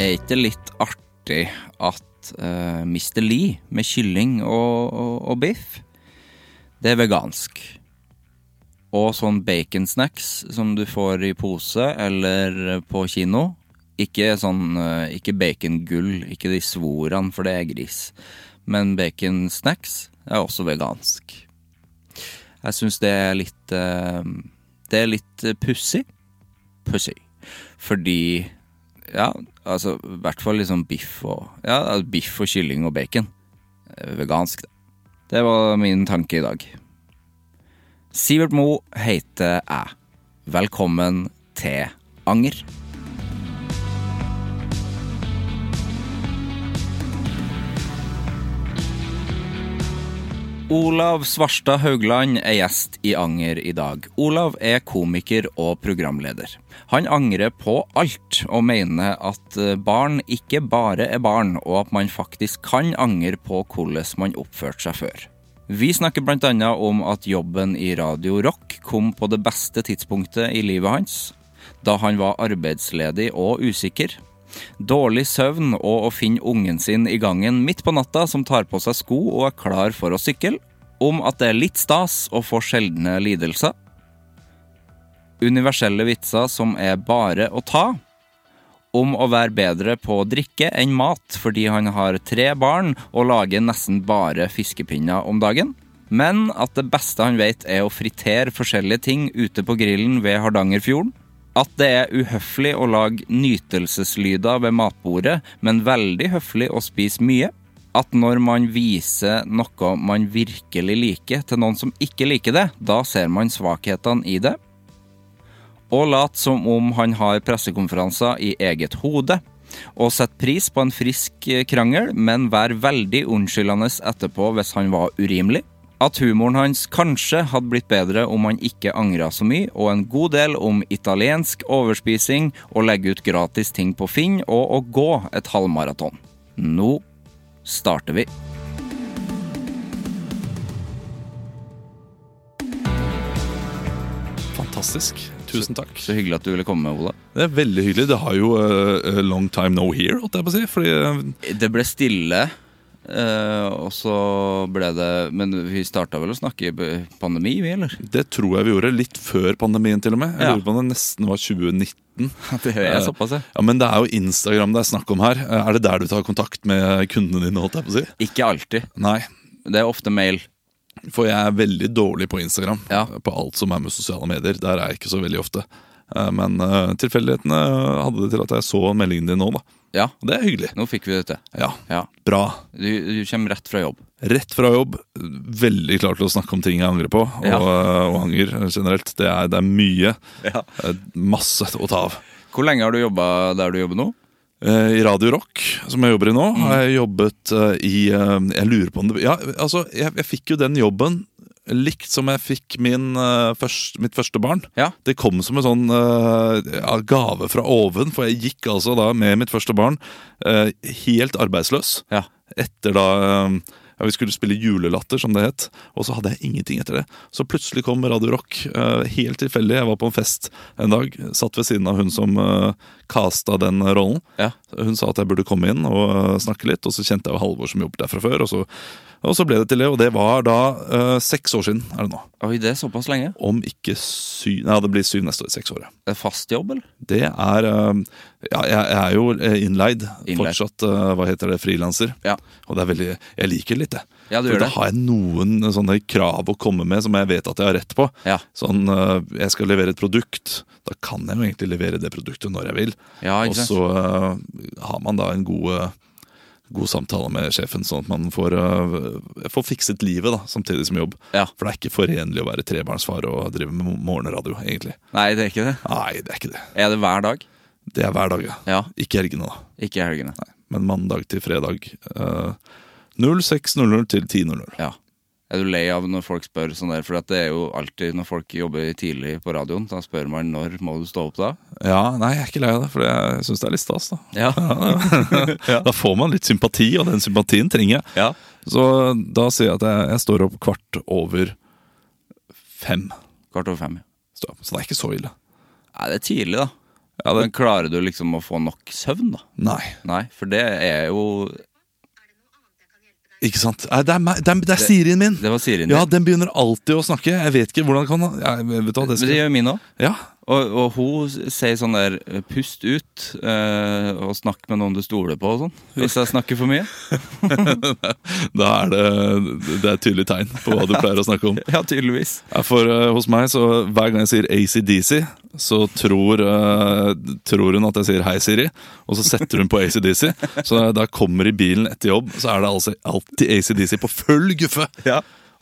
Er ikke det litt artig at eh, Mr. Lee med kylling og, og, og biff, det er vegansk? Og sånn baconsnacks som du får i pose eller på kino. Ikke sånn eh, Ikke bacongull, ikke de svorene, for det er gris. Men baconsnacks er også vegansk. Jeg syns det er litt eh, Det er litt eh, pussig. Pussig. Fordi ja, altså i hvert fall liksom biff og Ja, altså, biff og kylling og bacon. Eh, Vegansk, det. Det var min tanke i dag. Sivert Mo heter jeg. Velkommen til Anger. Olav Svarstad Haugland er gjest i Anger i dag. Olav er komiker og programleder. Han angrer på alt, og mener at eh, barn ikke bare er barn, og at man faktisk kan angre på hvordan man oppførte seg før. Vi snakker bl.a. om at jobben i Radio Rock kom på det beste tidspunktet i livet hans, da han var arbeidsledig og usikker. Dårlig søvn og å finne ungen sin i gangen midt på natta som tar på seg sko og er klar for å sykle. Om at det er litt stas å få sjeldne lidelser. Universelle vitser som er bare å ta. Om å være bedre på å drikke enn mat fordi han har tre barn og lager nesten bare fiskepinner om dagen. Men at det beste han vet er å fritere forskjellige ting ute på grillen ved Hardangerfjorden. At det er uhøflig å lage nytelseslyder ved matbordet, men veldig høflig å spise mye. At når man viser noe man virkelig liker til noen som ikke liker det, da ser man svakhetene i det. Og lat som om han har pressekonferanser i eget hode. Og sett pris på en frisk eh, krangel, men vær veldig unnskyldende etterpå hvis han var urimelig. At humoren hans kanskje hadde blitt bedre om han ikke angra så mye, og en god del om italiensk overspising, å legge ut gratis ting på Finn og å gå et halvmaraton. Nå starter vi. Fantastisk. Tusen takk. Så hyggelig at du ville komme, Ola. Det er veldig hyggelig. Det har jo eh, long time no here, holdt jeg på å si. Fordi eh, Det ble stille, eh, og så ble det Men vi starta vel å snakke i pandemi, vi, eller? det tror jeg vi gjorde litt før pandemien, til og med. Jeg Ja. lurer på om det nesten var 2019. Det er Eh, såpass, jeg. Ja, Men det er jo Instagram det er snakk om her. Eh, Er det der du tar kontakt med kundene dine, holdt jeg på å si? Ikke alltid. Nei, Det er ofte mail. for jeg er veldig dårlig på Instagram. Ja. På alt som er med sosiale medier. Der er jeg ikke så veldig ofte. Eh, Men eh, tilfeldighetene hadde det til at jeg så meldingen din nå, da. Ja, Og det er hyggelig. nå fikk vi det til. Ja, Ja. bra. Du, du kommer rett fra jobb. Rett fra jobb, veldig klar til å snakke om ting jeg angrer på, og, eh, Ja. og anger generelt. Det er, det er mye. Ja. eh, Masse å ta av. Hvor lenge har du jobba der du jobber nå? Eh, I Radio Rock, som jeg jobber i Mm. nå, har jeg jobbet eh, i eh, Jeg lurer på om det Ja, altså, jeg, jeg fikk jo den jobben likt som jeg fikk min, eh, først, mitt første barn. Ja. Det kom som en sånn eh, ja, gave fra oven, for jeg gikk altså da med mitt første barn eh, helt arbeidsløs. Ja. Etter da eh, ja, Vi skulle spille julelatter, som det het, og så hadde jeg ingenting etter det. Så plutselig kom Radio Rock, eh, helt tilfeldig. Jeg var på en fest en dag, satt ved siden av hun som eh, casta den rollen. Ja. Hun sa at jeg burde komme inn og øh, snakke litt, og så kjente jeg jo Halvor som jobbet der fra før. Og så, og så ble det til det, og det var da øh, seks år siden. er det nå. Oi, det er såpass lenge. Om ikke syv Nei, det blir syv neste år. Seks år, ja. Det er fast jobb, eller? Det er øh, Ja, jeg, jeg er jo øh, innleid. Innleid. Fortsatt, øh, hva heter det, frilanser. Ja. Og det er veldig Jeg liker det litt, jeg. Ja, du For gjør da det. har jeg noen sånne krav å komme med som jeg vet at jeg har rett på. Ja. Sånn, øh, jeg skal levere et produkt. Da kan jeg jo egentlig levere det produktet når jeg vil. Ja, og ikke sant? så øh, har man da en god, øh, god samtale med sjefen, sånn at man får, øh, får fikset livet da, samtidig som jobb. Ja. For det er ikke forenlig å være trebarnsfar og drive med morgenradio, egentlig. Nei, det er ikke det. Nei, det er ikke det. Er det hver dag? Det er hver dag, ja. Ja. Ikke helgene, da. Ikke i helgene. Nei. Men mandag til fredag. øh, 06.00 til 10.00. Ja. Er du lei av når folk spør sånn der? For at det er jo alltid når folk jobber tidlig på radioen, da spør man når må du stå opp da? Ja, nei, jeg er ikke lei av det, for jeg syns det er litt stas, da. Ja. Da får man litt sympati, og den sympatien trenger jeg. Ja. Så da sier jeg at jeg, jeg står opp kvart over fem. Kvart over fem. ja. Står jeg opp. Så det er ikke så ille. Nei, det er tidlig, da. Ja, det, Men klarer du liksom å få nok søvn, da? nei, Nei, for det er jo ikke sant. Nei, det, er, meg- det, er, det er Sirien min! Det var Siri. Ja, den begynner alltid å snakke. Jeg vet ikke hvordan kan jeg, Vet du hva, det Men det skal gjør min òg. Ja, Og, og hun sier sånn der Pust ut, eh, og snakk med noen du stoler på og sånn. Hvis jeg snakker for mye. da er det Det er et tydelig tegn på hva du pleier å snakke om. Ja, tydeligvis. Ja, For eh, hos meg, så hver gang jeg sier ACDC, så tror, eh, tror hun at jeg sier 'hei, Siri', og så setter hun på ACDC. Så da jeg kommer i bilen etter jobb, så er det altså alltid ACDC på full guffe!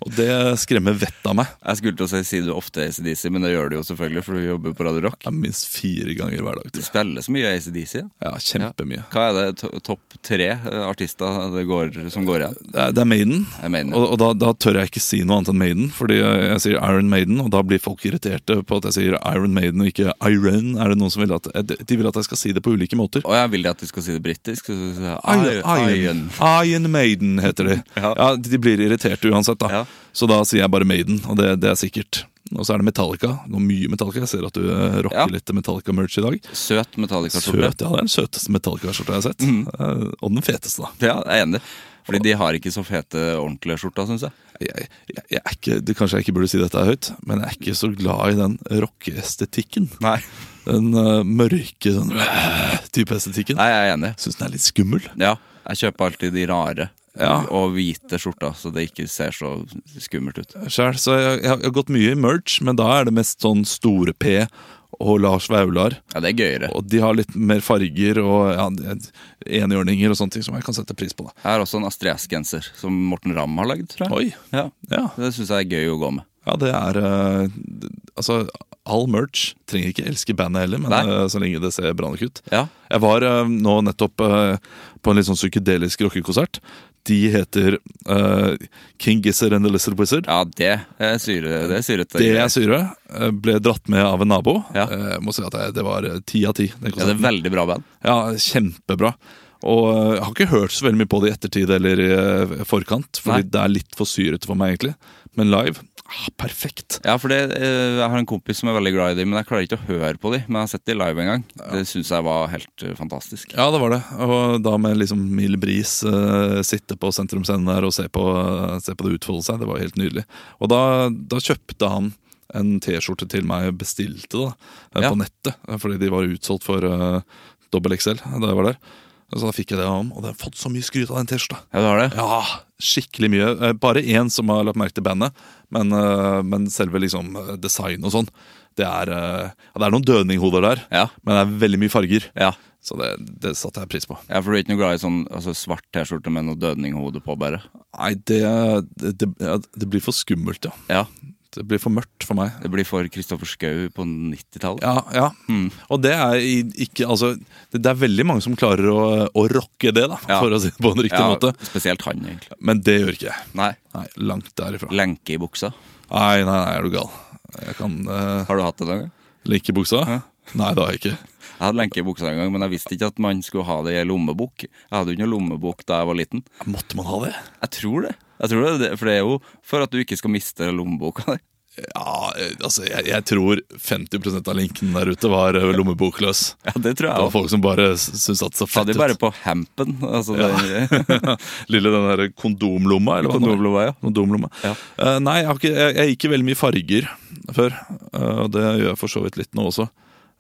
Og det skremmer vettet av meg. Jeg skulle til å si sier du ofte ACDC, men det gjør du jo selvfølgelig, for du jobber på Radio Rock. Ja, minst fire ganger hver dag. Du tror jeg. spiller så mye ACDC. ja. Ja, Kjempemye. Hva er det to topp tre eh, artister det går, som går igjen? Det er- Det er Maiden, Jeg mener og, og da, da tør jeg ikke si noe annet enn Maiden. Fordi jeg jeg sier Iron Maiden, og da blir folk irriterte på at jeg sier Iron Maiden og ikke Iron. Er det noen som vil at, De vil at jeg skal si det på ulike måter. Og jeg vil at de skal si det britisk. Så så- så- Iron, Iron. Iron Maiden heter de. Ja. Ja. De blir irriterte uansett, da. Ja. Så da sier jeg bare Maiden, og det, det er sikkert. Og så er det Metallica. Noe mye Metallica. Jeg ser at du eh, rocker Ja. litt Metallica-merch i dag. Søt Metallica-skjorte. Søt, ja, Det er den søteste Metallica-skjorta jeg har sett. Mhm. Eh, Og den feteste, da. Ja, jeg er enig. Fordi de har ikke så fete ordentlige skjorter, syns jeg. Jeg, jeg, jeg er ikke, det, kanskje jeg ikke burde si dette høyt, men jeg er ikke så glad i den rockeestetikken. Nei. Den eh, mørke sånn, type estetikken. Nei, jeg er enig. Syns den er litt skummel. Ja, jeg kjøper alltid de rare Ja. og hvite skjorta, så det ikke ser så skummelt ut. selv, så jeg, jeg, har- jeg har gått mye i merch, men da er det mest sånn Store P og Lars Vaular. Ja, det er gøyere. Og de har litt mer farger og ja, enhjørninger og sånne ting som jeg kan sette pris på. da. Jeg har også en Astrid S-genser som Morten Ramm har lagd, tror jeg. Oi, Ja, ja, Det syns jeg er gøy å gå med. ja, det er eh, d- Altså, all merch. Trenger ikke elske bandet heller, men Nei. eh, så lenge det ser bra nok ut. Ja. Jeg var eh, nå nettopp eh, på en litt sånn psykedelisk rockekonsert. De heter eh, King Gizzard and the Lizard Wizard. Ja, det er syre- det er syrete. Det jeg syre eh, ble dratt med av en nabo. Ja. Eh, Jeg må si at jeg- det var eh, ti av ti. den Ja, det er konserten. veldig bra band. Ja, kjempebra. Og eh, jeg har ikke hørt så veldig mye på det i ettertid eller i eh, forkant, Nei. fordi det er litt for syrete for meg, egentlig. Men live ah, perfekt. Ja, for det, eh, Jeg har en kompis som er veldig glad i dem, men jeg klarer ikke å høre på dem. Men jeg har sett dem live en gang. Det syns jeg var helt eh, fantastisk. Ja, det var det. Og da med liksom mild bris, eh, sitte på sentrum scene der og se på, eh, se på det utfolde seg. Det var helt nydelig. Og da, da kjøpte han en T-skjorte til meg, bestilte da, eh, Ja. på nettet, eh, fordi de var utsolgt for eh, dobbel XL da jeg var der. Så da fikk jeg det om, og det har fått så mye skryt av den T-skjorta. Ja, du har det? Ja, skikkelig mye. Eh, Bare én som har lagt merke til bandet, men, eh, men selve liksom eh, design og sånn det er, eh, ja, det er noen dødninghoder der, Ja. men det er veldig mye farger. Ja. Så det, det satte jeg pris på. Ja, for du er ikke noe glad i sånn altså, svart T-skjorte med noe dødninghode på, bare? Nei, det, det, det, ja, det blir for skummelt, ja. Ja. Det blir for mørkt for meg. Det blir for Kristoffer Schou på 90-tallet. Ja, ja. Mm. Og det er i- ikke Altså, det, det er veldig mange som klarer å, å rocke det, da, Ja. for å si det på en riktig måte. spesielt han, egentlig. Men det gjør ikke jeg. Nei. Nei, langt derifra. Lenke i buksa. Nei, nei, nei, er du gal. Jeg kan eh, Har du hatt det noen gang? like buksa. Ja. Nei, det har jeg ikke. Jeg hadde lenke i buksa en gang, men jeg visste ikke at man skulle ha det i ei lommebok. Jeg hadde jo ikke noe lommebok da jeg var liten. Måtte man ha det? Jeg tror det. Jeg tror det, For det er jo for at du ikke skal miste lommeboka di. Ja, eh, altså, jeg, jeg tror 50 av linken der ute var eh, lommebokløs. Ja, det tror Det var jeg. folk som bare s- syntes at det Sa så fett de ut. bare på hampen? Altså, den- Lille den der kondomlomma, eller hva det var. Kondomlomma, ja. Kondomlomma. Ja. Eh, nei, jeg, har ikke, jeg, jeg gikk i veldig mye farger før, eh, og det gjør jeg for så vidt litt nå også.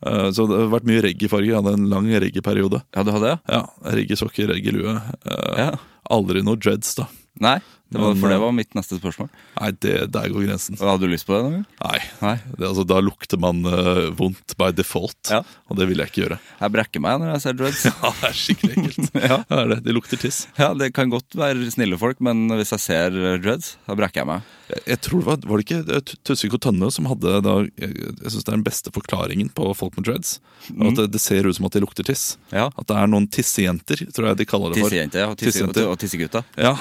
Eh, så det har vært mye reggae-farger. Jeg hadde en lang reggae-periode. ja, du hadde det? Ja, reggae-sokker, reggae-lue. Eh, Ja. Aldri noe dreads, da. Nei, det var, Men, for det eh, var mitt neste spørsmål. Nei, det, der går grensen. Hadde du lyst på det? noen gang? Nei. Nei. Det, altså, da lukter man eh, vondt by default, Ja. og det vil jeg ikke gjøre. Jeg brekker meg når jeg ser dreads. Ja, det er skikkelig ekkelt. Ja. Det er det. De lukter tiss. Ja, Det kan godt være snille folk, men hvis jeg ser dreads, da brekker jeg meg. Jeg, jeg tror det var, var det ikke eh, Tu- Tusvik og Tønne som hadde da, Jeg, jeg syns det er den beste forklaringen på folk med dreads. At det, det ser ut som at de lukter tiss. Mm. Ja. At det er noen tissejenter, tror jeg de kaller det for. Tissejente og, tisse, og, Tissejenter. og Mm. tissegutter. Ja,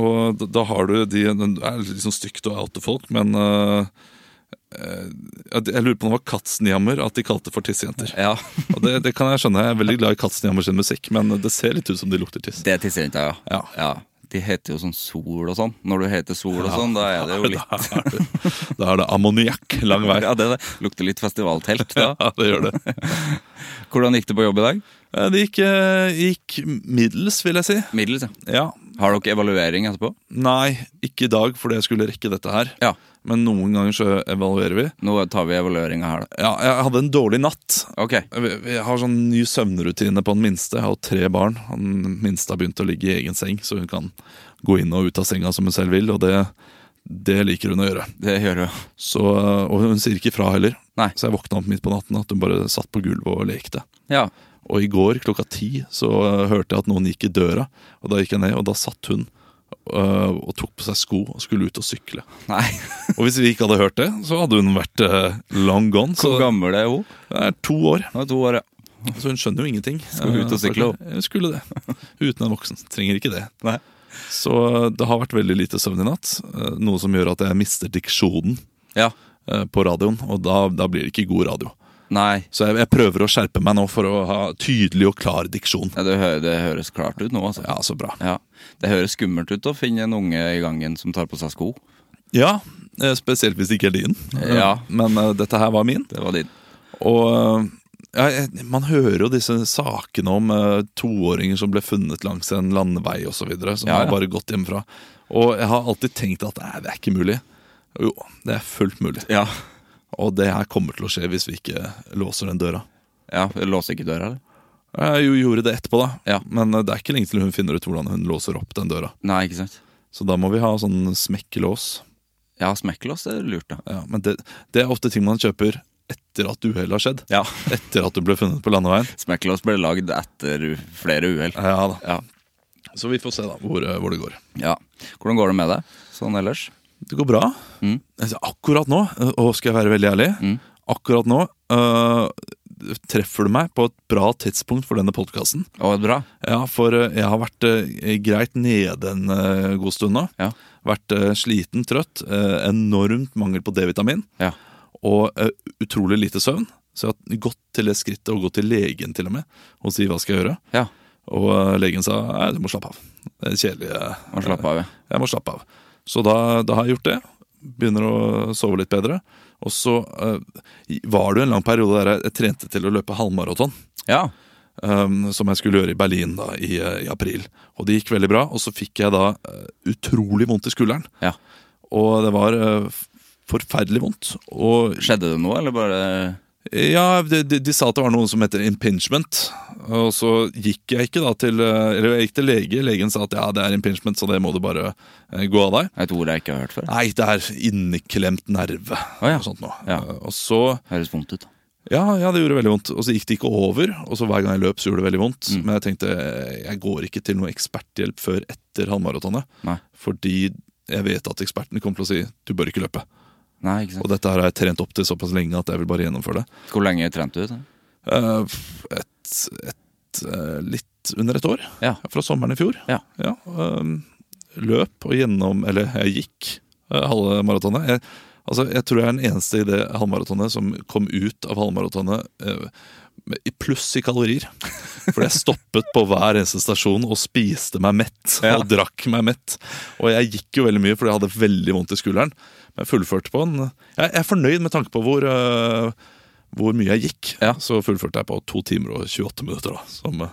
og da, da har du de Det er liksom stygt å oute folk, men øh, øh, jeg jeg lurer på om det var Katzenjammer at de kalte det for tissejenter. Ja, Og det, det kan jeg skjønne. Jeg er veldig glad i Katzenjammer sin musikk, men det ser litt ut som de lukter tiss. det er tissejenta, ja. Ja. De heter jo sånn Sol og sånn. Når du heter Sol og sånn, da er det jo litt Da er det, da er det ammoniakk lang vei. Ja, det, det lukter litt festivaltelt da. Ja, det gjør det. Hvordan gikk det på jobb i dag? Eh, Det gikk, eh, gikk middels, vil jeg si. Middels, ja. Ja. Har dere evaluering etterpå? Nei, ikke i dag, fordi jeg skulle rekke dette her. Ja. Men noen ganger så evaluerer vi. Nå tar vi evalueringa her, da. Ja, jeg hadde en dårlig natt. Ok. Vi vi har sånn ny søvnrutine på den minste. Jeg har jo tre barn. Den minste har begynt å ligge i egen seng, så hun kan gå inn og ut av senga som hun selv vil, og det, det liker hun å gjøre. Det gjør jo Så, eh, og hun sier ikke fra heller. Nei. Så jeg våkna opp midt på natten at hun bare satt på gulvet og lekte. Ja. Og i går klokka ti så eh, hørte jeg at noen gikk i døra, og da gikk jeg ned, og da satt hun eh, og tok på seg sko og skulle ut og sykle. Nei. Og hvis vi ikke hadde hørt det, så hadde hun vært eh, long gone. Så Hvor gammel er hun? det er to år. Hun er to år, ja. Så hun skjønner jo ingenting. Skal hun ut og Eh, sykle, stakkars. Hun skulle det. Uten en voksen. Trenger ikke det. Nei. Så eh, det har vært veldig lite søvn i natt, eh, noe som gjør at jeg mister diksjonen Ja. eh, på radioen, og da, da blir det ikke god radio. Nei. Så jeg, jeg prøver å skjerpe meg nå for å ha tydelig og klar diksjon. Ja, det, hø det høres klart ut nå, altså. Ja, så bra. Ja. Det høres skummelt ut å finne en unge i gangen som tar på seg sko. Ja, eh, spesielt hvis det ikke er din. Eh, Ja. Men eh, dette her var min. Det var din. Og eh, ja, jeg- man hører jo disse sakene om eh, toåringer som ble funnet langs en landevei osv. Som Ja, ja. har bare gått hjemmefra. Og jeg har alltid tenkt at nei, det er ikke mulig. Jo, det er fullt mulig. Ja. Og det her kommer til å skje hvis vi ikke låser den døra. ja. Låser ikke døra, eller? Jeg jo gjorde det etterpå, da. Ja. Men eh, det er ikke lenge til hun finner ut hvordan hun låser opp den døra. Nei, ikke sant. Så da må vi ha sånn smekkelås. Ja, smekkelås er lurt, da. Ja, men det, det er ofte ting man kjøper etter at uhellet har skjedd. Ja. Etter at du ble funnet på landeveien. Smekkelås ble lagd etter flere uhell. Ja da. Ja. Så vi får se da hvor, eh, hvor det går. ja. Hvordan går det med deg sånn ellers? Det går bra. Altså, Akkurat nå, øh, og skal jeg være veldig ærlig, akkurat nå øh, treffer du meg på et bra tidspunkt for denne podkasten. Å, bra. Ja, for øh, jeg har vært øh, greit nede en øh, god stund nå. Ja. Vært øh, sliten, trøtt, øh, enormt mangel på D-vitamin Ja. og øh, utrolig lite søvn. Så jeg har gått til det skrittet å gå til legen til og med og si hva skal jeg gjøre. Ja. Og øh, legen sa nei, du må slappe av. Det er kjedelig. øh, Må slappe av. ja. jeg må slappe av. Så da, da har jeg gjort det. Begynner å sove litt bedre. Og så eh, var det jo en lang periode der jeg, jeg trente til å løpe halvmaraton. Ja. eh, som jeg skulle gjøre i Berlin da, i, eh, i april. Og det gikk veldig bra. Og så fikk jeg da eh, utrolig vondt i skulderen. ja. Og det var eh, f- forferdelig vondt. Og Skjedde det noe, eller bare ja, de, de, de sa at det var noe som heter impingement. Og så gikk jeg ikke da til eh, Eller jeg gikk til lege. Legen sa at ja, det er impingement, så det må du bare eh, gå av deg. et ord jeg ikke har hørt før? Nei, det er inneklemt nerve ja. og sånt noe. Ja. Eh, Og så, Høres vondt ut. ja, ja, det gjorde veldig vondt. Og så gikk det ikke over, og så hver gang jeg løp, så gjorde det veldig vondt. Mm. Men jeg tenkte, eh, jeg går ikke til noe eksperthjelp før etter halvmaratonet. Nei. Fordi jeg vet at eksperten kommer til å si, du bør ikke løpe. Nei, ikke Og sant. dette her har jeg trent opp til såpass lenge at jeg vil bare gjennomføre det. Hvor lenge trente du? da? Eh, f- Et, et, eh, litt under et år, Ja. fra sommeren i fjor. ehm, Ja. eh, Løp og gjennom, eller jeg gikk eh, halve maratonet. Jeg, Altså, jeg tror jeg er den eneste i det halvmaratonet som kom ut av halvmaratonet eh, med- i pluss i kalorier. For jeg stoppet på hver eneste stasjon og spiste meg mett. Og drakk meg mett. Og jeg gikk jo veldig mye, fordi jeg hadde veldig vondt i skulderen. Men jeg fullførte på en Jeg jeg er fornøyd med tanke på hvor eh, hvor mye jeg gikk. Ja. Så fullførte jeg på 2 timer og 28 minutter, da, som,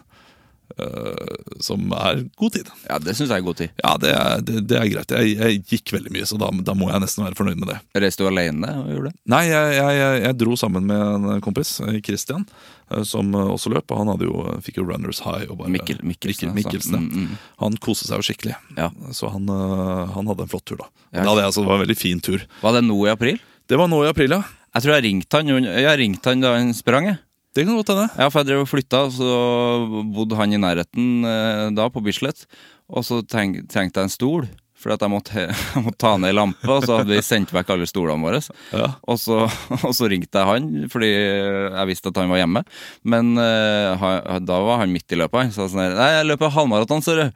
eh, som er god tid. Ja, det syns jeg er god tid. Ja, det er, det, det er greit. Jeg, jeg gikk veldig mye, så da, da må jeg nesten være fornøyd med det. Reiste du alene og gjorde det? Nei, jeg, jeg, jeg- jeg dro sammen med en kompis, eh, Christian, eh, som eh, også løp. Og han hadde jo, eh, fikk jo runners high. Og bare, Mikkel- Mikkelsen, Mikkel, Mikkelsen, altså. ja. Mm, mm. Han koste seg jo skikkelig. Ja. Så han, eh, han hadde en flott tur, da. Ja. Det, hadde jeg, altså, det var en veldig fin tur. Var det nå i april? Det var nå i april, ja. Jeg tror jeg ringte han, under- jeg ringte han da han sprang. Jeg. Det kan godt hende. Ja, for jeg drev og flytta, så bodde han i nærheten eh, da, på Bislett. Og så tenk, trengte jeg en stol, for at jeg, måtte, he- jeg måtte ta ned ei lampe. Og så hadde vi sendt vekk alle stolene våre. Ja. Og, så, og så ringte jeg han, fordi jeg visste at han var hjemme. Men eh, han, da var han midt i løpet. Han sa sånn her Nei, jeg løper halvmaraton, ser du.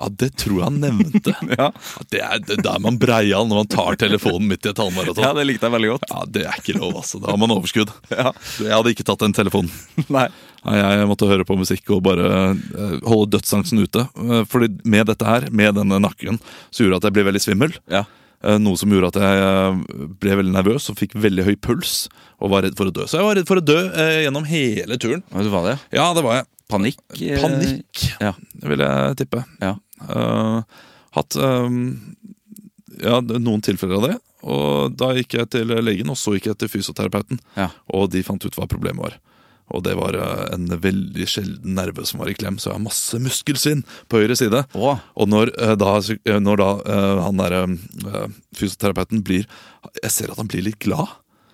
Ja, det tror jeg han nevnte. Ja. Ja, Det er det er der man breial når man tar telefonen midt i et halvmaraton. det likte jeg veldig godt. Ja, det er ikke lov, altså. Da har man overskudd. Ja. Jeg hadde ikke tatt den telefonen. Nei. Nei, Jeg måtte høre på musikk og bare eh, holde dødsangsten ute. Eh, Fordi med dette her, med denne nakken, så gjorde det at jeg ble veldig svimmel. Ja. Eh, Noe som gjorde at jeg eh, ble veldig nervøs og fikk veldig høy puls. Og var redd for å dø. Så jeg var redd for å dø eh, gjennom hele turen. Vet du hva det er? Ja, det var jeg. Panikk. eh, Panikk, Ja. vil jeg tippe. ja. Eh, hatt eh, ja, noen tilfeller av det. Og da gikk jeg til legen, og så gikk jeg til fysioterapeuten. Ja. Og de fant ut hva problemet var. Og det var eh, en veldig sjelden nerve som var i klem, så jeg har masse muskelsvinn på høyre side. Å. Og når eh, da, eh, når da eh, han derre fysioterapeuten blir Jeg ser at han blir litt glad,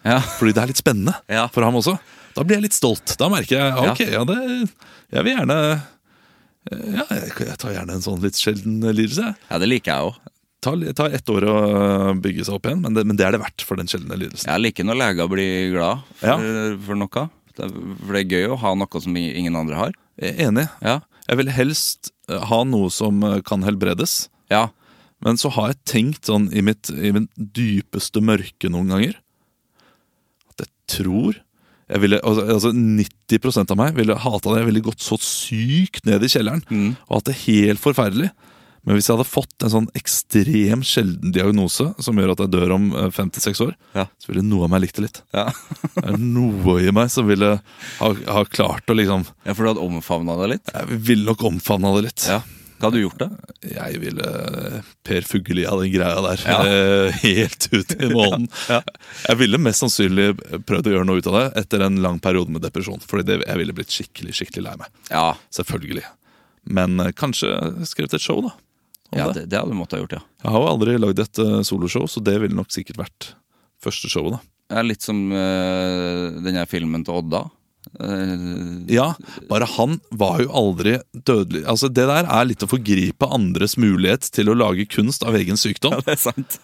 Ja. fordi det er litt spennende Ja. for ham også. Da blir jeg litt stolt. Da merker jeg Ja. ok, ja, det, jeg vil gjerne eh, ja, jeg, jeg tar gjerne en sånn litt sjelden lidelse. jeg. ja, det liker jeg òg. Ta, ta ett år å bygge seg opp igjen, men det, men det er det verdt for den sjeldne lidelsen. Jeg liker når leger blir glad for, Ja. for noe. Det, for det er gøy å ha noe som i- ingen andre har. Jeg er Enig. Ja. Jeg vil helst eh, ha noe som eh, kan helbredes, Ja. men så har jeg tenkt sånn i mitt, i mitt dypeste mørke noen ganger at jeg tror jeg ville, altså, altså 90 av meg ville hata det. Jeg ville gått så sykt ned i kjelleren og hatt det helt forferdelig. Men hvis jeg hadde fått en sånn ekstrem sjelden diagnose som gjør at jeg dør om eh, fem til seks år, Ja. så ville noe av meg likt det litt. Ja. Det er noe i meg som ville ha, ha klart å liksom ja, for du hadde omfavna det litt? Jeg ville nok omfavna det litt. Ja. Hva hadde du gjort, da? Jeg ville eh, Per Fugelli av den greia der Ja. eh, helt ut i måneden. Jeg ville mest sannsynlig prøvd å gjøre noe ut av det etter en lang periode med depresjon. Fordi det, jeg ville blitt skikkelig skikkelig lei meg. Ja, Selvfølgelig. Men eh, kanskje skrevet et show, da. om ja det, det. det hadde du måttet ha gjort, ja. Jeg har jo aldri lagd et eh, soloshow, så det ville nok sikkert vært første showet, da. Det er litt som uh, den her filmen til Odda. Eh, Ja, bare han var jo aldri dødelig. Altså Det der er litt å forgripe andres mulighet til å lage kunst av egen sykdom. det er sant.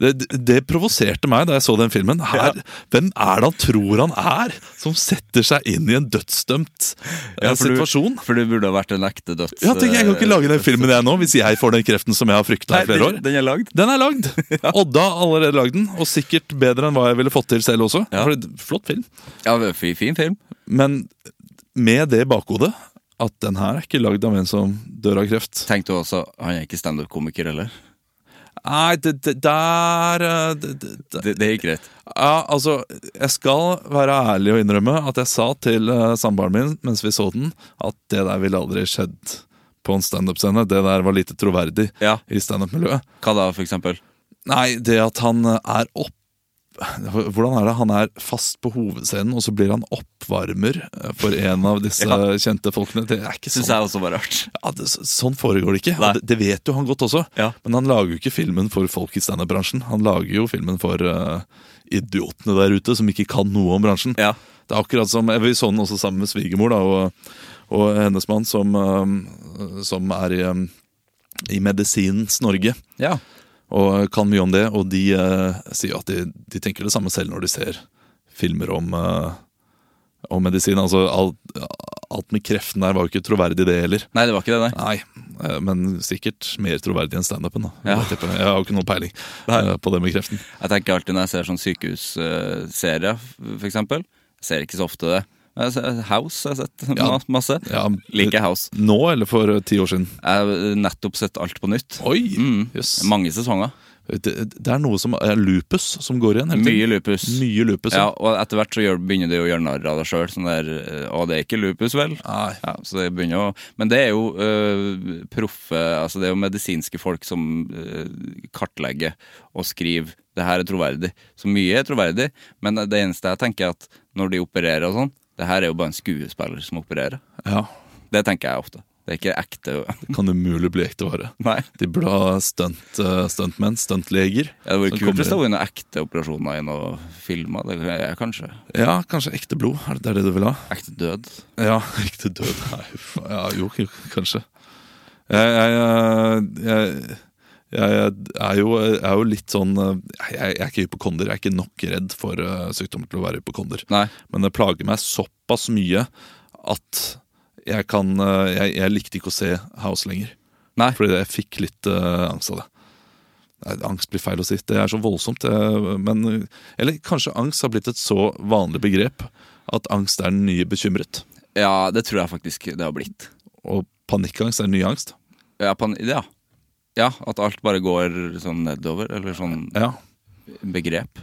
Det, det provoserte meg da jeg så den filmen. Her, Hvem er det han tror han er, som setter seg inn i en dødsdømt for eh, du- situasjon? For det burde ha vært en ekte døds... Ja, tenker, jeg jeg kan ikke lage den filmen jeg nå, hvis jeg får den kreften som jeg har frykta Nei, i flere år. den- den er lagd. Den er lagd! Odda har allerede lagd den, og sikkert bedre enn hva jeg ville fått til selv også. Ja. For det- flott film. Ja, det er en fin- fin film. Men med det i bakhodet at den her er ikke lagd av en som dør av kreft. Tenkte du også han er ikke standup-komiker heller? Nei, det, det der eh, det, det, det. Det, det gikk greit. Ja, altså, Jeg skal være ærlig og innrømme at jeg sa til eh, samboeren min mens vi så den, at det der ville aldri skjedd på en standup-scene. Det der var lite troverdig Ja. i standup-miljøet. Hva da, for eksempel? Nei, det at han eh, er opp hvordan er det? Han er fast på hovedscenen, og så blir han oppvarmer eh, for en av disse Ja. kjente folkene. Det er ikke Syns sånn jeg også var rart. ja, det, så- sånn foregår det ikke. Nei. Og det, det vet jo han godt også. Ja. Men han lager jo ikke filmen for folk i standup-bransjen. Han lager jo filmen for eh, idiotene der ute som ikke kan noe om bransjen. Ja. Det er akkurat som, eh, Vi så den også sammen med svigermor da, og, og hennes mann, som, eh, som er i, eh, i medisinens Norge. Ja. Og kan mye om det. Og de eh, sier jo at de, de tenker det samme selv når de ser filmer om, eh, om medisin. Altså, alt, alt med kreften der var jo ikke troverdig, det heller. Nei, det var ikke det, nei. Nei, Eh, Men sikkert mer troverdig enn standupen. da. Ja. Jeg tipper det. Jeg har jo ikke noe peiling eh, på det med kreften. Jeg tenker alltid når jeg ser sånn sykehusserier, for eksempel. Jeg ser ikke så ofte det. Men jeg ser House har jeg sett Ja. ma- masse. Ja, Liker House. Nå eller for eh, ti år siden? Jeg har nettopp sett alt på nytt. Oi! Mm. Jøss. Eh, Mange sesonger. Det, det er noe som er lupus som går igjen. hele tiden. Mye lupus. Mye lupus. Ja, og etter hvert så gjør, begynner de å gjøre narr av deg sjøl. Sånn der eh, Å, det er ikke lupus, vel? Nei. Ja, så det begynner å Men det er jo eh, proffe Altså det er jo medisinske folk som eh, kartlegger og skriver det her er troverdig. Så mye er troverdig, men det eneste jeg tenker er at når de opererer og sånn, det her er jo bare en skuespiller som opererer. Ja. Det tenker jeg ofte. Det er ikke ekte Det kan umulig bli ekte vare. Nei. De burde ha stunt, eh, stuntmenn, stuntleger. Ja, det som var kult kommer hvis det var noen ekte operasjoner i noen filmer. Det er kanskje inn. Ja, kanskje ekte blod. Er det- det er det du vil ha? ekte død. Ja, ekte død. Nei, uff. Ja, jo, jo, kanskje. Jeg, jeg, jeg, jeg, er jo, jeg er jo litt sånn eh, Jeg, jeg er ikke hypokonder. Jeg er ikke nok redd for eh, sykdommer til å være hypokonder. Nei. Men det plager meg såpass mye at jeg kan eh, Jeg, jeg likte ikke å se House lenger. Nei. Fordi jeg fikk litt eh, angst av det. Nei, angst blir feil å si. Det er så voldsomt. eh, men, eller kanskje angst har blitt et så vanlig begrep at angst er den nye bekymret. Ja, det tror jeg faktisk det har blitt. Og panikkangst er ny angst. Ja, pan ja. ja, at alt bare går sånn nedover, eller sånn Ja. begrep.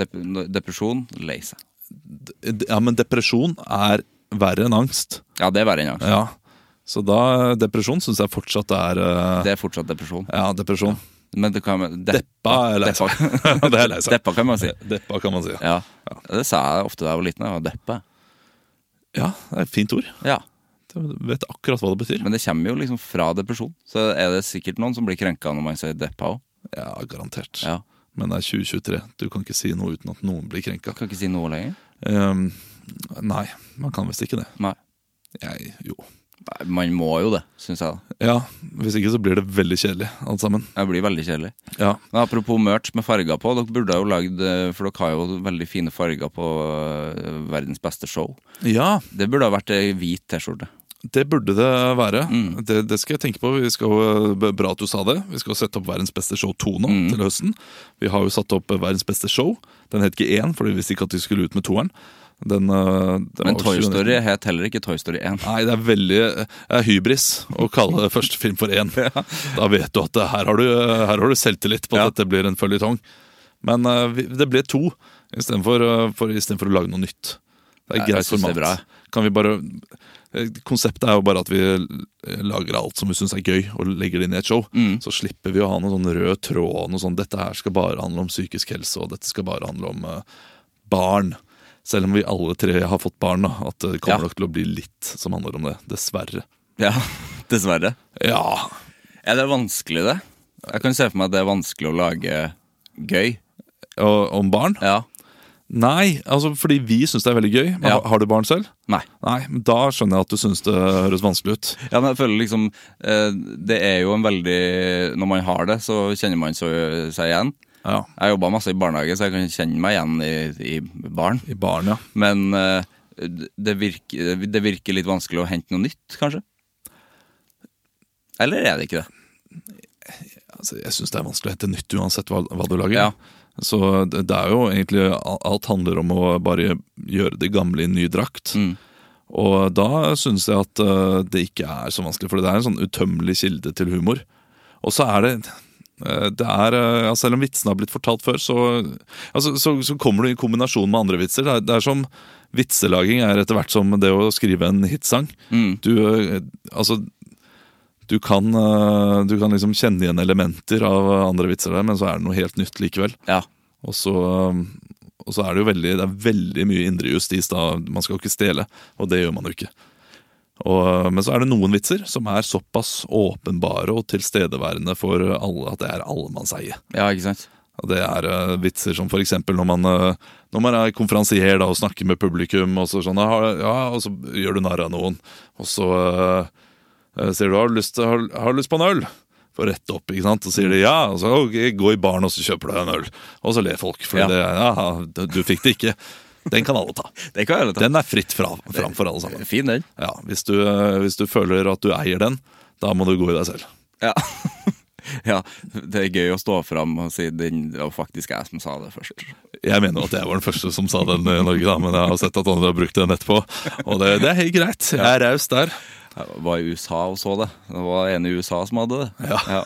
Dep- Depresjon, lei seg. D- ja, men depresjon er verre enn angst. Ja, det er verre enn angst. Ja. Så da depresjon syns jeg fortsatt er eh, Det er fortsatt depresjon. Ja, depresjon. Men det kan man de- Deppa er lei seg. Deppa. Det er lei seg. Deppa kan man si. Deppa, kan man si. Ja. Det sa jeg ofte da jeg var liten. Jeg var deppa. Ja, det er et fint ord. Ja. Du vet akkurat hva det betyr. Men det kommer jo liksom fra depresjon. Så er det sikkert noen som blir krenka når man sier deppa òg. Ja, garantert. Ja. Men det er 2023. Du kan ikke si noe uten at noen blir krenka. Kan ikke si noe lenger. Ehm, nei, man kan visst ikke det. Nei. Jeg, jo. Nei, Man må jo det, syns jeg. da. Ja, hvis ikke så blir det veldig kjedelig, alt sammen. Det blir veldig kjedelig. Ja. Men apropos merch med farger på, dere burde jo lagd eh, For dere har jo veldig fine farger på eh, verdens beste show. ja Det burde ha vært ei hvit T-skjorte. Det burde det være. Mm. Det, det skal jeg tenke på. Vi skal, jo- b- bra at du sa det. Vi skal jo sette opp Verdens beste show 2 nå Mm. til høsten. Vi har jo satt opp eh, Verdens beste show. Den het ikke 1, for vi visste ikke at de skulle ut med toeren. Den, eh, den Men var Toy 2019. Story het heller ikke Toy Story 1. Nei, det er veldig det er hybris å kalle første film for én. Da vet du at det- her har du, eh, her har du selvtillit på at Ja. dette blir en føljetong. Men eh, vi- det ble to istedenfor eh, for, i stedet for å lage noe nytt. Det er Ja, jeg greit synes det format. er bra. Kan vi bare eh, Konseptet er jo bare at vi eh, lager alt som vi syns er gøy, og legger det inn i et show. Mm. Så slipper vi å ha noen sånn rød tråd. og Noe sånn, dette her skal bare handle om psykisk helse, og dette skal bare handle om eh, barn. Selv om vi alle tre har fått barn, da, at det kommer Ja. nok til å bli litt som handler om det. Dessverre. Ja, dessverre. Ja, Er det vanskelig, det? Jeg kan se for meg at det er vanskelig å lage gøy. og, om barn? Ja. Nei, altså fordi vi syns det er veldig gøy. Men Ja. har- Har du barn selv? Nei. Nei, men Da skjønner jeg at du syns det høres vanskelig ut. Ja, men jeg føler liksom eh, Det er jo en veldig Når man har det, så kjenner man så- seg igjen. Ja, Jeg jobba masse i barnehage, så jeg kan kjenne meg igjen i, i barn. I barn, ja. Men eh, det virker, det virker litt vanskelig å hente noe nytt, kanskje? Eller er det ikke det? Altså, jeg syns det er vanskelig å hente nytt uansett hva, hva du lager. Ja. Så det, det er jo egentlig Alt handler om å bare gjøre det gamle i en ny drakt. Mm. Og da syns jeg at eh, det ikke er så vanskelig, for det er en sånn utømmelig kilde til humor. Og så er det eh, det er, eh, ja, Selv om vitsene har blitt fortalt før, så, altså, så, så kommer det i kombinasjon med andre vitser. Det er, det er som Vitselaging er etter hvert som det å skrive en hitsang. Mm. Du, eh, altså, du, kan, eh, du kan liksom kjenne igjen elementer av andre vitser der, men så er det noe helt nytt likevel. Ja. Og så, eh, og så er det jo veldig, det er veldig mye indre justis. da, Man skal jo ikke stjele, og det gjør man jo ikke. Og, eh, men så er det noen vitser som er såpass åpenbare og tilstedeværende for alle at det er allemannseie. Ja, ikke sant? Og Det er eh, vitser som f.eks. når man eh, Når man er konferansier da, og snakker med publikum, og så, sånn, «Har- ja, og så gjør du narr av noen. Og så eh, eh, sier du har du lyst, til- har, har du lyst på en øl? For rett opp, ikke sant? Og sier de ja, og så ok, gå i baren og så kjøper du deg en øl. Og så ler folk, for Ja. det, ja, du- du fikk det ikke. Den kan alle ta. Det kan jeg ta. Den er fritt fra, framfor alle sammen. Fin, den. eh, Ja, hvis du, hvis du føler at du eier den, Da må du gå i deg selv. Ja. ja. Det er gøy å stå fram og si den, det var faktisk jeg som sa det først. Jeg mener jo at jeg var den første som sa den i Norge, da, men jeg har sett at andre har brukt den etterpå. Og det, det er helt greit. Jeg er raus der. Jeg var i USA og så det. Det var en i USA som hadde det. Ja.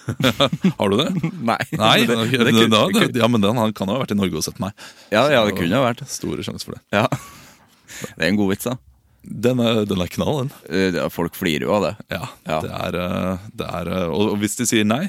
Har du det? Nei. Altså, Nei, Det- ok, det da- kunne- da- det kunne- ja, men den, han kan jo ha vært i Norge og sett meg. ja, ja, det kunne ha vært. Store sjanser for det. Ja. Det er en god vits, da. Den er, den er knall, den. Eh, ja, Folk flirer jo av det. Ja, Ja. Det er, eh, det er eh, Og og hvis de sier nei,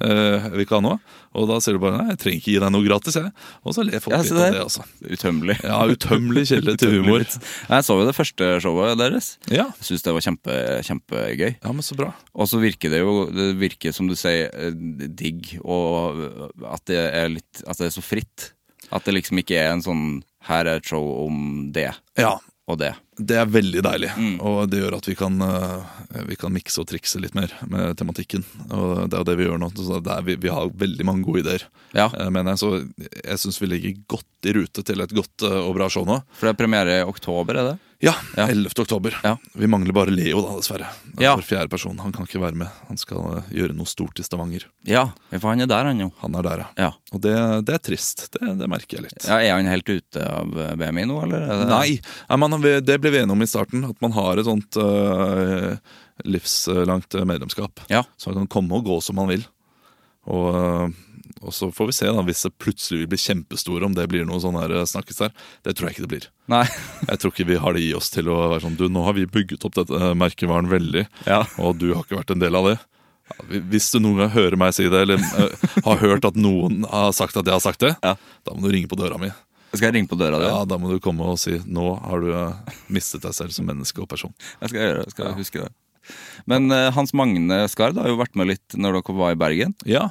eh, jeg vil ikke ha noe, og da sier du bare nei, jeg trenger ikke gi deg noe gratis, jeg. Og så ler folk Ja, litt se av der. det, altså. Utømmelig. Ja, utømmelig kilde til humor. Jeg så jo det første showet deres. Ja. Jeg syns det var kjempe, kjempegøy. ja, men så bra. Og så virker det jo Det virker som du sier, eh, digg, og eh, at det er litt At det er så fritt. At det liksom ikke er en sånn Her er et show om det Ja, og det. Det er veldig deilig, Mm. og det gjør at vi kan, eh, vi kan mikse og trikse litt mer med tematikken. Og Det er jo det vi gjør nå. Så det er, vi, vi har veldig mange gode ideer. Ja. Eh, Men jeg, så, jeg syns vi ligger godt i rute til et godt eh, og bra show nå. For det er premiere i oktober, er det? Ja, Ja. 11. oktober. Ja. Vi mangler bare Leo, da, dessverre. Det er Ja. Vår fjerde person. Han kan ikke være med. Han skal eh, gjøre noe stort i Stavanger. Ja, for han er der, han jo. Han er der, ja. Ja. Og det, det er trist. Det, det merker jeg litt. Ja, er han helt ute av eh, BMI nå, eller? Er det- Nei, Nei, man, har- det ble vi enige om i starten. At man har et sånt øh, livslangt eh, medlemskap. Ja. Så han kan komme og gå som han vil. Og, øh, og så får vi se da, hvis det plutselig blir kjempestore, om det blir noe sånn her øh, snakkes der. Det tror jeg ikke det blir. Nei. Jeg tror ikke vi har det i oss til å være sånn Du, nå har vi bygget opp dette øh, merkevaren veldig, Ja. og du har ikke vært en del av det. Ja, hvi- Hvis du noen gang hører meg si det, eller øh, har hørt at noen har sagt at jeg har sagt det, Ja. da må du ringe på døra mi. Skal jeg ringe på døra di? Ja, da må du komme og si Nå har du eh, mistet deg selv som menneske og person Jeg skal gjøre det, skal jeg huske det. Men eh, Hans Magne Skard har jo vært med litt når dere var i Bergen. Ja,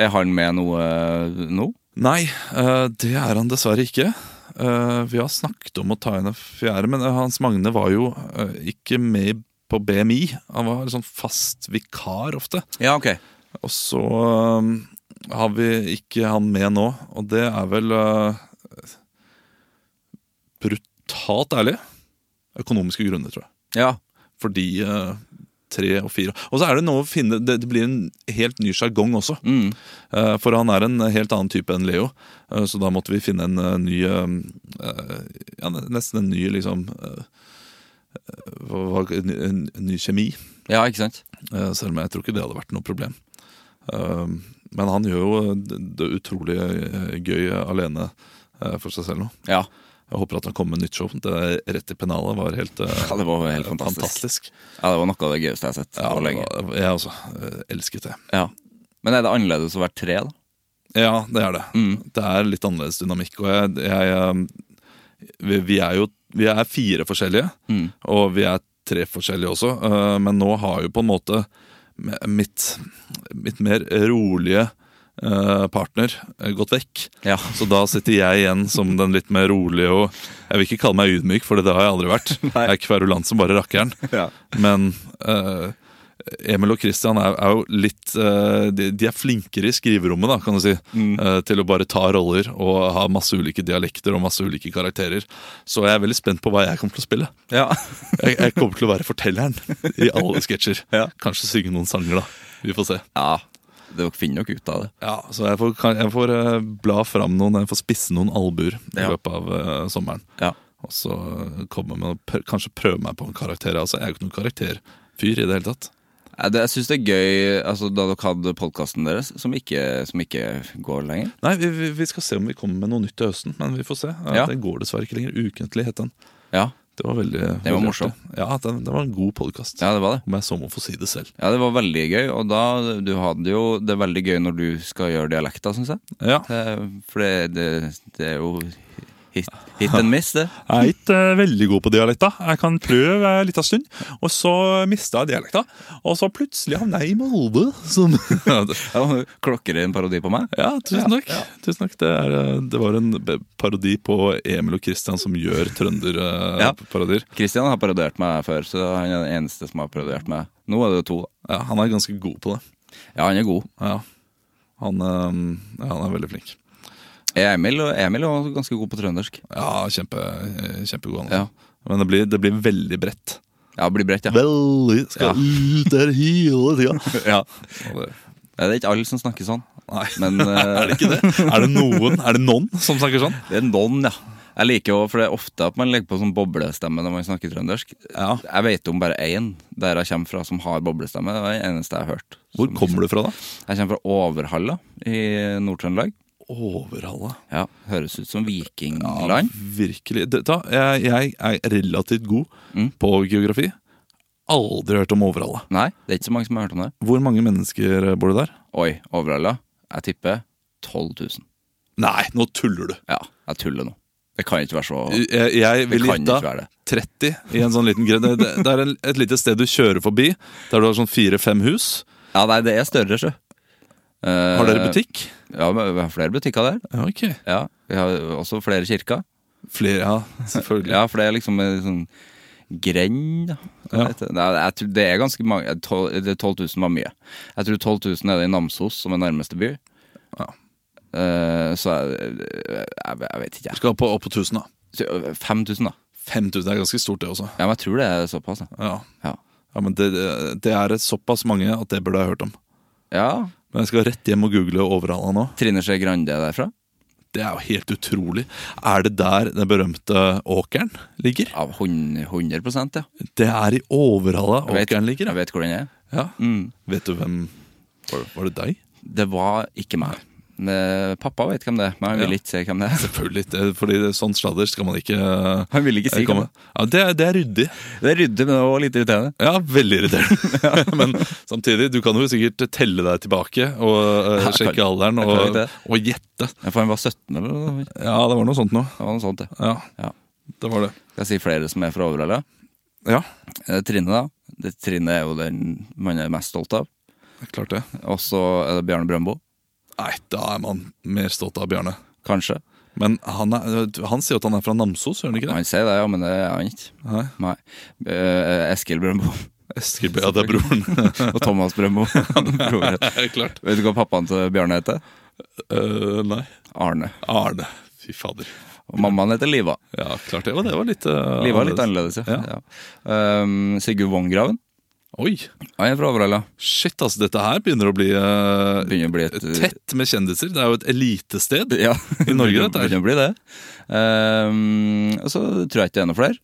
Er han med noe eh, nå? nei, eh, det er han dessverre ikke Eh, Vi har snakket om å ta inn en fjerde Men eh, Hans Magne var jo eh, ikke med på BMI Han var sånn fast vikar ofte Ja, ok. Og så eh, har vi ikke han med nå Og det er vel eh, brutalt ærlig Økonomiske grunner, tror jeg Ja. fordi eh, tre og fire Og så er det noe å finne Det, det blir en helt ny sjargong også. Mm. Eh, for han er en helt annen type enn Leo, eh, så da måtte vi finne en eh, ny eh, eh, Ja, nesten en ny liksom eh, hva- hva- en, en, en ny kjemi. ja, ikke sant? eh, selv om jeg tror ikke det hadde vært noe problem. Eh, men han gjør jo eh, det, det utrolig eh, gøy eh, alene eh, for seg selv nå. Ja. Jeg håper at han kommer med nytt show. Det er rett i pennalet var helt, eh, ja det var helt fantastisk. fantastisk. Ja, Det var noe av det gøyeste jeg har sett Ja, på lenge. det var- Jeg også eh, elsket det. Ja. Men er det annerledes å være tre, da? Ja, det er det. Mm. Det er litt annerledes dynamikk. Og jeg, jeg eh, vi, vi er jo vi er fire forskjellige, Mm. og vi er tre forskjellige også. eh, Men nå har jo på en måte me- mitt, mitt mer rolige eh, partner eh, gått vekk. Ja. Så da sitter jeg igjen som den litt mer rolige og Jeg vil ikke kalle meg ydmyk, for det har jeg aldri vært. Nei. Jeg er kverulant som bare rakkeren. Ja. Men eh, Emil og Christian er, er jo litt eh, de, de er flinkere i skriverommet, da, kan du si. eh, til å bare ta roller og ha masse ulike dialekter og masse ulike karakterer. Så jeg er veldig spent på hva jeg kommer til å spille. Ja. Jeg, jeg kommer til å være fortelleren i alle sketsjer. Ja. Kanskje synge noen sanger, da. Vi får se. ja. Dere finner nok ut av det. Ja, Så jeg får, kan, jeg får eh, bla fram noen, jeg får spisse noen albuer i Ja. løpet av eh, sommeren. Ja. Og så komme med, og pr- kanskje prøve meg på en karakter. Altså, jeg er jo ikke noen karakterfyr i det hele tatt. Nei, det- Jeg syns det er gøy altså, da dere hadde podkasten deres, som ikke, som ikke går lenger. Nei, vi, vi- vi skal se om vi kommer med noe nytt til høsten, men vi får se. Ja, Ja. Den går dessverre ikke lenger. Ukentlig het den. Ja. Det var veldig var veldig morsom. artig. Ja, den, den var en god podkast. ja, det var det. Om jeg så må få si det selv. Ja, det var veldig gøy, og da, du hadde jo det er veldig gøy når du skal gjøre dialekter, syns jeg. Ja. Eh, For det, det, det er jo hit, hit and miss, det. Jeg er ikke eh, veldig god på dialekter. Jeg kan prøve eh, en liten stund, og så mista jeg dialekta. Og så plutselig havna jeg i Molde. Som Ja, Klokker det en parodi på meg? Ja, tusen takk. Tusen takk. Det, er, eh, det var en be- parodi på Emil og Christian som gjør eh, Ja. trønderparodier. Kristian har parodiert meg før, så han er den eneste som har parodiert meg. Nå er det to. da. Ja, han er ganske god på det. Ja, han er god. Ja. Han, eh, ja, han er veldig flink. Emil, og- Emil er også ganske god på trøndersk. Ja, kjempe, eh, kjempegod han. Ja. Men det blir, det blir veldig bredt. Ja, det blir bredt, ja. Veldig Ja. skal ut der hele tida. ja. Ja, det- Det er ikke alle som snakker sånn. Nei. Men eh, Er det ikke det? Er det noen Er det noen som snakker sånn? det er noen, ja. Jeg liker jo, for det er ofte at man legger på sånn boblestemme når man snakker trøndersk. Ja. Jeg vet om bare én der jeg kommer fra som har boblestemme. Det var den eneste jeg har hørt. Hvor kommer du fra, da? Jeg kommer fra Overhalla i Nord-Trøndelag. Overhalla. Ja, høres ut som vikingland. Virkelig. Det- Da, jeg, jeg er relativt god på geografi. Aldri hørt om Overhalla. Nei, det er ikke så mange som har hørt om det. Hvor mange mennesker bor det der? Oi, Overhalla. Jeg tipper 12 000. Nei, nå tuller du! Ja, jeg tuller nå. Det kan ikke være så Jeg, eh, jeg vil Det kan gjette ikke være det. 30 i en sånn liten gren. Det, det- det er en, et lite sted du kjører forbi, der du har sånn fire-fem hus. Ja, nei, det er større, sjø. Eh, Har dere butikk? Ja, men vi har flere butikker der. Ja, ok. Ja, Vi har også flere kirker. Flere, ja. Selvfølgelig. Ja, for det er liksom en sånn grend da. Ja. Hva heter det? Nei, jeg tror det er ganske mange. Jeg tol- det- 12 000 var mye. Jeg tror 12 000 er det i Namsos, som er nærmeste by. Eh, så jeg, jeg, jeg vet ikke, jeg. Skal på, opp på 1000, da. Så, 5000, da. 5000 er ganske stort, det også. Ja, men jeg tror det er såpass. da. Ja, Ja. ja men det, det- det er et såpass mange at det burde jeg hørt om. ja. Men jeg skal rett hjem og google Overhalla nå. Trine Skei Grande er derfra. Det er jo helt utrolig. Er det der den berømte åkeren ligger? Ja, 100, 100 ja. Det er i Overhalla Jeg vet, åkeren ligger. jeg ja. vet hvor den er. Ja. Mm. Vet du hvem Var, var det deg? Det var ikke meg. Men Pappa vet hvem det er, men han vil Ja. ikke si hvem det er. Selvfølgelig ikke, fordi det- sånn sladder skal man ikke eh, Han vil ikke si komme. Ja, det, er- det er ryddig. Det er ryddig, men det var litt irriterende. Ja, veldig irriterende. Men samtidig, du kan jo sikkert telle deg tilbake og eh, Jeg kan- sjekke alderen jeg kan og, ikke det. og gjette. For han var 17 eller noe. Det Ja, det var noe sånt noe. var noe sånt, det. Ja, Ja. det var det. Skal jeg si flere som er fra Overhalla? Ja, Eh, Trine, da. Det, Trine er jo den man er mest stolt av. klart det. Og så er det Bjarne Brøndbo, Nei, da er man mer stolt av Bjarne. kanskje. Men han, er, han sier at han er fra Namsos, gjør han ikke det? Han sier det, ja, men det er han ikke. Nei. Nei. Eh, Eskil Brøndbo Eskil, ja, det er broren. og Thomas Brøndbo. Broren. Det er klart. Vet du hva pappaen til Bjarne heter? Eh, nei. Arne. Arne. Fy fader. Og mammaen heter Liva. Ja, klart det. Og det var litt eh, Liva er litt annerledes, ja. ja. Um, Sigurd Vongraven. Oi. Han er fra Overhalla. Shit, altså. Dette her begynner å bli eh, Begynner å bli et tett med kjendiser. Det er jo et elitested. Ja, I Norge, begynner- dette her. Begynner å bli det. Um, og så tror jeg ikke det er noen flere.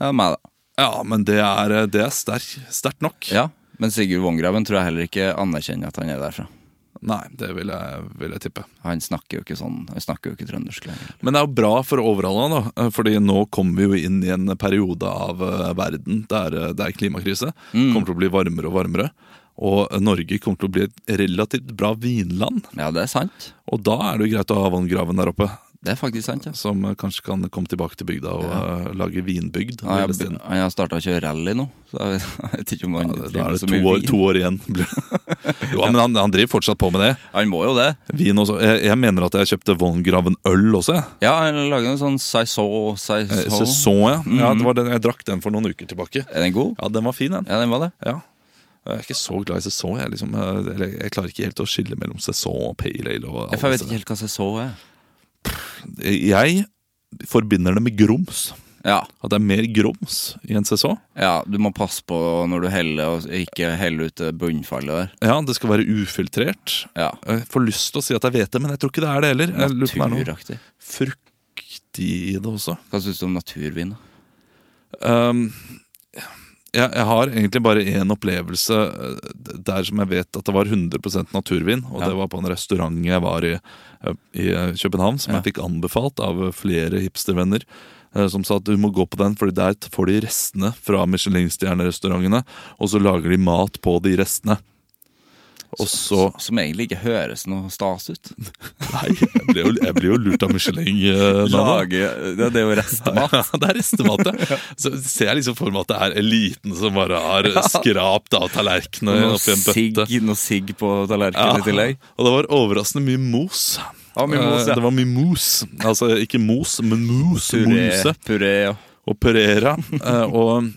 Ja, meg, da. Ja, men det er, eh, det er sterk- sterkt nok. Ja, Men Sigurd Vongraven tror jeg heller ikke anerkjenner at han er derfra. Nei, det vil jeg, vil jeg tippe. Han snakker jo ikke sånn, han snakker jo ikke trøndersk lenger. Men det er jo bra for Overhalla, da. Fordi nå kommer vi jo inn i en periode av eh, verden der eh, det er klimakrise. Mm. Kommer til å bli varmere og varmere. Og eh, Norge kommer til å bli et relativt bra vinland. Ja, det er sant. Og da er det jo greit å ha vanngraven der oppe. Det er faktisk sant, ja. Som eh, kanskje kan komme tilbake til bygda og eh, lage vinbygd. Han hele har- tiden. han har starta å kjøre rally nå, så jeg vet, jeg vet ikke om han Da driver er så det mye to år, vin. to år igjen. jo, men han, han driver fortsatt på med det. Han må jo det. Vin også. Jeg, jeg mener at jeg kjøpte Vongraven-øl også. jeg. Ja, han lager en sånn saison Eh, saison. Saison, ja. ja det var den, jeg drakk den for noen uker tilbake. Er den god? Ja, den var fin, den. Ja, den var det. Ja. Jeg er ikke så glad i sesong. Jeg, liksom, eh, eller, jeg klarer ikke helt å skille mellom sesong og pale ale. Og Ja, for Jeg vet ikke helt hva saison er. Jeg forbinder det med grums. Ja, At det er mer grums i en sesong. Ja, du må passe på når du heller, og ikke helle ut det bunnfallet der. Ja, Det skal være ufiltrert. Ja. Jeg får lyst til å si at jeg vet det, men jeg tror ikke det er det heller. Jeg lurer på om det er noe Naturaktig. frukt i det også. Hva syns du om naturvin? da? Ehm, jeg, jeg har egentlig bare én opplevelse eh, der som jeg vet at det var 100 naturvin. Og Ja. det var på en restaurant jeg var i eh, i eh, København, som jeg fikk anbefalt av eh, flere hipstervenner. eh, Som sa at du må gå på den, for der t- får de restene fra Michelin-stjernerestaurantene. Og så lager de mat på de restene. Og så Som egentlig ikke høres noe stas ut. Nei, jeg ble jo, jeg ble jo lurt av Michelin. eh, Nana. det, det er jo restemat. Ja, det er restemat, ja. Så ser jeg liksom for meg at det er eliten som bare har skrapt av tallerkenene Noe oppi en sigg, bøtte. noe sigg på tallerkenen i Ja, tillegg. og det var overraskende mye mos. Ja, mye mos, Eh, ja. Det var mye mos. Altså ikke mos, men mos. Puré, Mose puré og og Perera. eh, Og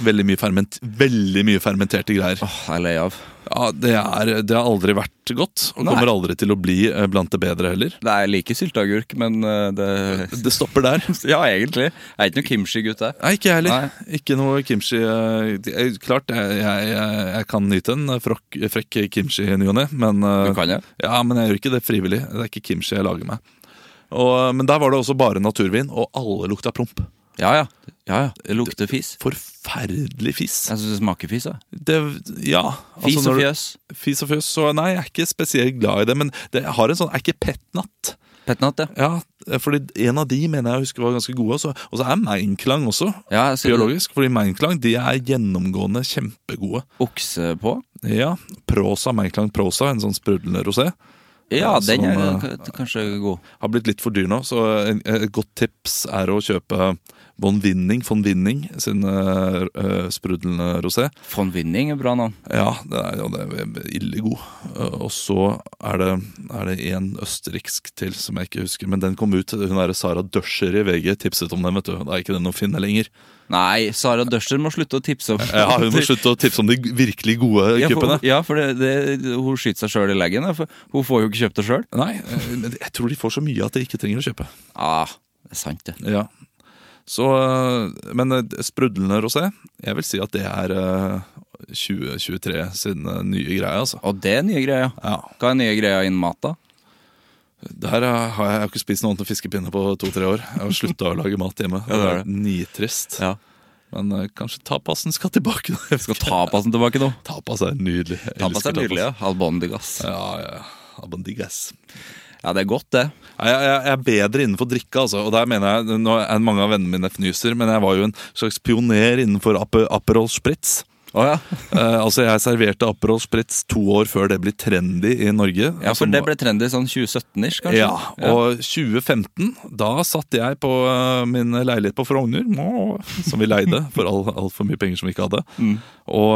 Veldig mye, ferment, veldig mye fermenterte greier. Åh, jeg er lei av. Ja, det, er, det har aldri vært godt, og Nei. kommer aldri til å bli eh, blant det bedre heller. Nei, jeg liker sylteagurk, men eh, det Det stopper der. Ja, egentlig. Jeg er ikke noen kimchi-gutt, jeg. Nei, ikke jeg heller. Nei. Ikke noe kimchi. eh, jeg- Klart, jeg, jeg, jeg jeg kan nyte en frokk, frekk kimchi i ny og ne, men eh, Du kan det? Ja, men jeg gjør ikke det frivillig. Det er ikke kimchi jeg lager meg. Og, eh, men der var det også bare naturvin, og alle lukta promp. Ja ja. ja, ja. Det lukter fis. Forferdelig fis. Jeg syns det smaker fis. jeg. Det, ja. Fis altså når og du- fjøs. Fis og fjøs. Så nei, jeg er ikke spesielt glad i det, men det jeg har en sånn er ikke petnatt. Petnat, ja. Ja, eh, fordi en av de mener jeg husker var ganske gode. Også. Og så er Meinklang også, ja jeg ser biologisk. Fordi Meinklang de er gjennomgående kjempegode. Okse på. Ja, Prosa, Meinklang Prosa, en sånn sprudlende rosé. Ja, Ja, den er sånn, k- kanskje god. Har blitt litt for dyr nå, så en- et godt tips er å kjøpe Von Winning, von Winning sin eh, eh, sprudlende rosé. Von Winning er bra navn. Ja, det er, ja, det er ille god. Eh, Og så er det, er det en østerriksk til som jeg ikke husker, men den kom ut. Hun er Sara Døscher i VG tipset om den, vet du. Da er ikke den å finne lenger. Nei, Sara Døscher må slutte å tipse om Ja, Hun må slutte å tipse om de virkelig gode Ja, for, kuppene. ja, for det, det, hun skyter seg sjøl i leggen. ja, For hun får jo ikke kjøpt det sjøl. Nei, eh, men jeg tror de får så mye at de ikke trenger å kjøpe. Ah, det er sant, det. Ja. Så, eh, men eh, sprudlende rosé, jeg vil si at det er eh, 2023 sin eh, nye greie, altså. Og det er nye greier. Ja. Hva er nye greier innen mat, da? Der eh, har jeg, jeg har ikke spist noe annet enn fiskepinne på to-tre år. Jeg har slutta å lage mat hjemme. Ja, Det det er er nitrist. Ja. Men eh, kanskje tapasen skal tilbake. nå. Jeg skal ta Tapasen tilbake nå. Tapas er nydelig. Jeg Tapas elsker er nydelig. ja. Albondigas. Ja, ja. Abandigas. Ja, det er godt, det. Nei, Jeg, jeg, jeg er bedre innenfor drikke, altså. Og der mener jeg, nå er Mange av vennene mine fnyser, men jeg var jo en slags pioner innenfor Ape, Aperol Spritz. Å ja. Eh, altså, Jeg serverte Aperol Spritz to år før det ble trendy i Norge. ja, for Som- det ble trendy sånn 2017-ish, kanskje? Ja, og 2015, da satt jeg på eh, min leilighet på Frogner, nå, som vi leide for all- altfor mye penger som vi ikke hadde, Mm. og,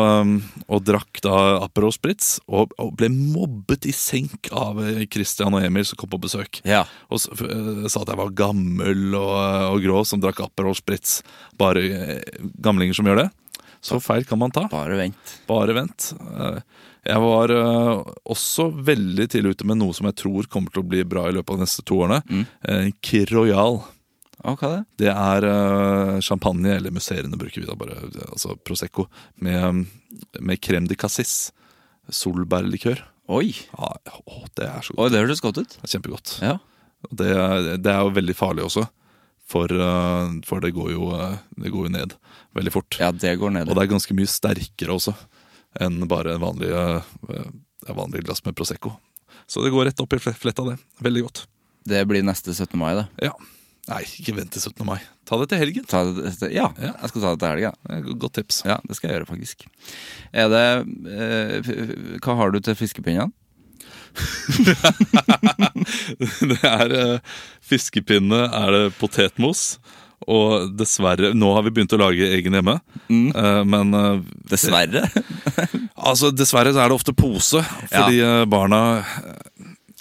eh, og drakk da Aperol Spritz, og, og ble mobbet i senk av eh, Christian og Emil som kom på besøk. Ja. Og s- f- eh, sa at jeg var gammel og, eh, og grå som drakk Aperol Spritz. Bare eh, gamlinger som gjør det. Så feil kan man ta. Bare vent. Bare vent. Eh, Jeg var eh, også veldig tidlig ute med noe som jeg tror kommer til å bli bra i løpet av de neste to årene. Eh, Kir Royal. Å, hva er det? Det er eh, champagne, eller musserende bruker vi da bare, altså Prosecco, med, med crème de cassis. Solbærlikør. Oi. Ja, å, det er så godt. Oi, det hørtes godt ut. Det er Kjempegodt. Ja. Og Det, er- det er jo veldig farlig også, for, eh, for det, går jo, eh, det går jo ned veldig fort. ja, det går ned. Og det er ganske mye sterkere også enn bare en vanlig, eh, ja, vanlig glass med Prosecco. Så det går rett opp i fle- fletta, det. Veldig godt. Det blir neste 17. mai, det. Ja. Nei, ikke vent til 17. mai. Ta det til helgen. Ta det, ja, Ja. jeg skal ta det til helga. Det er et Godt tips. Ja, det skal jeg gjøre, faktisk. Er det eh, f- f- Hva har du til fiskepinnene? Det er eh, fiskepinne, er det potetmos, og dessverre Nå har vi begynt å lage egen hjemme, Mm. eh, men eh, Dessverre. Altså, Dessverre så er det ofte pose, fordi eh, barna eh,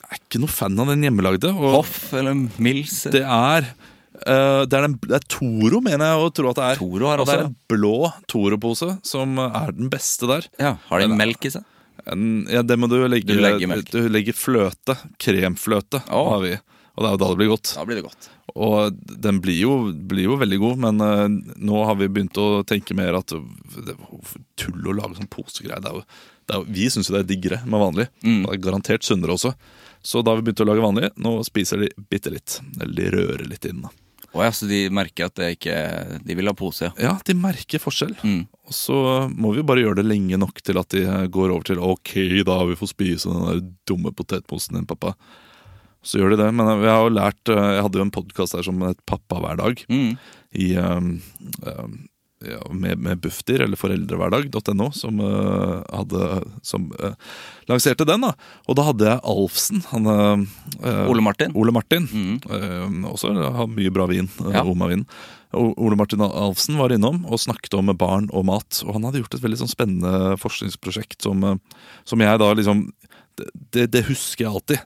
er ikke noe fan av den hjemmelagde. Og Hoff eller Mills. Det er eh, det, er den, det er Toro, mener jeg å tro at det er. Toro har Og det også, er en blå Toro-pose som er den beste der. Ja, har de melk i seg? En, ja, det må du legge Du legger melk. du legger fløte. Kremfløte Å. har vi. Og det er jo da det blir godt. Da blir det godt. Og den blir jo, blir jo veldig god, men eh, nå har vi begynt å tenke mer at det er jo tull å lage sånn posegreier. Det er jo, det er jo, vi syns jo det er diggere med vanlig. Mm. Og det er garantert sunnere også. Så da har vi begynt å lage vanlig. Nå spiser de bitte litt. Eller de rører litt inn. da. Å ja, så de merker at det ikke De vil ha pose, ja. Mm. Ja, de merker forskjell. Og så må vi jo bare gjøre det lenge nok til at de går over til Ok, da har vi fått spise den der dumme potetmosen din, pappa. Så gjør de det. Men jeg har jo lært eh, Jeg hadde jo en podkast her som het Pappa hver dag. Mm. I, eh, eh, ja, med, med Bufdir, eller foreldrehverdag.no, som, eh, hadde, som eh, lanserte den. da Og da hadde jeg Alfsen. Han, eh, eh, Ole Martin. Mm. Ole Martin. Eh, også har mye bra vin. eh, Ja. Oma vin. O- Ole Martin Alfsen var innom og snakket om barn og mat. Og han hadde gjort et veldig sånn spennende forskningsprosjekt som, eh, som jeg da liksom det- Det, det husker jeg alltid.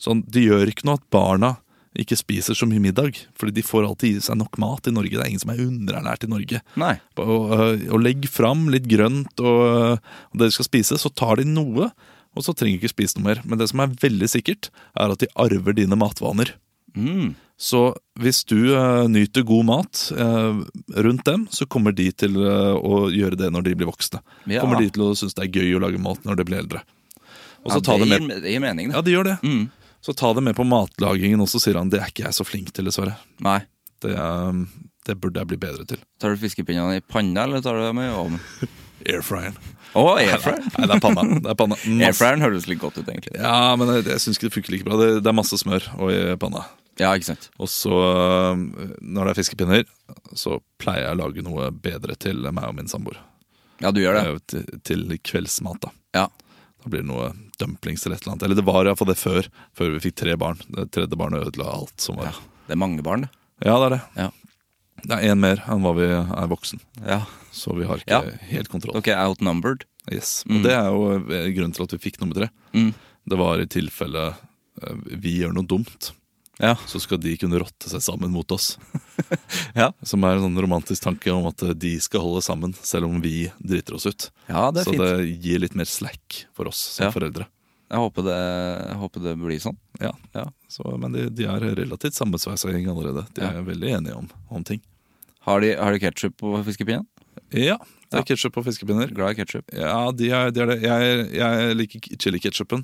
Sånn, det gjør ikke noe at barna ikke spiser så mye middag. Fordi de får alltid i seg nok mat i Norge. Det er ingen som er underernært i Norge. Nei. Og, øh, og legg fram litt grønt og, øh, og det de skal spise, så tar de noe, og så trenger de ikke spise noe mer. Men det som er veldig sikkert, er at de arver dine matvaner. Mm. Så hvis du øh, nyter god mat øh, rundt dem, så kommer de til øh, å gjøre det når de blir voksne. Ja. Kommer de til å synes det er gøy å lage mat når de blir eldre. Og så Ja, ta det med gir, det gir mening, Ja, det. de gjør det. Mm. Så ta det med på matlagingen også, sier han. Det er ikke jeg så flink til, dessverre. Nei. Det, øhm, det burde jeg bli bedre til. Tar du fiskepinnene i panna, eller tar du dem i ovnen? Airfryeren. Å, airfryeren. Nei, det er panna. Det er panna. Masse- Airfryeren høres litt godt ut, egentlig. Ja, men jeg, jeg syns ikke det funker like bra. Det, det er masse smør og i panna. Ja, ikke sant. Og så, øh, når det er fiskepinner, så pleier jeg å lage noe bedre til meg og min samboer. Ja, du gjør det. Eh, Til, til kveldsmat, da. Ja. Da blir det noe dumplings eller et eller annet. Eller det var iallfall det før, før vi fikk tre barn. Det tredje barnet ødela alt som var. Det er mange barn, det. Ja, det er det. Ja. Det er én mer enn hva vi er voksen, Ja. så vi har ikke Ja. helt kontroll. Dere er outnumbered. Yes. Mm. Og det er jo eh, grunnen til at vi fikk nummer tre. Det var i tilfelle eh, vi gjør noe dumt. Ja. så skal de kunne rotte seg sammen mot oss. Ja. Som er en sånn romantisk tanke om at eh, de skal holde sammen, selv om vi driter oss ut. Ja, det er så fint. det gir litt mer slack for oss som Ja. foreldre. Jeg håper det, jeg håper det blir sånn. Ja. Så, men de, de er relativt sammensveising allerede. De er veldig enige om, om ting. Har de, har de ketsjup på fiskepinnen? Ja, det Ja. er ketsjup og fiskepinner. Glad i ketsjup. Ja, de er, de er det. Jeg, jeg liker chili-ketsjupen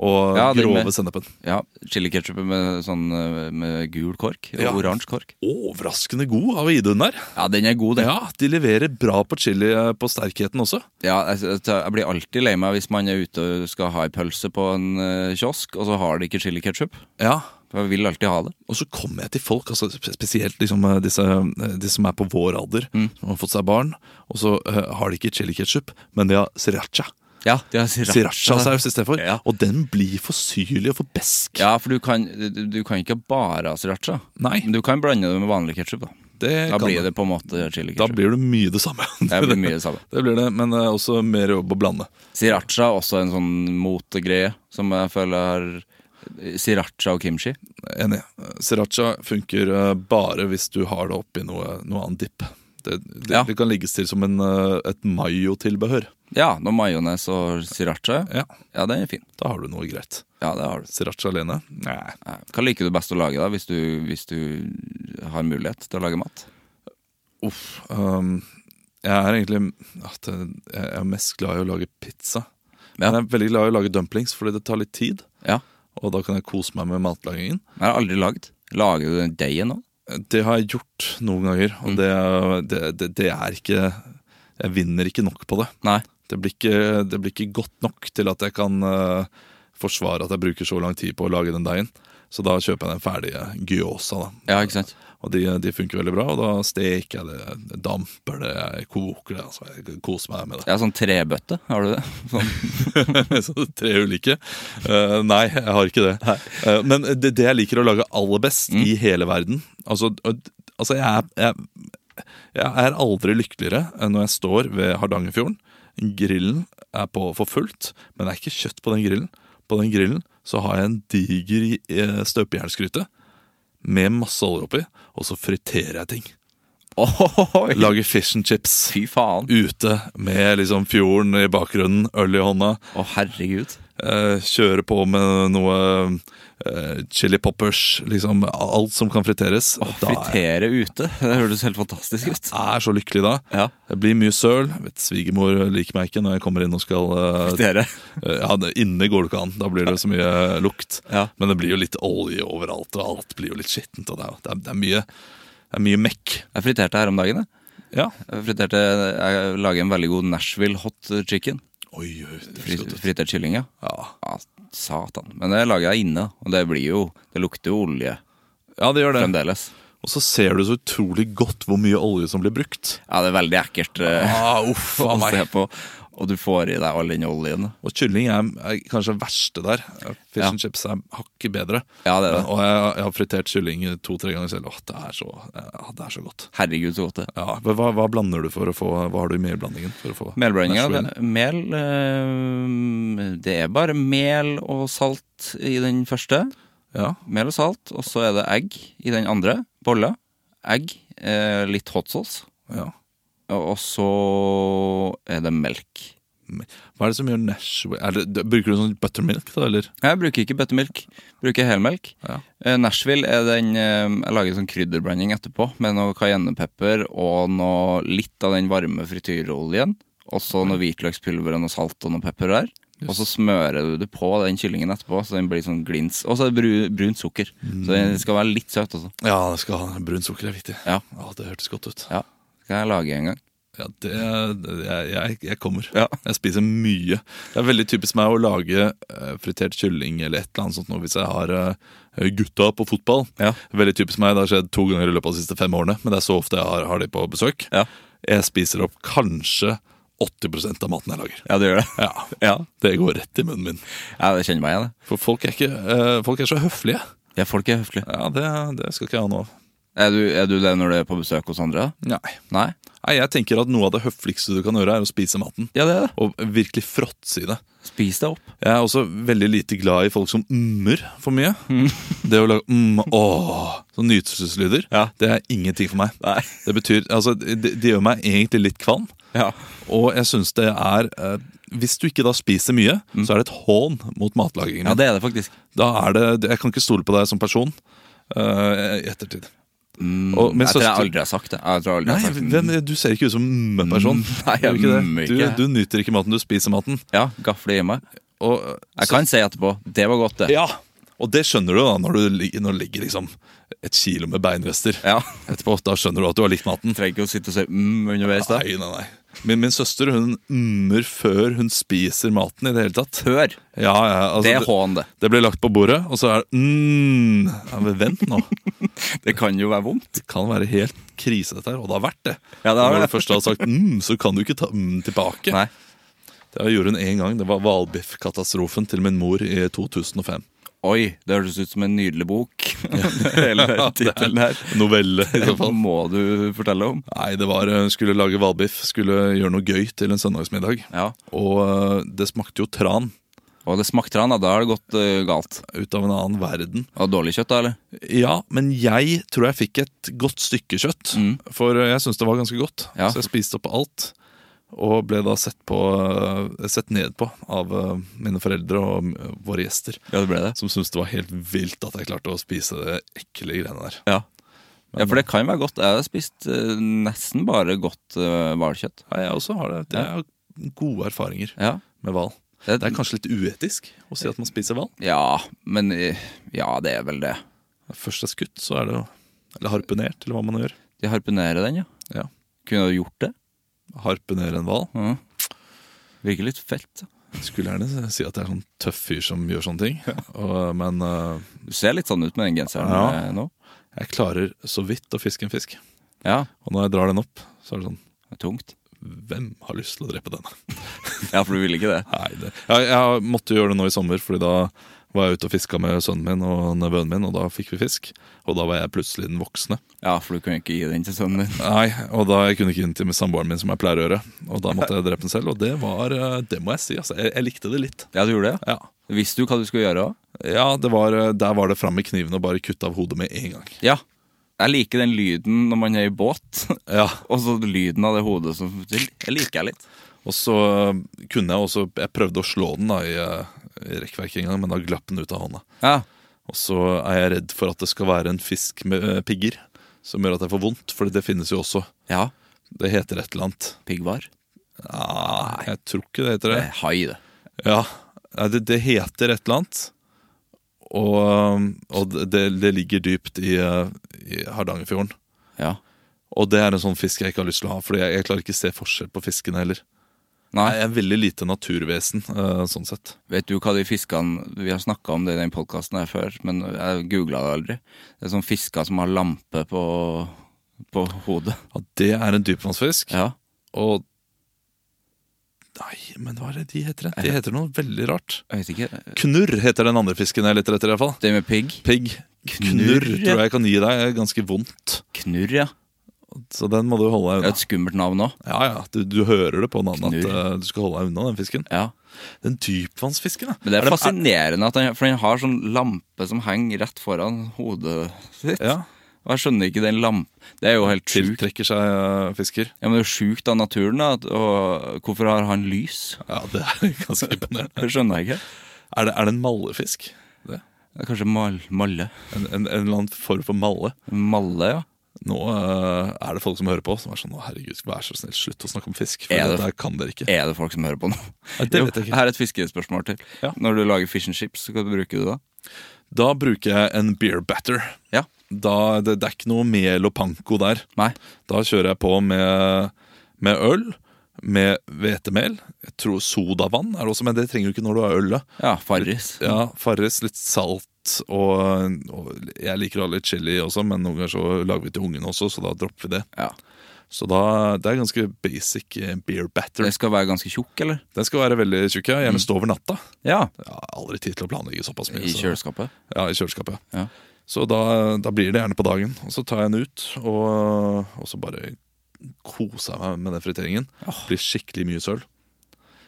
og Ja, den grove med- sennepen. Ja, Chiliketsjup med, sånn, eh, med gul kork og Ja. oransje kork. Overraskende god av Idun der. Ja, den er god, den. Ja, de leverer bra på chili eh, på sterkheten også. Ja, jeg, jeg- jeg blir alltid lei meg hvis man er ute og skal ha ei pølse på en eh, kiosk, og så har de ikke chili ketchup. Ja, Jeg vil alltid ha det. Og så kommer jeg til folk, altså sp- spesielt liksom, eh, disse, eh, de som er på vår alder, Mm. som har fått seg barn, og så eh, har de ikke chili ketchup, men de har sriracha. Ja, de har sriracha. Sriracha-saus istedenfor. Ja. Og den blir for syrlig og for besk. Ja, for du kan, du, du kan ikke bare ha sriracha. Nei. Men du kan blande det med vanlig ketchup. Da. Det da kan blir det. det på en måte chili Da ketchup. blir det mye det samme. Det blir mye det samme. Det blir det, men eh, også mer jobb å blande. Sriracha er også en sånn motegreie som jeg føler har Sriracha og kimchi. Enig. Eh, Sriracha funker eh, bare hvis du har det oppi noe, noe annet dipp. Det, det, Ja. det kan legges til som en, eh, et mayo-tilbehør. Ja, noe majones og sriracha. Ja, Ja, den er fin. da har du noe greit. Ja, det har du. Sriracha alene? Nei. Nei. Hva liker du best å lage da, hvis du, hvis du har mulighet til å lage mat? Uff. ehm, jeg er egentlig at jeg jeg er mest glad i å lage pizza. Men jeg er veldig glad i å lage dumplings, fordi det tar litt tid. Ja, Og da kan jeg kose meg med matlagingen. Jeg har aldri lagd. Lager du den deigen nå? Det har jeg gjort noen ganger, og det, det, det, det er ikke Jeg vinner ikke nok på det. Nei. Det blir ikke, det blir ikke godt nok til at jeg kan eh, forsvare at jeg bruker så lang tid på å lage den deigen. Så da kjøper jeg den ferdige gyosa, da. Ja, ikke sant? Og de, de funker veldig bra, og da steker jeg det, jeg damper det, jeg koker det. altså Jeg koser meg med det. Jeg har sånn trebøtte, har du det? Sånn. Så det er tre ulike. Eh, nei, jeg har ikke det. Eh, men det, det jeg liker å lage aller best i hele verden Altså, og- altså jeg, er, jeg, jeg er aldri lykkeligere enn når jeg står ved Hardangerfjorden. Grillen er på for fullt, men det er ikke kjøtt på den grillen. På den grillen så har jeg en diger eh, støpejernsgryte med masse olje oppi, og så friterer jeg ting. Ohohoi. Lager fish and chips Fy faen. ute med liksom fjorden i bakgrunnen, øl i hånda. Å, herregud. Eh, kjøre på med noe eh, chili poppers, liksom alt som kan friteres. Å, Da er jeg fritere ute. Det høres helt fantastisk ut. er så lykkelig da. Ja. Det blir mye søl. Jeg Vet, svigermor liker meg ikke når jeg kommer inn og skal eh, Dere. eh, Ja, det- Inne går det ikke an. Da blir det så mye eh, lukt. Ja. Men det blir jo litt olje overalt, og alt blir jo litt skittent. Og det, er, det, er, det, er mye, det er mye mekk. Jeg friterte her om dagen, jeg. Ja. Jeg, friterte, jeg lager en veldig god Nashville hot chicken. Oi, oi, det Fri- høres godt ut. Fritert kylling, ja. Ja. ja. Satan. Men det lager jeg inne, og det blir jo Det lukter jo olje ja, det gjør det. fremdeles. Og så ser du så utrolig godt hvor mye olje som blir brukt. Ja, det er veldig ekkelt eh, Ah, uff, å faen meg. se på. Og du får i deg all den oljen. Og kylling er, er kanskje det verste der. Fish Ja. and chips er hakket bedre. Ja, det er det. Men- Og jeg, jeg har fritert kylling to-tre ganger selv. Åh, det er så, ja, det er så godt. Herregud, så godt det er. Ja, men hva, hva blander du for å få Hva har du i melblandingen? for å få Melblandinga Nashville? det- Mel eh, Det er bare mel og salt i den første. Ja. Mel og salt, og så er det egg i den andre. Boller, egg, eh, litt hot sauce. ja. Og så er det melk. Hva er det som gjør Nashville er det, det- Bruker du sånn buttermilk, da, eller? Jeg bruker ikke buttermilk, bruker helmelk. Ja. Eh, Nashville er den eh, Jeg lager sånn krydderblanding etterpå med noe cayennepepper og noe, litt av den varme frityroljen. Og så noe hvitløkspulver og noe salt og noe pepper der. Og så smører du det på den kyllingen etterpå, så den blir sånn glins. Og så er det bru, brunt sukker. Så den skal være litt søt også. Ja, det skal ha brunt sukker er viktig. Ja. Det hørtes godt ut. Ja. Skal jeg lage en gang. Ja, det, det- jeg, jeg, jeg kommer. Ja. Jeg spiser mye. Det er veldig typisk meg å lage eh, fritert kylling eller et eller annet sånt nå hvis jeg har eh, gutta på fotball. Ja. Veldig typisk meg, Det har skjedd to ganger i løpet av de siste fem årene, men det er så ofte jeg har, har de på besøk. Ja. Jeg spiser opp kanskje 80 av maten jeg lager. Ja, du gjør det. Ja. Ja, Det går rett i munnen min. ja det kjenner meg igjen. det. For folk er, ikke, eh, folk er så høflige. Ja, folk er høflige. Ja, Det, det skal ikke jeg ha noe av. Er du, er du det når du er på besøk hos andre? Nei. Nei? Nei, Jeg tenker at noe av det høfligste du kan gjøre, er å spise maten. Ja, det er det. Og virkelig fråtse i det. Spis deg opp. Jeg er også veldig lite glad i folk som mm-er for mye. Det å lage mm, åh, sånne nytelseslyder, Ja. det er ingenting for meg. Nei. Det betyr, altså, det, det gjør meg egentlig litt kvalm. Ja. Og jeg syns det er eh, Hvis du ikke da spiser mye, så er det et hån mot matlagingen. Mm. ja, det er det faktisk. Da er det, det- Jeg kan ikke stole på deg som person eh, i ettertid. Og- men jeg tror jeg søster- aldri har sagt Mm, det. Jeg tror jeg aldri Nei, har sagt det. men du ser ikke ut som mm-person. Nei, jeg mm du, ikke. du nyter ikke maten, du spiser maten. Ja, gafle i meg. Og, Jeg kan si etterpå det var godt, det. Ja, og det skjønner du da når du ligger, når det ligger liksom et kilo med beinrester Ja. etterpå. Da skjønner du at du har likt maten. Trenger ikke å sitte og si mm underveis. da Nei, nei, nei. Min, min søster hun ummer før hun spiser maten i det hele tatt. Hør! Ja, ja, altså, Det er hån, det. det blir lagt på bordet, og så er det mm, ja, men Vent nå. Det kan jo være vondt. Det kan være helt krise, dette her. Og det har vært det. Ja, det har når det. du først har sagt mm, så kan du ikke ta mm tilbake. Nei. Det gjorde hun én gang. Det var hvalbiffkatastrofen til min mor i 2005. Oi, det hørtes ut som en nydelig bok. Hele tittelen her. Novelle, i så Det fall. må du fortelle om. Nei, det var hun skulle lage hvalbiff, skulle gjøre noe gøy til en søndagsmiddag. Ja. Og eh, det smakte jo tran Og det smakte han, da. Da har det gått eh, galt. ut av en annen verden. Og dårlig kjøtt, da, eller? Ja, men jeg tror jeg fikk et godt stykke kjøtt, for eh, jeg syns det var ganske godt. Mm. Ja. Så jeg spiste opp alt. Og ble da sett, på, eh, sett ned på av eh, mine foreldre og eh, våre gjester. Ja, det ble det. Som syntes det var helt vilt at jeg klarte å spise det ekle greiene der. Ja. ja, for det kan være godt. Jeg har spist eh, nesten bare godt eh, hvalkjøtt. Ja, jeg også har det. Jeg har gode erfaringer ja. med hval. Det- Det er kanskje litt uetisk å si at man spiser hval. ja, men eh, Ja, det er vel det. Først er skutt, så er det jo Eller harpunert, eller hva man gjør. De harpunerer den, ja. Ja. Kunne du gjort det? Harpunere en hval. Mhm. Virker litt fett. Skulle gjerne si at jeg er sånn tøff fyr som gjør sånne ting. Og, men eh, Du ser litt sånn ut med den genseren Ja. eh, nå. jeg klarer så vidt å fiske en fisk. Ja, Og når jeg drar den opp, så er det sånn det er tungt. Hvem har lyst til å drepe denne? Ja, for du ville ikke det? Nei, det, jeg, jeg måtte gjøre det nå i sommer, Fordi da var jeg ute og fiska med sønnen min og nevøen min, og da fikk vi fisk. Og da var jeg plutselig den voksne. Ja, for du kunne ikke gi den til sønnen din. Nei, og da jeg kunne ikke inn til samboeren min, som jeg pleier å gjøre. Og da måtte jeg drepe den selv, og det var eh, Det må jeg si, altså. Jeg, jeg likte det litt. Ja, du gjorde det? Ja, Visste du hva du skulle gjøre òg? ja det var, eh, der var det fram med kniven og bare kutte av hodet med en gang. Ja. Jeg liker den lyden når man er i båt, Ja, og så lyden av det hodet som Jeg liker jeg litt. Og så eh, kunne jeg også Jeg prøvde å slå den da i, eh, i rekkverket en gang, men da glapp den ut av hånda. Ja. Og så er jeg redd for at det skal være en fisk med eh, pigger som gjør at jeg får vondt, for det finnes jo også. ja. Det heter et eller annet. Piggvar. Ah, jeg tror ikke det heter Det det. er hai, det. Ja, nei, det, det heter et eller annet. Og, og det, det ligger dypt i, eh, i Hardangerfjorden. Ja. Og det er en sånn fisk jeg ikke har lyst til å ha, Fordi jeg, jeg klarer ikke se forskjell på fiskene heller. Nei, Jeg er veldig lite naturvesen, eh, sånn sett. Vet du hva de fiskene Vi har snakka om det i den podkasten her før, men jeg googla det aldri. Det er sånne fisker som har lampe på, på hodet. Ja, det er en dypvannsfisk, Ja. og Nei, men hva er det de heter? De heter noe veldig rart. Jeg vet ikke. Knurr heter den andre fisken jeg leter etter, iallfall. Det med pigg. Pigg. Knurr tror jeg kan gi deg ganske vondt. Knurr, ja. Så den må du Det holde deg er unna. et skummelt navn òg. Ja, ja, du, du hører det på navnet at Knurr. eh, du skal holde deg unna den fisken. Ja. Den dypvannsfisken, ja. Men det Er er fascinerende, at han, for han har sånn lampe som henger rett foran hodet sitt. Ja. Og jeg skjønner ikke den lamp... Det er jo helt sjukt. Tiltrekker seg eh, fisker. Ja, men det er jo sjukt av naturen, da. at- Og hvorfor har han lys? Ja, det er ganske imponerende. Det skjønner jeg ikke. Er det, er det en mallefisk? Det? Det er kanskje mal, malle. En, en, en eller annen form for malle? Malle, ja. Nå eh, er det folk som hører på som er sånn «Å, herregud, vær så snill, slutt å snakke om fisk. For Er det- dette her kan dere ikke. Er det folk som hører på nå? Ja, det vet jeg ikke. Her er et fiskespørsmål til. Ja. Når du lager fish and chips, hva bruker du da? Da bruker jeg en beer batter. Ja. Da, det, det er ikke noe mel og panko der. Nei. Da kjører jeg på med, med øl, med hvetemel. Jeg tror sodavann er det også, men det trenger du ikke når du har ølet. Ja, Farris. Ja, Farris, litt salt. Og, og jeg liker å ha litt chili også, men noen ganger så lager vi til ungene også, så da dropper vi det. Ja. Så da, det er ganske basic eh, beer batter. Det skal være ganske tjukk, eller? Den skal være veldig tjukk. ja. Gjerne stå over natta. Ja. Jeg har aldri tid til å planlegge såpass mye. Mm. I så- kjøleskapet. Ja, i kjøleskapet. Ja. Så da, da blir det gjerne på dagen. Og så tar jeg den ut, og, og så bare koser jeg meg med den friteringen. Blir skikkelig mye søl.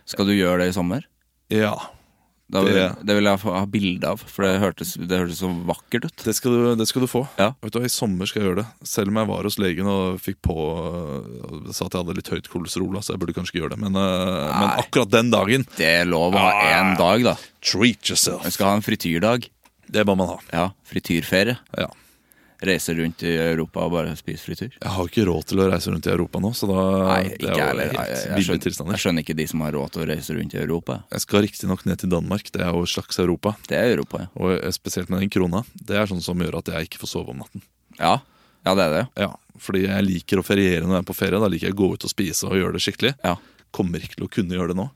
Skal du gjøre det i sommer? Ja, Da vil, Det- det vil jeg få- ha bilde av, for det hørtes, det hørtes så vakkert ut. det skal du, det skal du få. Ja. Vet du, hva, I sommer skal jeg gjøre det. Selv om jeg var hos legen og fikk på og sa at jeg hadde litt høyt kolesterol, så jeg burde kanskje ikke gjøre det. Men, eh, men akkurat den dagen Det er lov å ha Ah. én dag, da. Treat yourself! Vi skal ha en frityrdag. Det må man ha. Ja, Frityrferie. Ja. Reise rundt i Europa og bare spise frityr. Jeg har ikke råd til å reise rundt i Europa nå, så da Nei, det er ikke jo jeg heller. Nei, helt Jeg, ville jeg, skjønner- tilstander. jeg skjønner ikke de som har råd til å reise rundt i Europa. Jeg skal riktignok ned til Danmark, det er jo et slags Europa. Det er Europa, ja. Og spesielt med den krona. Det er sånn som gjør at jeg ikke får sove om natten. Ja, ja det er det. Ja, Fordi jeg liker å feriere når jeg er på ferie. Da liker jeg å gå ut og spise og gjøre det skikkelig. Ja. Kommer ikke til å kunne gjøre det nå.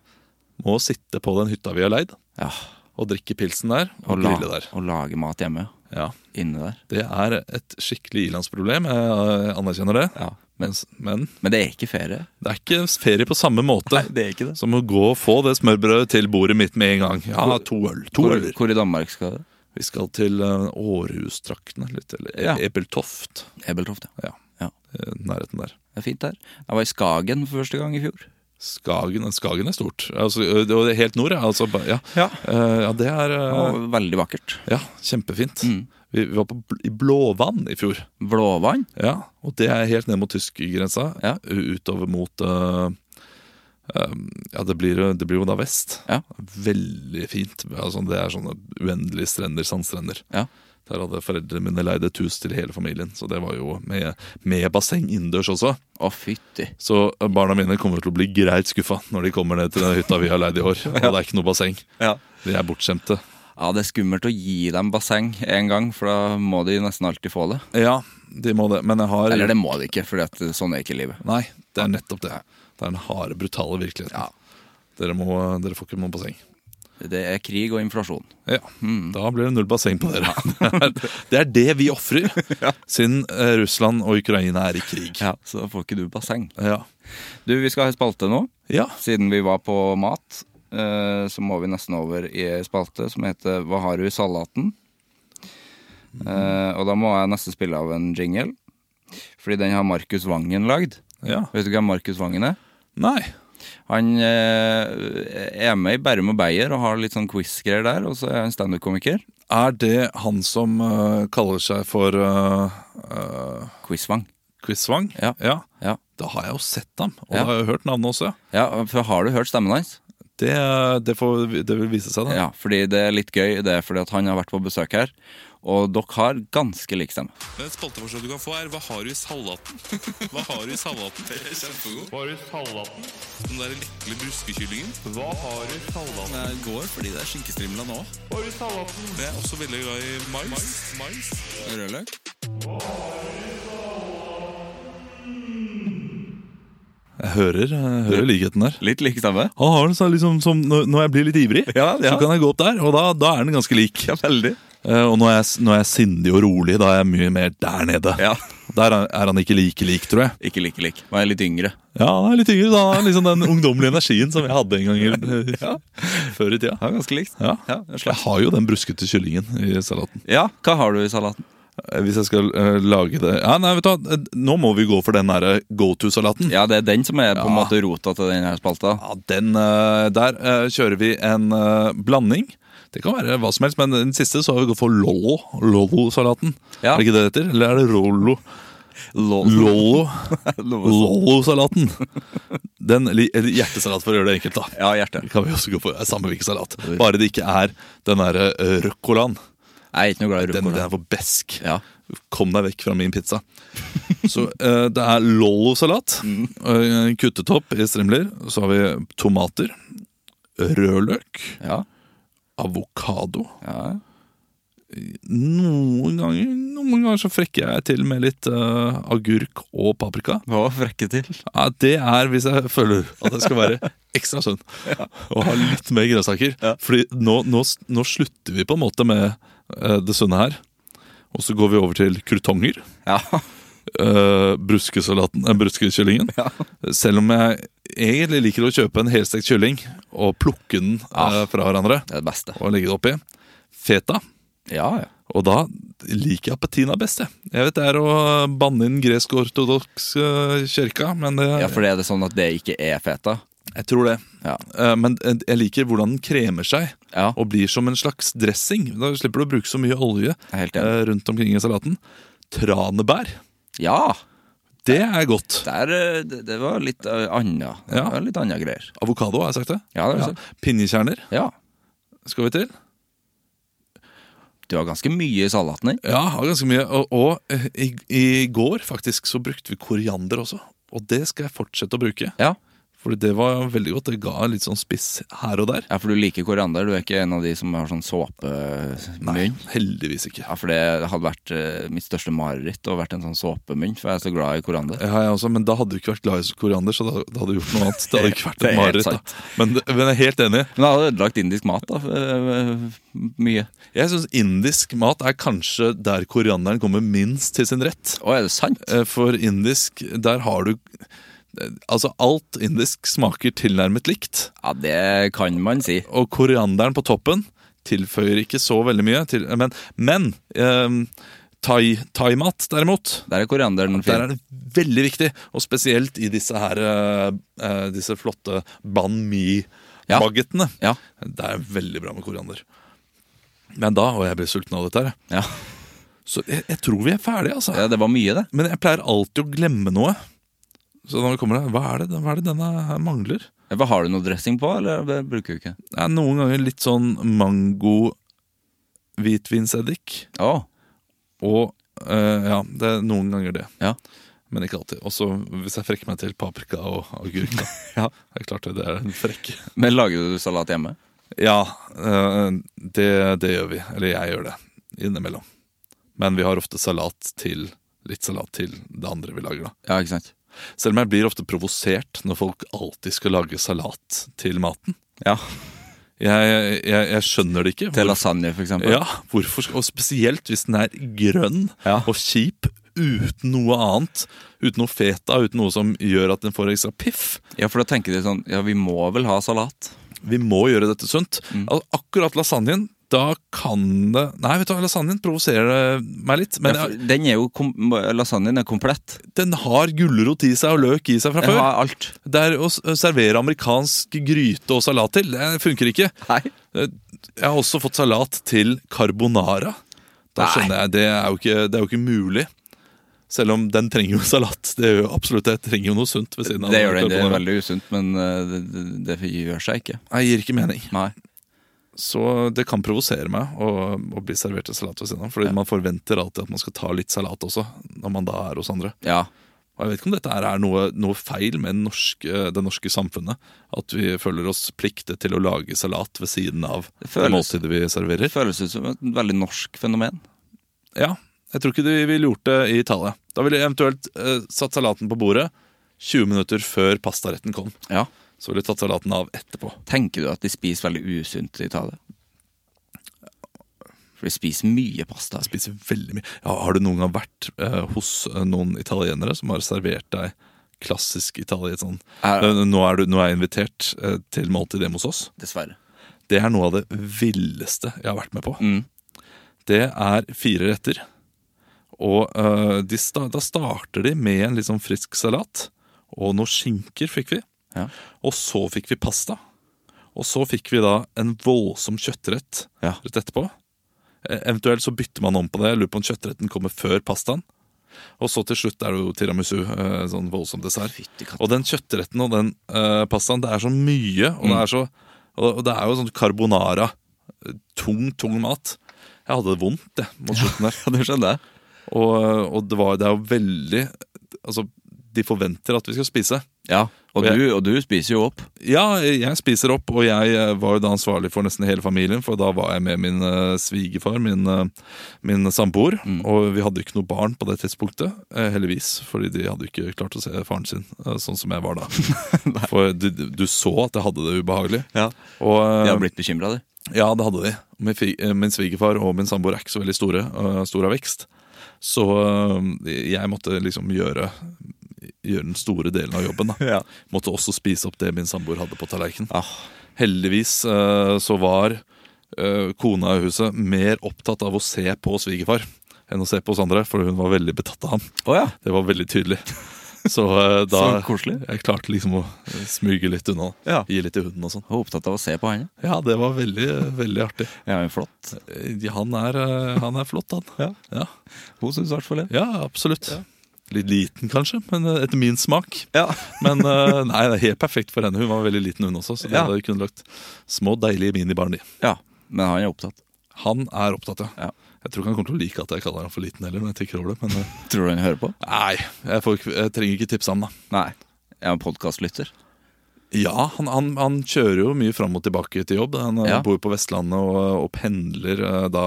Må sitte på den hytta vi har leid, ja. og drikke pilsen der og, Og, la, grille der. og lage mat hjemme. Ja, Inne der. Det er et skikkelig ilandsproblem, jeg eh, anerkjenner det. Ja. Men, men Men det er ikke ferie. det er ikke ferie på samme måte. det er ikke det. Som å gå og få det smørbrødet til bordet mitt med en gang. Ja, to øl. To Hvor, øl. hvor i Danmark skal du? Vi skal til eh, Århus-traktene, litt, eller Ja. Ebeltoft. Ebeltoft, ja. Ja, ja. eh, nærheten der. Det er fint der. Jeg var i Skagen for første gang i fjor. Skagen, Skagen er stort. Altså, ø, det- og det er helt nord, ja. Altså, ba- ja. Ja. Eh, ja, det er Det eh, var veldig vakkert. Ja, kjempefint. Vi, vi var på, Bl- i Blåvann i fjor. Blåvann. Ja, og det er helt ned mot tyskgrensa, Ja. u- utover mot eh, um, Ja, det blir, jo- det blir jo da vest. Ja. Veldig fint. Altså, det er sånne uendelige strender, sandstrender. Ja. Der hadde foreldrene mine leid et hus til hele familien, så det var jo med, med basseng innendørs også. Å, fytti. Så barna mine kommer til å bli greit skuffa når de kommer ned til den hytta vi har leid i år. Og det er ikke noe basseng. Ja. De er bortskjemte. Ja, det er skummelt å gi dem basseng en gang, for da må de nesten alltid få det. Ja, de må det. Men jeg har Eller det må de ikke, for sånn er ikke livet. Nei, det er nettopp det. Det er den harde, brutale virkeligheten. Dere, må, dere får ikke noe basseng. Det er krig og inflasjon. Ja, Da blir det null basseng på dere. det er det vi ofrer, siden eh, Russland og Ukraina er i krig. Ja, Så da får ikke du basseng. Ja. Du, vi skal ha en spalte nå. ja. Siden vi var på mat, eh, så må vi nesten over i en spalte som heter Hva har du i salaten? Eh, Og da må jeg nesten spille av en jingle, fordi den har Markus Vangen lagd. ja. Vet du hvem Markus Vangen er? Nei. Han eh, er med i Bærum og Beyer og har litt sånn quiz-greier der, og så er han standup-komiker. Er det han som eh, kaller seg for uh, Quizvang. Quizvang? Ja. ja. Ja. Da har jeg jo sett ham, og Ja. da har jeg jo hørt navnet også. ja. ja, for har du hørt stemmen hans? Det, eh, det, får, det vil vise seg, da. Ja, fordi det er litt gøy. Det er fordi at han har vært på besøk her, og dere har ganske lik stemme. Et spalteforslag du kan få, er 'Hva har du i salaten?' Hva har du i salaten? Det er kjempegod. Hva har du i salaten? Den der lekle bruskekyllingen. Hva har du i salaten? Jeg går fordi det er skinkestrimla nå. Hva har du i salaten? Jeg er også veldig glad i mais. mais. mais. Rødløk. Jeg hører, jeg hører likheten der. Litt lik stemme? Han har den sånn liksom som når når jeg blir litt ivrig, Ja, ja. så kan jeg gå opp der, og da, da er den ganske lik. Ja, veldig. Eh, Og når jeg, s- når jeg er sindig og rolig, da er jeg mye mer der nede. Ja. Der er, er han ikke like lik, tror jeg. Ikke like lik. Man er litt yngre. Ja, han er litt yngre. Da har han liksom den ungdommelige energien som jeg hadde en gang i- før i tida. Ja, ganske likt. Ja. Ja, en Jeg har jo den bruskete kyllingen i salaten. Ja, hva har du i salaten? eh, Hvis jeg skal eh, lage det ja, Nei, vet du hva, eh, nå må vi gå for den eh, derre go to-salaten. Ja, det er den som er på en Ja. måte rota til denne spalta. Ja, den eh, Der eh, kjører vi en eh, blanding. Det kan være hva som helst, men den siste så har vi gått for Lollo. Lollo-salaten. Ja. Er det ikke det det heter? Eller er det Rollo? Lollo. Lollo-salaten. Den, eller hjertesalat, for å gjøre det enkelt, da. Ja, hjerte. Det kan vi også gå for. Det er Samme hvilken salat. Bare det ikke er den derre eh, ruccolaen. Jeg er ikke noe glad i Den, den ruccola. er for besk. Ja. Kom deg vekk fra min pizza. Så eh, det er lollosalat. eh, kuttet opp i strimler. Så har vi tomater. Rødløk. Ja. Avokado. Ja. Noen ganger Noen ganger så frekker jeg til med litt eh, agurk og paprika. Hva frekke til? Ja, det er hvis jeg føler at jeg skal være ekstra sunn og ha litt mer grønnsaker. Fordi nå, nå, nå slutter vi på en måte med eh, det sunne her. Og så går vi over til krutonger. Ja. eh, bruskesalaten, eh, bruskekyllingen. Selv om jeg egentlig liker å kjøpe en helstekt kylling og plukke den eh, fra hverandre Det er det beste. og legge det oppi. Feta. Ja, ja. Og da liker jeg patina best, jeg. Jeg vet det er å banne inn gresk-ortodoks eh, kirka, men det, ja for det er det sånn at det ikke er feta? jeg tror det. Ja. Eh, Men jeg liker hvordan den kremer seg Ja. og blir som en slags dressing. Da slipper du å bruke så mye olje er helt enig. eh, rundt omkring i salaten. Tranebær, ja. det er godt. Der, eh, det, det var litt eh, anna Det Ja. var Litt anna greier. Avokado, har jeg sagt det? Ja, det har du Pinjekjerner Ja. skal vi til. Du har ganske mye i salaten din. Ja, har ganske mye. Og, og eh, i, i går faktisk så brukte vi koriander også. Og det skal jeg fortsette å bruke. Ja. Fordi det var veldig godt. Det ga litt sånn spiss her og der. ja, for du liker koriander. Du er ikke en av de som har sånn såpemunn. Heldigvis ikke. Ja, for det hadde vært eh, mitt største mareritt å vært en sånn såpemunn, for jeg er så glad i koriander. Ja, jeg også, men da hadde du ikke vært glad i koriander, så da, da hadde du gjort noe annet. Det hadde ikke vært Det er et helt mareritt. sant. da. Men, det- men jeg er helt enig. Men jeg hadde ødelagt indisk mat, da. eh, Mye. Jeg syns indisk mat er kanskje der korianderen kommer minst til sin rett. Å, er det sant? Eh, For indisk, der har du eh, Altså, alt indisk smaker tilnærmet likt. Ja, det kan man si. Og korianderen på toppen tilføyer ikke så veldig mye. Til, men men eh, thai- thaimat, derimot Der er korianderen Der fin. er det veldig viktig, og spesielt i disse her eh, eh, Disse flotte ban Ja. mi-bagettene. Ja. Det er veldig bra med koriander. Men da, og jeg blir sulten av dette her, Ja. så jeg, jeg tror vi er ferdige, altså. ja, det var mye, det. Men jeg pleier alltid å glemme noe. Så når vi kommer her, hva er det, hva er det denne her mangler? Ja, Hva Har du noe dressing på, eller det bruker du ikke? Det er noen ganger litt sånn mango hvitvinseddik. Å, Og eh, ja, det er noen ganger det. ja. Men ikke alltid. Også hvis jeg frekker meg til paprika og agurk. da. Det er klart det, det er en frekk. Men lager du salat hjemme? Ja, eh, det, det gjør vi. Eller jeg gjør det. Innimellom. Men vi har ofte salat til litt salat til det andre vi lager, da. Ja, ikke sant? Selv om jeg blir ofte provosert når folk alltid skal lage salat til maten. Ja. Jeg, jeg, jeg skjønner det ikke. Til Hvor- lasagne, for eksempel? Ja, hvorfor, skal- og spesielt hvis den er grønn Ja. og kjip uten noe annet. Uten noe feta, uten noe som gjør at den får ekstra piff. Ja, for da tenker de sånn Ja, vi må vel ha salat? Vi må gjøre dette sunt. Mm. Altså, akkurat lasagnen, da kan det Nei, vet du hva, lasagnen provoserer det meg litt. Men ja, for jeg- den er jo kom Lasagnen er komplett. den har gulrot i seg og løk i seg fra Den før. har alt. Det er å s- servere amerikansk gryte og salat til, det funker ikke. Nei. Jeg har også fått salat til carbonara. Da Nei. skjønner jeg, det er, jo ikke, det er jo ikke mulig. Selv om den trenger jo salat. Det gjør jo absolutt det. Trenger jo noe sunt ved siden av. Det gjør den. Det er carbonara. veldig usunt, men eh, det, det, det gjør seg ikke. Nei, gir ikke mening. Nei. Så det kan provosere meg å, å bli servert en salat ved siden av. Fordi man forventer alltid at man skal ta litt salat også, når man da er hos andre. Ja. Og jeg vet ikke om dette her er noe, noe feil med den norske, det norske samfunnet. At vi føler oss pliktet til å lage salat ved siden av Det det, føles- måltidet vi Det serverer. føles ut som et veldig norsk fenomen. Ja, jeg tror ikke de ville gjort det i Italia. Da ville de eventuelt eh, satt salaten på bordet 20 minutter før pastaretten kom. Ja. Så ville de tatt salaten av etterpå. Tenker du at de spiser veldig usunt i Italia? For de spiser mye pasta. Spiser veldig mye. Ja, har du noen gang vært eh, hos eh, noen italienere som har servert deg klassisk italiensk sånn Er- eh, nå, er du, nå er jeg invitert eh, til måltid hjemme hos oss. Dessverre. Det er noe av det villeste jeg har vært med på. Det er fire retter. Og eh, de sta da starter de med en litt sånn frisk salat. Og noen skinker fikk vi. Ja. Og så fikk vi pasta. Og så fikk vi da en voldsom kjøttrett Ja. rett etterpå. Eh, Eventuelt så bytter man om på det. Jeg lurer på om kjøttretten kommer før pastaen. Og så til slutt er det jo tiramisu. eh, Sånn voldsom dessert. Og den kjøttretten og den eh, pastaen, det er så mye. Og, Mm. det er så, og det er jo sånn carbonara. eh, Tung, tung mat. Jeg hadde det vondt jeg, mot slutten der. det skjønner jeg. Og, og det, var, det er jo veldig Altså, de forventer at vi skal spise. Ja, og Og jeg- du, og du spiser jo opp. Ja, jeg spiser opp, og jeg eh, var jo da ansvarlig for nesten hele familien, for da var jeg med min eh, svigerfar, min, eh, min samboer, Mm. og vi hadde ikke noe barn på det tidspunktet, eh, heldigvis, fordi de hadde ikke klart å se faren sin eh, sånn som jeg var da. for du, du så at jeg hadde det ubehagelig. Ja. Og, eh, Jeg har blitt bekymra, du. ja, det hadde de. Min, fi- eh, min svigerfar og min samboer er ikke så veldig store, eh, stor av vekst. Så eh, jeg måtte liksom gjøre, gjøre den store delen av jobben. Da. Ja. Måtte også spise opp det min samboer hadde på tallerkenen. Ah, Heldigvis eh, så var eh, kona i huset mer opptatt av å se på svigerfar enn å se på oss andre, for hun var veldig betatt av ham. Å ja. Det var veldig tydelig. Så eh, da Så koselig. Jeg klarte liksom å smyge litt unna. Ja. Gi litt til hunden og sånn. Jeg var opptatt av å se på han. Ja, det var veldig, veldig artig. Ja, men flott. Eh, Han er, eh, han er flott, han. Ja, ja. Hun syns i hvert fall det. absolutt. Litt liten, kanskje, men eh, etter min smak. Ja. Men eh, nei, det er helt perfekt for henne. Hun var veldig liten, hun også. Så det Ja. hadde vi kunne lagt små, deilige minibarn i. ja. Men han er opptatt. Han er opptatt, ja. Ja. Jeg tror ikke han kommer til å like at jeg kaller han for liten heller. når jeg tenker over det, men eh, Tror du han hører på? nei, jeg, får, ikke- jeg trenger ikke tipse ham, da. Nei. Jeg er en podkastlytter. Ja, han, han, han kjører jo mye fram og tilbake til jobb. Han eh, Ja. bor på Vestlandet og, og pendler eh, da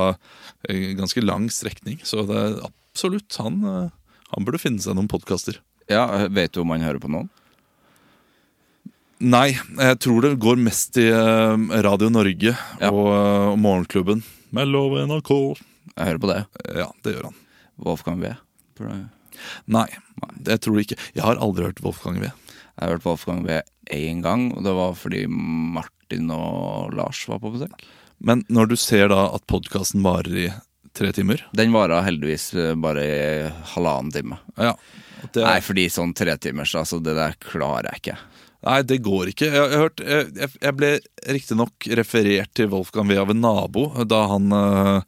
eh, ganske lang strekning. Så det er absolutt han, eh, han burde finne seg noen podkaster. Ja, vet du om han hører på noen? Nei, jeg tror det går mest i eh, Radio Norge Ja. og, eh, og Morgenklubben. Mellom NRK Jeg hører på det. Ja, det gjør han. Wolfgang V. Tror du- Nei, det tror jeg ikke. Jeg har aldri hørt Wolfgang V. Jeg har hørt Wolfgang V én gang, og det var fordi Martin og Lars var på besøk. Men når du ser da at podkasten varer i tre timer Den vara heldigvis eh, bare i halvannen time. ja, det, Nei, fordi sånn tretimers, altså, det der klarer jeg ikke. Nei, det går ikke. Jeg, jeg, hørte- jeg- jeg, jeg ble riktignok referert til Wolfgang V av en nabo da han, eh,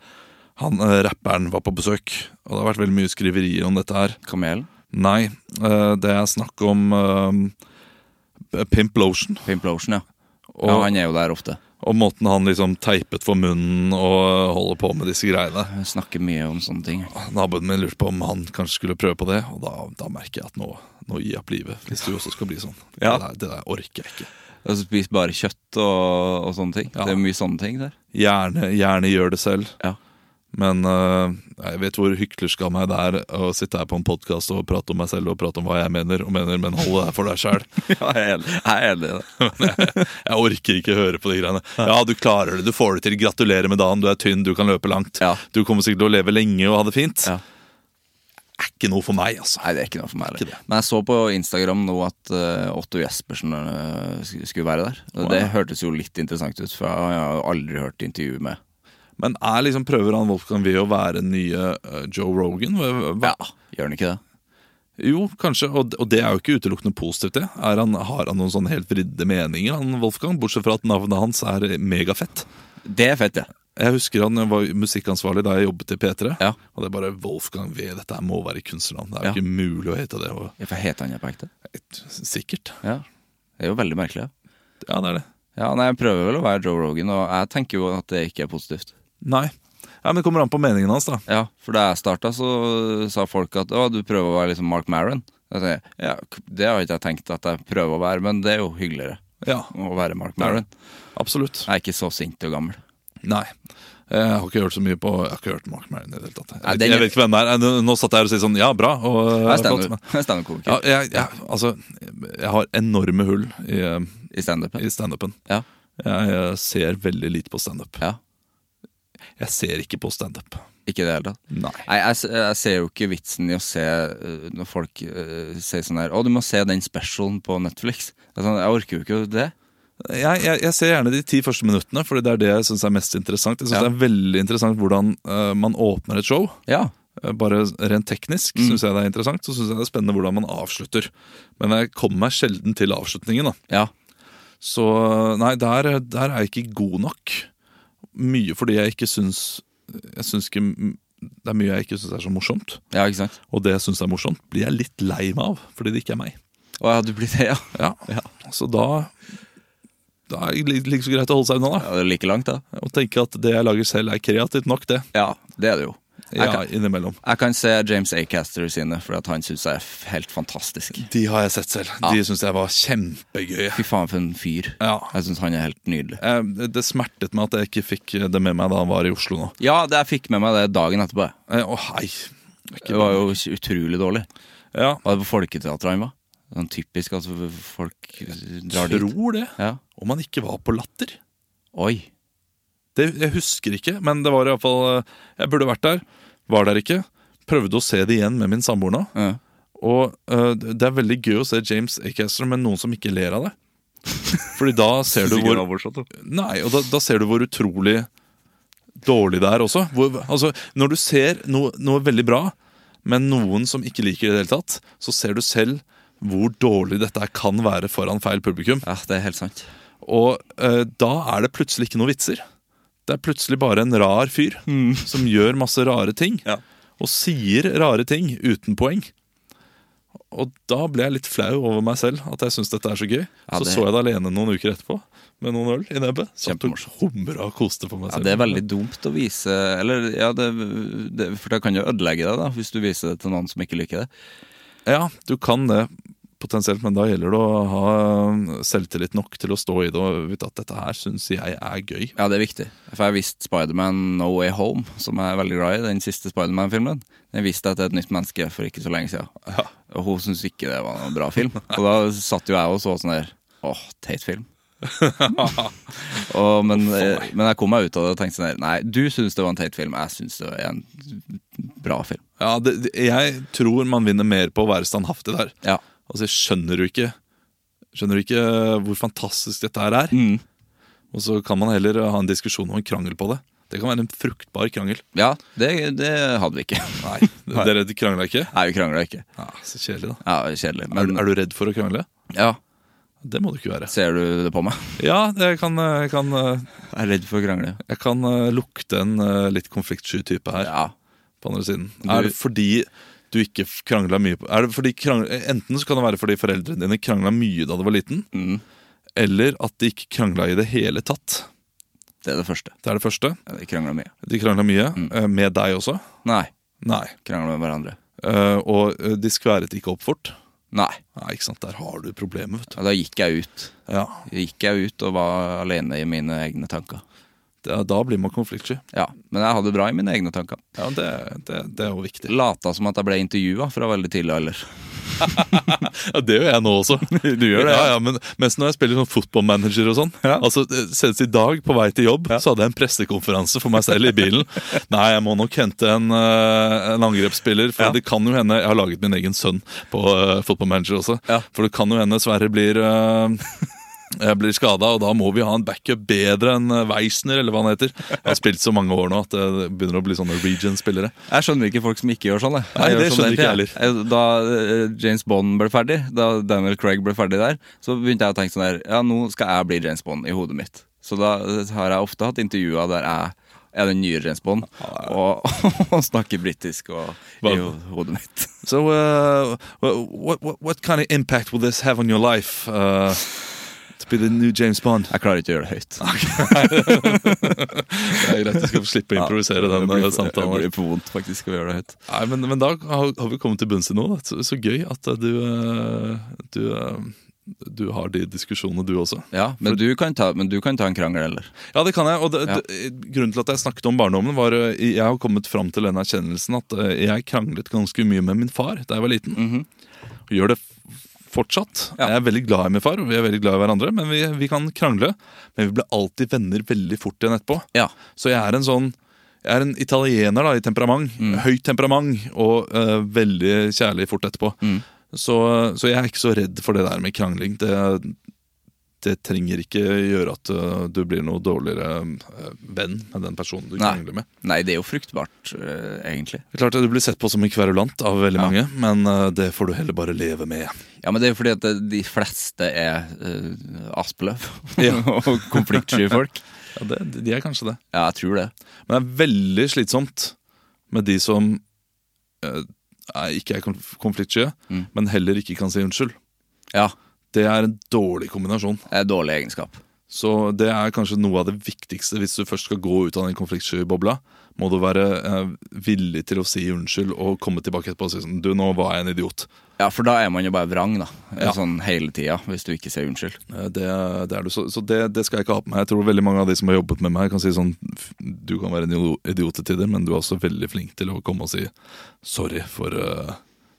han eh, rapperen var på besøk. Og det har vært veldig mye skriverier om dette her. Kamelen, Nei, eh, det er snakk om eh, Pimp Lotion. Pimplotion, ja. Og, ja. Han er jo der ofte. og måten han liksom teipet for munnen og holder på med disse greiene. Jeg snakker mye om sånne ting. Naboen min lurte på om han kanskje skulle prøve på det, og da, da merker jeg at nå, nå gir jeg opp livet. Hvis du også skal bli sånn. Ja. Det, der, det der orker jeg ikke. Og spiser bare kjøtt og, og sånne ting. Ja. Det er mye sånne ting der. Gjerne, gjerne gjør det selv. Ja. Men øh, jeg vet hvor hyklersk av meg det er å sitte her på en podkast og prate om meg selv og prate om hva jeg mener og mener, men hold det her for deg sjæl. jeg er enig- jeg er enig i det. Jeg orker ikke høre på de greiene. Ja, du klarer det, du får det til. Gratulerer med dagen, du er tynn, du kan løpe langt. Ja. Du kommer sikkert til å leve lenge og ha det fint. Ja. Er ikke noe for meg, altså. Nei, det er ikke noe for meg. Ikke Eller. det. Men jeg så på Instagram nå at eh, Otto Jespersen eh, sk- skulle være der. Og Det hørtes jo litt interessant ut, for jeg har jo aldri hørt intervju med Men er liksom, prøver han Wolfgang Wie å være nye øh, Joe Rogan? Hva- hva- Gjør han ikke det? Jo, kanskje, og, og det er jo ikke utelukkende positivt. det. Er han, har han noen sånne helt vridde meninger, han Wolfgang? Bortsett fra at navnet hans er megafett. Det er fett, det. Jeg husker han var musikkansvarlig da jeg jobbet i P3. Ja. Og det er bare Wolfgang V. Dette her må være kunstnernavn. Det er jo Ja. ikke mulig å hete det. Og, Ja, For heter han det på ekte? sikkert. Ja. Det er jo veldig merkelig. Ja. Ja, det er det. Ja, nei, Jeg prøver vel å være Joe Rogan, og jeg tenker jo at det ikke er positivt. Nei. Ja, men Det kommer an på meningen hans, da. Ja, For da jeg starta, så sa folk at å, du prøver å være liksom Mark Maron. Jeg sier, ja, k- Det har ikke jeg tenkt at jeg prøver å være, men det er jo hyggeligere Ja, å være Mark Maron. absolutt. Jeg er ikke så sint og gammel. Nei. Jeg har ikke hørt så mye på Jeg har ikke hørt Mark Maron i det hele tatt. Jeg, Nei, vet- den- jeg vet ikke hvem det er. Nå- Nå satt jeg her og sa sånn Ja, bra. Og, Jeg er flott, men- standup- jeg er standup-komiker Ja, jeg, jeg, altså, jeg har enorme hull i, i standup. i standupen. Ja. Jeg eh, ser veldig lite på standup. ja. Jeg ser ikke på standup. Ikke i det hele tatt. Nei. Nei, jeg, s- jeg ser jo ikke vitsen i å se øh, når folk øh, sier sånn her Å, du må se den specialen på Netflix. Det er sånn, Jeg orker jo ikke det. Jeg, jeg, jeg ser gjerne de ti første minuttene, Fordi det er det jeg syns er mest interessant. Jeg synes Ja. Det er veldig interessant hvordan eh, man åpner et show. Ja. eh, bare rent teknisk Mm. synes jeg det er interessant. Så syns jeg det er spennende hvordan man avslutter. Men jeg kommer meg sjelden til avslutningen, da. Ja. Så nei, der, der er jeg ikke god nok. Mye fordi jeg ikke syns Jeg syns ikke Det er mye jeg ikke syns er så morsomt. ja, ikke sant? Og det jeg syns er morsomt, blir jeg litt lei meg av, fordi det ikke er meg. Å ja, du blir det, ja. Ja, Så da Da er det li- like så greit å holde seg unna, da. ja. Det er like langt, da. Og tenke at det jeg lager selv, er kreativt nok, det. Ja, det er det jo. Jeg Ja, kan, innimellom. jeg kan se James Acaster sine, for at han syns jeg er f- helt fantastisk. De har jeg sett selv. De syns jeg var kjempegøye. Fy faen, for en fyr. Ja. Jeg syns han er helt nydelig. Eh, Det smertet meg at jeg ikke fikk det med meg da han var i Oslo nå. Ja, det jeg fikk med meg det dagen etterpå. jeg. Eh, Å, hei! Det var jo ikke- utrolig dårlig. Ja, Var det på Folketeatret han var? Sånn typisk at folk drar dit. tror det. Ja. Om han ikke var på Latter. Oi. Det, jeg husker ikke, men det var iallfall eh, Jeg burde vært der. Var der ikke. Prøvde å se det igjen med min samboer nå. Ja. Og eh, det er veldig gøy å se James Acaster med noen som ikke ler av det. Fordi da ser du hvor Nei, og da, da ser du hvor utrolig dårlig det er også. Hvor, altså, når du ser noe, noe veldig bra, men noen som ikke liker det i det hele tatt, så ser du selv hvor dårlig dette her kan være foran feil publikum. ja, det er helt sant. Og eh, da er det plutselig ikke noe vitser. Det er plutselig bare en rar fyr som gjør masse rare ting. Mm. Ja. Og sier rare ting uten poeng. Og da ble jeg litt flau over meg selv, at jeg syns dette er så gøy. Ja, Så det- så jeg det alene noen uker etterpå med noen øl i nebbet. Satt og Kjempemorsomt. humra og koste på meg Ja, selv. Altså, Det er veldig dumt å vise Eller, ja, det, det, For det kan jo ødelegge deg, da, hvis du viser det til noen som ikke liker det. Ja, du kan det potensielt, men da gjelder det å ha um, selvtillit nok til å stå i det og vite at dette her syns jeg er gøy. Ja, det er viktig. For jeg viste Spiderman No Way Home, som jeg er veldig glad i, den siste Spiderman-filmen. Den viste jeg til et nytt menneske for ikke så lenge siden. Og hun syntes ikke det var noen bra film. Og da satt jo jeg og så sånn der Åh, teit film. og, men, eh, men jeg kom meg ut av det og tenkte sånn der Nei, du syns det var en teit film, jeg syns det er en bra film. Ja, det, det- Jeg tror man vinner mer på å være standhaftig der. Ja. Altså, skjønner du ikke Skjønner du ikke eh, hvor fantastisk dette her er? Mm. Og så kan man heller eh, ha en diskusjon og en krangel på det. Det kan være en fruktbar krangel. Ja, det, det hadde vi ikke. Nei, Dere krangla ikke? Nei, vi krangla ikke. Ja, Så kjedelig, da. Ja, kjedelig. Er du, Men er du redd for å krangle? ja, Det må du ikke være. ser du det på meg? Ja, jeg kan, jeg kan, eh, Jeg er redd for å krangle. jeg kan lukte en eh, litt konfliktsky type her. Ja. på andre siden. Du- Er det fordi du ikke krangla mye på er det fordi krangl- Enten så kan det være fordi foreldrene dine krangla mye da du var liten, Mm. eller at de ikke krangla i det hele tatt. Det er det første. Det er det første. Vi krangla mye. De krangla mye. eh, Med deg også. Nei. Nei. Krangla med hverandre. Eh, Og eh, de skværet ikke opp fort. Nei. Nei, ikke sant. Der har du problemet, vet du. Og da gikk jeg ut. Ja, Da Gikk jeg ut og var alene i mine egne tanker. det, Da blir man konfliktsky. Ja, Men jeg hadde det bra i mine egne tanker. Ja, det, det, det er jo viktig. Lata som at jeg ble intervjua fra veldig tidlig alder. Ja, Det gjør jeg nå også. Du gjør det, ja, ja, men Mens når jeg spiller sånn fotballmanager og sånn Altså, Senest i dag, på vei til jobb, så hadde jeg en pressekonferanse for meg selv i bilen. Nei, jeg må nok hente en, eh, en angrepsspiller, for det kan jo hende Jeg har laget min egen sønn på eh, fotballmanager også, Ja. for det kan jo hende Sverre blir eh, jeg blir skada, og da må vi ha en backup bedre enn eh, Weisner. eller hva han heter. Jeg har spilt så mange år nå at det begynner å bli sånne region-spillere. Jeg skjønner ikke folk som ikke gjør sånn. jeg. Jeg Nei, gjør det sånn skjønner hele ikke jeg tiden. Da eh, James Bond ble ferdig, da Daniel Craig ble ferdig der, så begynte jeg å tenke sånn her Ja, nå skal jeg bli James Bond i hodet mitt. Så da eh, har jeg ofte hatt intervjuer der jeg er den nye James Bond og, og snakker britisk og, i Hva- hodet mitt. So, uh, wha- what, what, what kind of impact will this have on your life uh, to be the new James Bond? Jeg klarer ikke å gjøre det høyt. Det er greit, du skal slippe å improvisere den Det blir- uh, samtalen. Det blir for vondt faktisk å gjøre det høyt. Nei, men, men da har, har vi kommet til bunns i noe. da. Så, så gøy at uh, du, uh, du, uh, du har de diskusjonene, du også. Ja, men du kan ta, men du kan ta en krangel, eller? Ja, det kan jeg. Og det, Ja. det, grunnen til at jeg snakket om barndommen, var uh, jeg har kommet fram til den erkjennelsen at uh, jeg kranglet ganske mye med min far da jeg var liten. Og gjør det f- fortsatt. Mhm. Ja. Jeg er veldig glad i min far, og vi er veldig glad i hverandre, men vi, vi kan krangle. Men vi ble alltid venner veldig fort igjen etterpå. Ja. Så jeg er en sånn jeg er en italiener da, i temperament. Høyt temperament og eh, veldig Mm. kjærlig fort etterpå. Så, så jeg er ikke så redd for det der med krangling. Det, det trenger ikke gjøre at eh, du blir noe dårligere eh, venn med den personen du Nei. krangler med. Nei, det er jo fruktbart, eh, egentlig. Det er klart at Du blir sett på som en kverulant av veldig Ja. mange, men eh, det får du heller bare leve med. Ja, men det er jo fordi at det- de fleste er uh, aspeløv Ja. og konfliktsky folk. Ja, det, De er kanskje det. Ja, jeg tror det. Men det er veldig slitsomt med de som eh, er, ikke er konf- konfliktsky, Mm. men heller ikke kan si unnskyld. Ja, Det er en dårlig kombinasjon. det er dårlig egenskap. Så det er kanskje noe av det viktigste hvis du først skal gå ut av den konfliktsky-bobla. Må du være eh, villig til å si unnskyld og komme tilbake etterpå og si sånn Du, nå var jeg en idiot. Ja, for da er man jo bare vrang, da. Ja. Sånn hele tida, hvis du ikke sier unnskyld. Eh, Det, det er du, så, så det, det skal jeg ikke ha på meg. Jeg tror veldig mange av de som har jobbet med meg, kan si sånn "F- Du kan være en idio- idiot til tider, men du er også veldig flink til å komme og si sorry for, eh,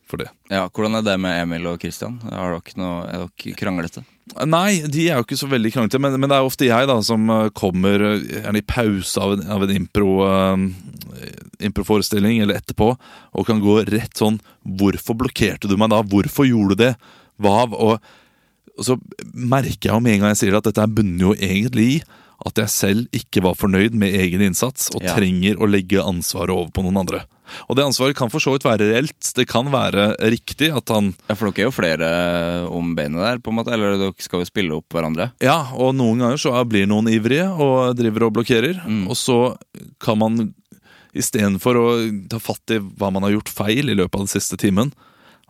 for det. Ja, Hvordan er det med Emil og Christian? Har dere noe, er dere kranglete? Nei, de er jo ikke så veldig kranglete, men, men det er ofte jeg da som eh, kommer eh, gjerne i pause av en, av en impro, eh, improforestilling eller etterpå, og kan gå rett sånn Hvorfor blokkerte du meg da? Hvorfor gjorde du det? Hva av? Og, og så merker jeg jo med en gang jeg sier det, at dette her bunner jo egentlig i at jeg selv ikke var fornøyd med egen innsats og Ja. trenger å legge ansvaret over på noen andre. Og det ansvaret kan for så vidt være reelt. Det kan være riktig at han Ja, For dere er jo flere eh, om beinet der, på en måte. Eller dere skal jo spille opp hverandre. Ja, og noen ganger så er- blir noen ivrige og driver og blokkerer. Mm. Og så kan man istedenfor å ta fatt i hva man har gjort feil i løpet av den siste timen,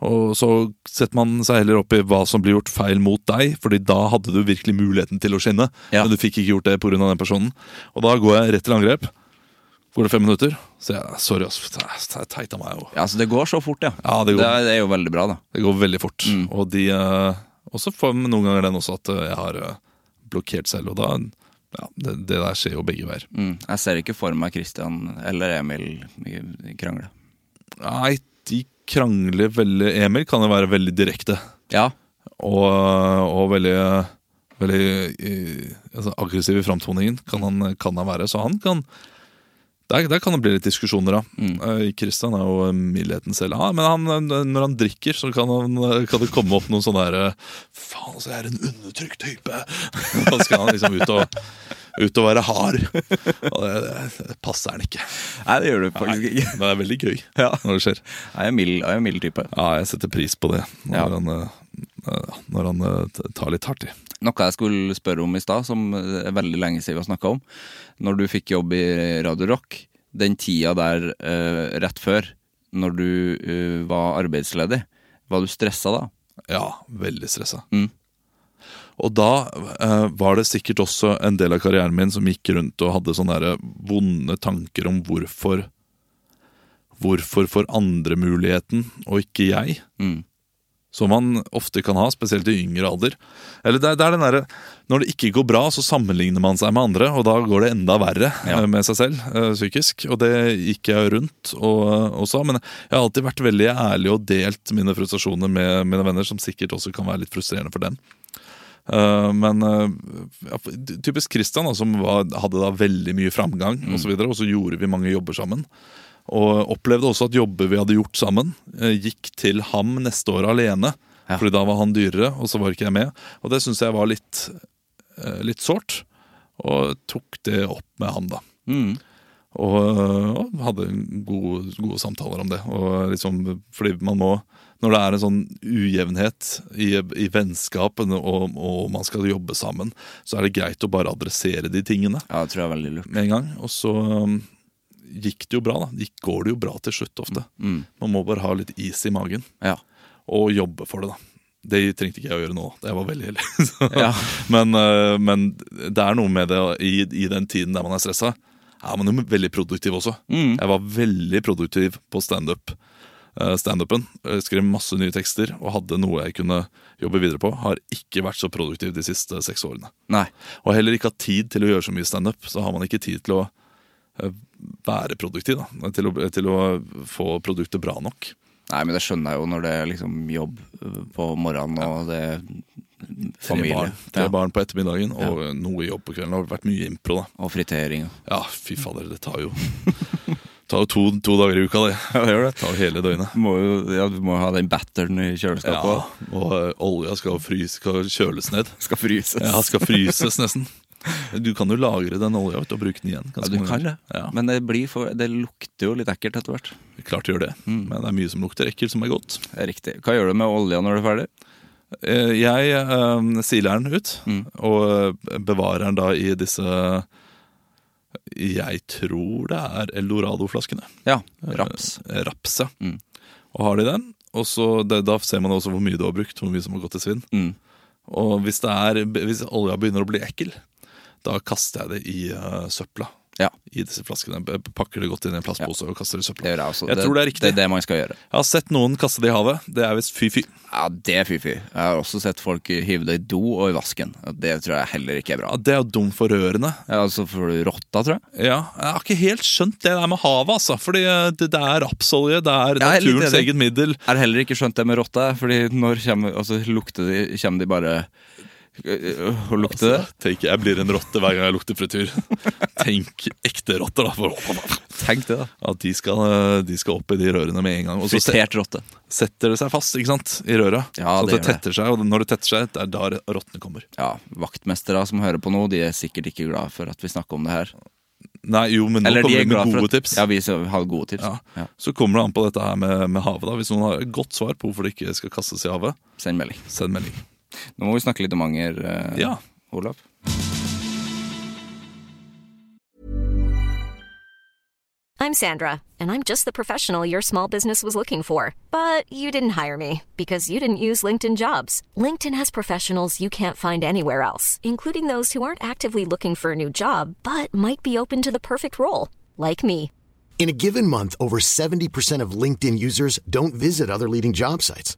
og så setter man seg heller opp i hva som blir gjort feil mot deg, fordi da hadde du virkelig muligheten til å skinne, Ja. men du fikk ikke gjort det pga. den personen. Og da går jeg rett til angrep. Går det fem minutter, så jeg sorry, ass. Det er teit av meg. Og. Ja, Så det går så fort, ja. Ja, det Det går er, det er jo veldig bra, da. det går veldig fort. Og de eh, også får man noen ganger den også at eh, jeg har eh, blokkert selv, og da ja, det, det der skjer jo begge veier. Mm. Jeg ser ikke for meg Christian eller Emil i- i krangle. Nei, de krangler veldig Emil kan jo være veldig direkte Ja, og, og veldig eh, Veldig eh, altså, aggressiv i framtoningen kan han, kan han være. Så han kan Der, der kan det bli litt diskusjoner, da. Mm. Eh, Christian er jo mildheten selv. Ja, men han, eh, når han drikker, så kan, han, eh, kan det komme opp noen sånne derre Faen, altså, jeg er en undertrykt type! Da skal han liksom ut og, ut og være hard. Og det, det passer han ikke. Nei, det gjør du faktisk ikke. Men det er veldig gøy Ja. når det skjer. Jeg er en mild, jeg er en mild type. Ja, jeg setter pris på det når Ja. han, eh, eh, når han eh, t- tar litt hardt i. Noe jeg skulle spørre om i stad, som er veldig lenge siden vi har snakka om. Når du fikk jobb i Radio Rock, den tida der eh, rett før, når du eh, var arbeidsledig, var du stressa da? Ja, veldig stressa. Mm. Og da eh, var det sikkert også en del av karrieren min som gikk rundt og hadde sånne der vonde tanker om hvorfor Hvorfor får andre muligheten, og ikke jeg? Mm. Som man ofte kan ha, spesielt i yngre alder. Eller det, er- det er den derre Når det ikke går bra, så sammenligner man seg med andre, og da går det enda verre Ja. eh, med seg selv eh, psykisk. Og det gikk jeg rundt og, eh, og sa. Men jeg har alltid vært veldig ærlig og delt mine frustrasjoner med mine venner, som sikkert også kan være litt frustrerende for dem. Eh, men eh, ja, typisk Christian, da, som var, hadde da veldig mye framgang, og, så videre, og så gjorde vi mange jobber sammen. Og opplevde også at jobber vi hadde gjort sammen, eh, gikk til ham neste år alene. Ja. Fordi da var han dyrere, og så var ikke jeg med. Og det syns jeg var litt, eh, litt sårt. Og tok det opp med ham, da. Mm. Og, og hadde gode, gode samtaler om det. Og liksom, fordi man må Når det er en sånn ujevnhet i, i vennskapen, og, og man skal jobbe sammen, så er det greit å bare adressere de tingene Ja, det tror jeg er veldig lurt. med en gang. Og så um, gikk det jo bra, da. Det gikk- går det jo bra til slutt ofte. Mm. Man må bare ha litt is i magen Ja. og jobbe for det, da. Det trengte ikke jeg å gjøre nå. Jeg var veldig heldig. Så- Ja. men, eh, men det er noe med det å- i, i den tiden der man er stressa. Er man jo veldig produktiv også. Mm. Jeg var veldig produktiv på standup. eh, Standupen. Eh, Skrev masse nye tekster og hadde noe jeg kunne jobbe videre på. Har ikke vært så produktiv de siste seks årene. Nei. Og heller ikke hatt tid til å gjøre så mye standup. Så har man ikke tid til å eh, være produktiv. Da. Til, å, til å få produktet bra nok. Nei, men det skjønner jeg jo når det er liksom jobb øh, på morgenen og det er Tre familie. barn, tre Ja. barn på ettermiddagen og noe jobb på kvelden. Det har vært mye impro, da. Og fritering. og- Ja, fy fader, det tar jo tar jo to, to dager i uka, det. Ja, det gjør det. Tar jo hele døgnet. Må jo, ja, du må jo ha den batteren i kjøleskapet. Ja, også. og eh, olja skal, fryse, skal kjøles ned. Skal fryses. Ja, skal fryses nesten. Du kan jo lagre den olja vet du, og bruke den igjen. Ja, ganske du mange kan det. ganger. Ja. Men det, blir for, det lukter jo litt ekkelt etter hvert. Klart gjør det, Mm. men det er mye som lukter ekkelt som er godt. Det er Riktig. Hva gjør du med olja når du er ferdig? Eh, Jeg eh, siler den ut, Mm. og eh, bevarer den da i disse Jeg tror det er Eldorado-flaskene. Ja, raps. Eh, Raps, ja. Mm. Og har de den, og så det, da ser man også hvor mye du har brukt, hvor mye som har gått til svinn. Mm. Og hvis, det er, hvis olja begynner å bli ekkel, da kaster jeg det i eh, søpla. Ja. I disse flaskene. B- Pakker det godt inn i en plastpose og kaster det i søpla. Det gjør jeg også. Jeg tror det er riktig. Det er det man skal gjøre. Jeg har sett noen kaste det i havet. Det er visst fy-fy. Ja, det er fy-fy. Jeg har også sett folk hive det i do og i vasken. Og Det tror jeg heller ikke er bra. Ja, det er jo dumt for rørene. Ja, så får du rotta, tror jeg. Ja, jeg har ikke helt skjønt det der med havet, altså. Fordi eh, det, det er rapsolje, det er Ja, jeg er litt naturens enig. eget middel. Jeg har heller ikke skjønt det med rotta, Fordi når kommer, altså, lukter de, kommer de bare og lukter det? Tenk, jeg blir en rotte hver gang jeg lukter frityr. Tenk ekte rotter, da. For, Tenk det, da. at de skal, eh, de skal opp i de rørene med en gang. Og så se- Fritert rotte. setter det seg fast ikke sant, i røra. Ja, det sånn at gjør det det. tetter seg, og når det tetter seg, det er da rottene kommer. Ja, vaktmestere som hører på nå, de er sikkert ikke glad for at vi snakker om det her. Nei, jo, men nå Eller de er kommer vi med glad for gode at, tips. Ja, vi skal ha gode tips. Ja. Ja. Så kommer det an på dette her med, med havet. da Hvis noen har et godt svar på hvorfor det ikke skal kastes i havet, Send melding. send melding. Nå må vi snakke litt om anger, eh, Ja. Olav. I'm Sandra, and I'm just the professional your small business was looking for. But you didn't hire me because you didn't use LinkedIn jobs. LinkedIn has professionals you can't find anywhere else, including those who aren't actively looking for a new job but might be open to the perfect role, like me. In a given month, over 70% of LinkedIn users don't visit other leading job sites.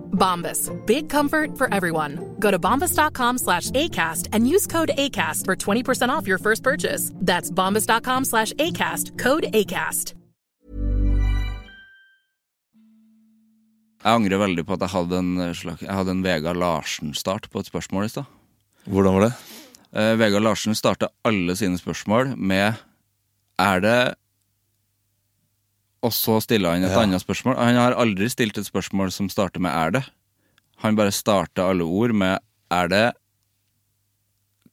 Bombas. Big comfort for everyone. Go to bombas.com slash ACAST and use code ACAST for 20% off your first purchase. That's bombas.com slash ACAST, code ACAST. Jeg angrer veldig på at jeg hadde en, slags, jeg hadde en Vegard Larsen-start på et spørsmål i stad. Hvordan var det? Eh, Vegard Larsen starter alle sine spørsmål med Er det Og så stiller han et annet spørsmål. Han har aldri stilt et spørsmål som starter med 'er det'. Han bare starter alle ord med 'er det'.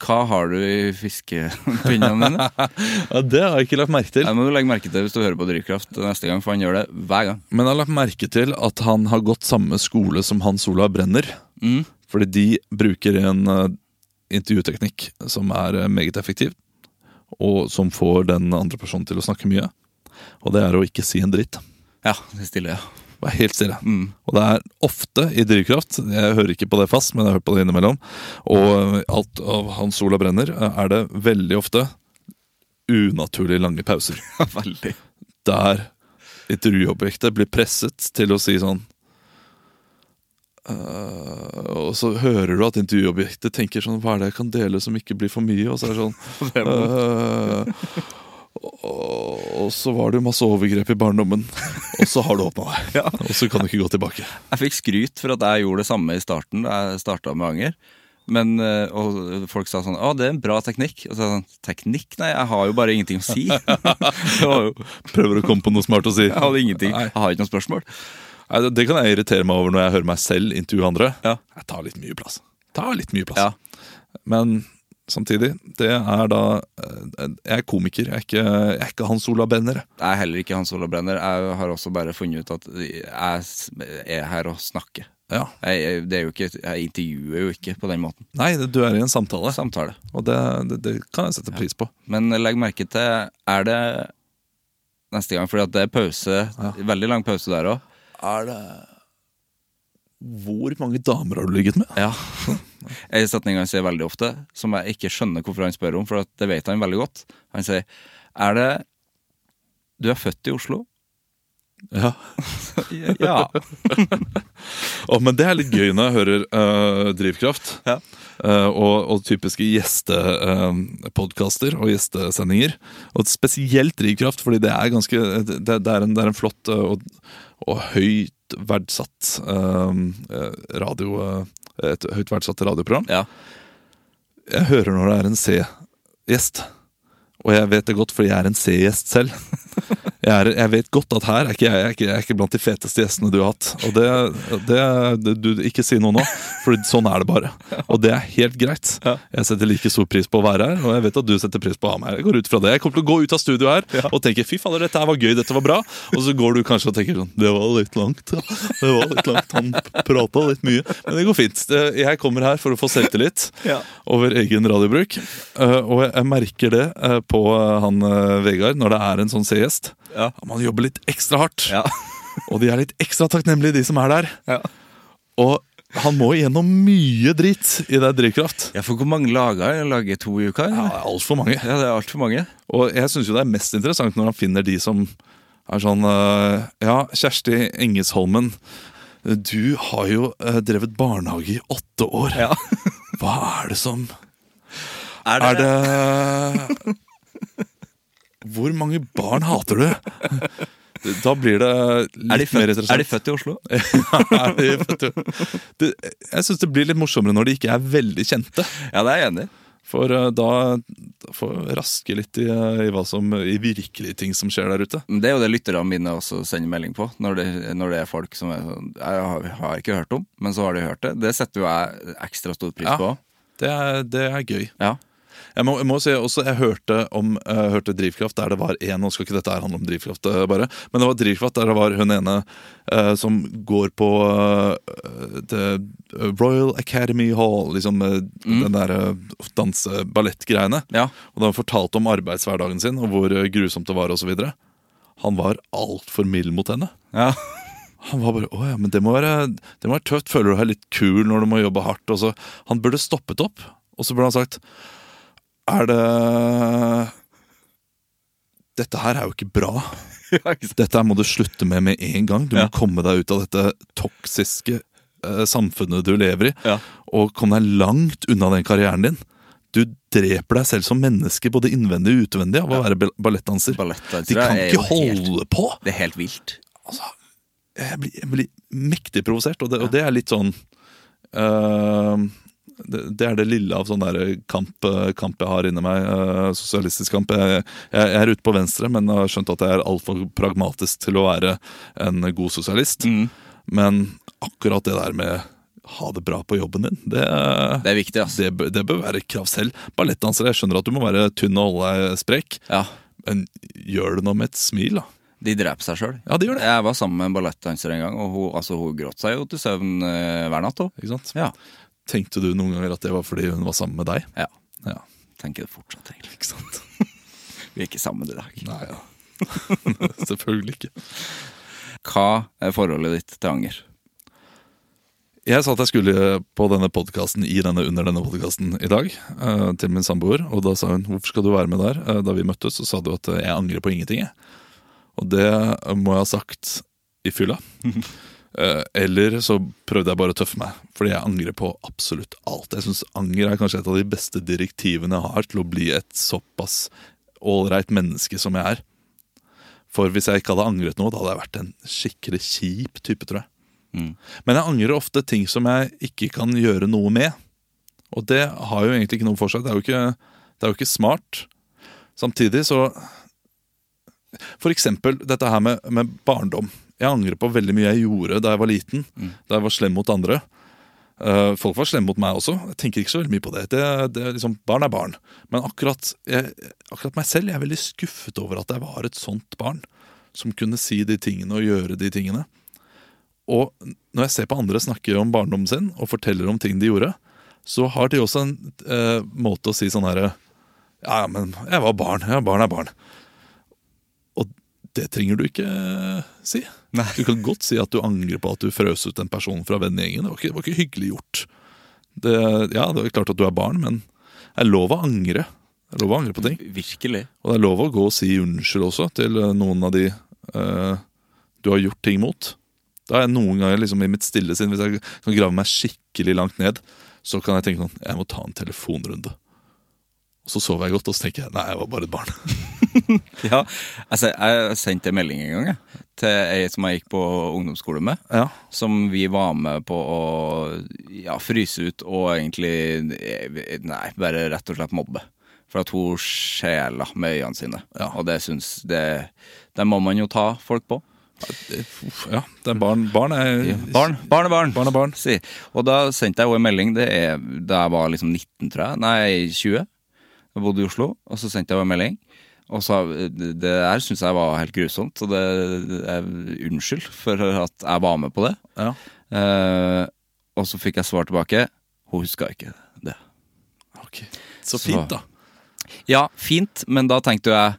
Hva har du i fiskepinnene dine? Ja, Det har jeg ikke lagt merke til. Det må du legge merke til hvis du hører på Drivkraft neste gang, for han gjør det hver gang. Men jeg har lagt merke til at han har gått samme skole som Hans Olav Brenner. Fordi de bruker en eh, intervjuteknikk som er eh, meget effektiv, og som får den andre personen til å snakke mye. Og det er å ikke si en dritt. Ja, det stiller jeg. Være helt stille. Og det er ofte i Drivkraft, jeg hører ikke på det fast, men jeg hører på det innimellom, og eh, alt av Hans Olav Brenner eh, er det veldig ofte unaturlig lange pauser Veldig. der intervjuobjektet blir presset til å si sånn «Øh», Og så hører du at intervjuobjektet tenker sånn Hva er det jeg kan dele som ikke blir for mye? Og så er det sånn «Øh, og, og så var det jo masse overgrep i barndommen, og så har du åpna deg. Og så kan du ikke gå tilbake. Jeg fikk skryt for at jeg gjorde det samme i starten da jeg starta med anger. Men, eh, og folk sa sånn 'Å, det er en bra teknikk'. Og så sa jeg sånn 'Teknikk? Nei, jeg har jo bare ingenting å si'. det var jo, Prøver å komme på noe smart å si. jeg hadde ingenting. Nei. Jeg har ikke noe spørsmål. Nei, det- Det kan jeg irritere meg over når jeg hører meg selv intervjue andre. Ja. Jeg tar litt mye plass. Tar litt mye plass. Ja. Men samtidig, det er da eh, Jeg er komiker, jeg er ikke, jeg er ikke Hans Ola Benner. jeg. Jeg er heller ikke Hans Olav Brenner. Jeg har også bare funnet ut at jeg s- er her og snakker. Ja. Jeg, jeg, det er jo ikke, jeg intervjuer jo ikke på den måten. Nei, det- du er i en samtale, Samtale. og det, det, det kan jeg sette pris på. Men legg merke til Er det neste gang? Fordi at det er pause. Veldig lang pause der òg. Er det Hvor mange damer har du ligget med? Ja. En setning han sier veldig ofte, som jeg ikke skjønner hvorfor han spør om, for at det vet han veldig godt. Han sier Er det Du er født i Oslo, Ja. Ja. Å, men det er litt gøy når jeg hører eh, Drivkraft. Ja. Eh, og, og typiske gjestepodkaster og gjestesendinger. Og spesielt Drivkraft, fordi det er ganske Det, det, er, en, det er en flott eh, og, og høyt verdsatt eh, eh, radio eh, Et høyt verdsatt radioprogram. ja. Jeg hører når det er en C-gjest, og jeg vet det godt fordi jeg er en C-gjest selv. Jeg, er, jeg vet godt at her er ikke jeg, jeg, er ikke, jeg er ikke blant de feteste gjestene du har hatt. Og det, det, det du, Ikke si noe nå, for sånn er det bare. Og det er helt greit. Jeg setter like stor pris på å være her, og jeg vet at du setter pris på å ha meg her. Jeg går ut fra det. Jeg kommer til å gå ut av studio her og tenke 'fy fader, dette her var gøy, dette var bra'. Og så går du kanskje og tenker sånn 'det var litt langt', ja. Det var litt langt. Han prata litt mye. Men det går fint. Det- Jeg kommer her for å få selvtillit Ja. over egen radiobruk. Eh, og jeg, jeg merker det eh, på eh, han eh, Vegard når det er en sånn C-gjest. Ja. Man jobber litt ekstra hardt, Ja. og de er litt ekstra takknemlige, de som er der. Ja. Og han må igjennom mye drit i det drivkraft. ja, for hvor mange lager jeg lager to i uka? Ja, eller? Altfor mange. Ja, det er altfor mange. Og jeg syns jo det er mest interessant når han finner de som er sånn eh, Ja, Kjersti Engesholmen, du har jo eh, drevet barnehage i åtte år. Ja. Hva er det som Er Er det Hvor mange barn hater du? Da blir det litt er de, mer født, interessant. er de født i Oslo? Er de født i- det, jeg syns det blir litt morsommere når de ikke er veldig kjente. Ja, det er jeg enig i. For eh, da da får jeg raske litt i, eh, i hva som I virkelige ting som skjer der ute. Men Det er jo det lytterne mine også sender melding på, når det, når det er folk som er sånn Jeg har, har ikke hørt om, men så har de hørt det. Det setter jo jeg ekstra stor pris Ja. på. Det er, det er gøy. Ja. Jeg må, jeg må si også, jeg hørte om eh, hørte Drivkraft der det var en Nå skal ikke dette her handle om Drivkraft, eh, bare. Men det var Drivkraft der det var hun ene eh, som går på eh, The Royal Academy Hall. Liksom eh, den derre uh, danse-ballett-greiene. Mm. Ja. Og da han fortalte om arbeidshverdagen sin og hvor eh, grusomt det var osv. Han var altfor mild mot henne. ja. Han var bare, åja, men det må være, det må være tøft, føler du deg litt kul når du må jobbe hardt. Og så, han burde stoppet opp, og så burde han sagt, er det, dette her er jo ikke bra. Dette her må du slutte med med en gang. Du må komme deg ut av dette toksiske eh, samfunnet du lever i, Ja. og komme deg langt unna den karrieren din. Du dreper deg selv som menneske, både innvendig og utvendig, av å være bal- ballettdanser. Ballettdansere De kan er jo ikke helt- holde på! Det er helt vilt. jeg blir, jeg blir mektig provosert, og det, og det er litt sånn øh, det, det er det lille av sånn der kamp, øh, kamp jeg har inni meg. øh, sosialistisk kamp. Jeg, jeg, jeg er ute på venstre, men har skjønt at jeg er altfor pragmatisk til å være en god sosialist. Mm. Men akkurat det der med ha det bra på jobben din, det, Det er viktig, altså. det, bør- det bør være krav selv. Ballettdansere, jeg skjønner at du må være tynn og holde deg sprek, Ja. men gjør det nå med et smil, da. De dreper seg sjøl. Ja, det gjør det. Jeg var sammen med en ballettdanser en gang, og hun, altså, hun gråt seg jo til søvn eh, hver natt. Også. Ikke sant? Ja. Tenkte du noen ganger at det var fordi hun var sammen med deg? ja. Ja, Tenker det fortsatt, egentlig. ikke sant? Vi er ikke sammen i dag. Nei, ja. Selvfølgelig ikke. Hva er forholdet ditt til anger? Jeg sa at jeg skulle på denne podcasten i denne, under denne podcasten i dag eh, til min samboer, og da sa hun 'hvorfor skal du være med der?' Eh, da vi møttes, så sa du at eh, 'jeg angrer på ingenting', jeg. Og det eh, må jeg ha sagt i fylla. Eh, Eller så prøvde jeg bare å tøffe meg, fordi jeg angrer på absolutt alt. Jeg syns anger er kanskje et av de beste direktivene jeg har til å bli et såpass ålreit menneske som jeg er. For hvis jeg ikke hadde angret noe, da hadde jeg vært en skikkelig kjip type, tror jeg. Men jeg angrer ofte ting som jeg ikke kan gjøre noe med. Og det har jo egentlig ikke noe for seg. Det er jo ikke, det er jo ikke smart. Samtidig så For eksempel dette her med, med barndom. Jeg angrer på veldig mye jeg gjorde da jeg var liten. Da jeg var slem mot andre. Eh, folk var slemme mot meg også. Jeg tenker ikke så veldig mye på det. det, det er liksom, barn er barn. Men akkurat, jeg, akkurat meg selv jeg er veldig skuffet over at jeg var et sånt barn. Som kunne si de tingene og gjøre de tingene. Og når jeg ser på andre snakke om barndommen sin og forteller om ting de gjorde, så har de også en eh, måte å si sånn herre Ja, ja, men jeg var barn. Ja, barn er barn. Og det trenger du ikke eh, si. Du kan godt si at du angrer på at du frøs ut en person fra vennegjengen. Det, var ikke- det var ikke hyggelig gjort. Det, ja, det er klart at du er barn, men det er lov å angre. Det er lov å angre på ting. Virkelig. Og det er lov å gå og si unnskyld også til eh, noen av de eh, du du har gjort ting mot. Da har jeg noen ganger liksom i mitt stille sinn, hvis jeg kan grave meg skikkelig langt ned, så kan jeg tenke sånn Jeg må ta en telefonrunde. Og så sover jeg godt, og så tenker jeg nei, jeg var bare et barn. Ja, jeg, se- jeg sendte en melding en gang jeg, til ei som jeg gikk på ungdomsskole med. Ja. Som vi var med på å ja, fryse ut og egentlig eh, Nei, bare rett og slett mobbe. For at hun skjela med øynene sine. Og det syns det, det må man jo ta folk på. Uff, ja, det er barn. Barn er Barn, barn er barn. Barn er barn. Si. Og da sendte jeg henne en melding det er, da jeg var liksom 19, tror jeg. Nei, 20. Jeg bodde i Oslo, og så sendte jeg henne en melding. Og sa det der syns jeg var helt grusomt, og det jeg, unnskyld for at jeg var med på det. Ja. Eh, og så fikk jeg svar tilbake. Hun huska ikke det. Ok. Så Så- fint, da. Ja, fint, men da tenkte jeg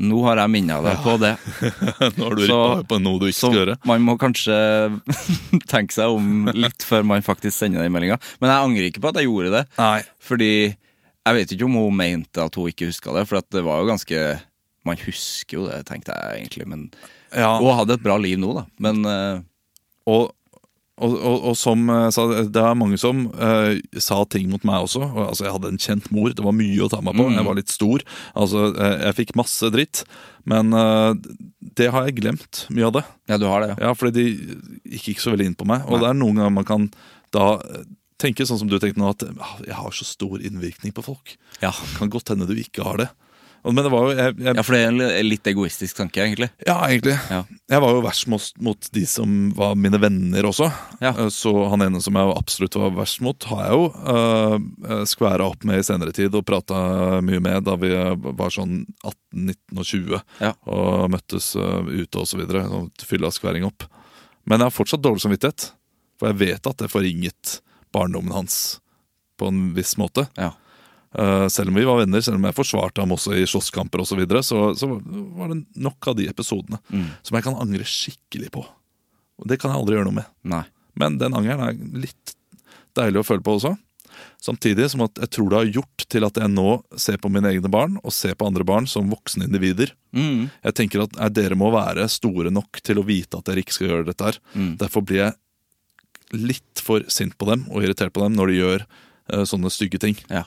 nå har jeg minna deg på det. Nå har du Så- rippa på noe du ikke Så skal gjøre. man må kanskje tenke seg om litt før man faktisk sender den meldinga. Men jeg angrer ikke på at jeg gjorde det. Nei. Fordi jeg vet ikke om hun mente at hun ikke huska det, for at det var jo ganske Man husker jo det, tenkte jeg egentlig, men Ja. Hun hadde et bra liv nå, da, men eh, Og, og, og, og som eh, sa, det er mange som eh, sa ting mot meg også. Og, altså, jeg hadde en kjent mor, det var mye å ta meg på. Jeg var litt stor. Altså, eh, jeg fikk masse dritt. Men eh, det har jeg glemt, mye av det. Ja, du har det, ja. Ja, fordi de gikk ikke så veldig inn på meg. Og det er noen ganger man kan da eh, tenke sånn som du tenkte nå, at ah, jeg har så stor innvirkning på folk. Ja, Kan godt hende du ikke har det. Og- Men det var jo jeg, jeg, ja for det er en li- litt egoistisk tanke, egentlig. Ja, egentlig. Ja. Jeg var jo verst mot, mot de som var mine venner også. Ja. Eh, Så han ene som jeg absolutt var verst mot, har jeg jo uh, skværa opp med i senere tid og prata mye med da vi var sånn 18, 19 og 20 Ja. og møttes eh, ute og så videre. og Fylla skværing opp. Men jeg har fortsatt dårlig samvittighet, for jeg vet at det forringet barndommen hans på en viss måte. Ja. Eh, selv om vi var venner, selv om jeg forsvarte ham også i slåsskamper osv., så, videre, så så var det nok av de episodene som jeg kan angre skikkelig på. Og Det kan jeg aldri gjøre noe med. Nei. Men den angeren er litt deilig å føle på også. Samtidig som at jeg tror det har gjort til at jeg nå ser på mine egne barn og ser på andre barn som voksne individer. Jeg tenker at nei, Dere må være store nok til å vite at dere ikke skal gjøre dette. her. Derfor blir jeg litt for sint på dem og irritert på dem når de gjør eh, sånne stygge ting. Ja.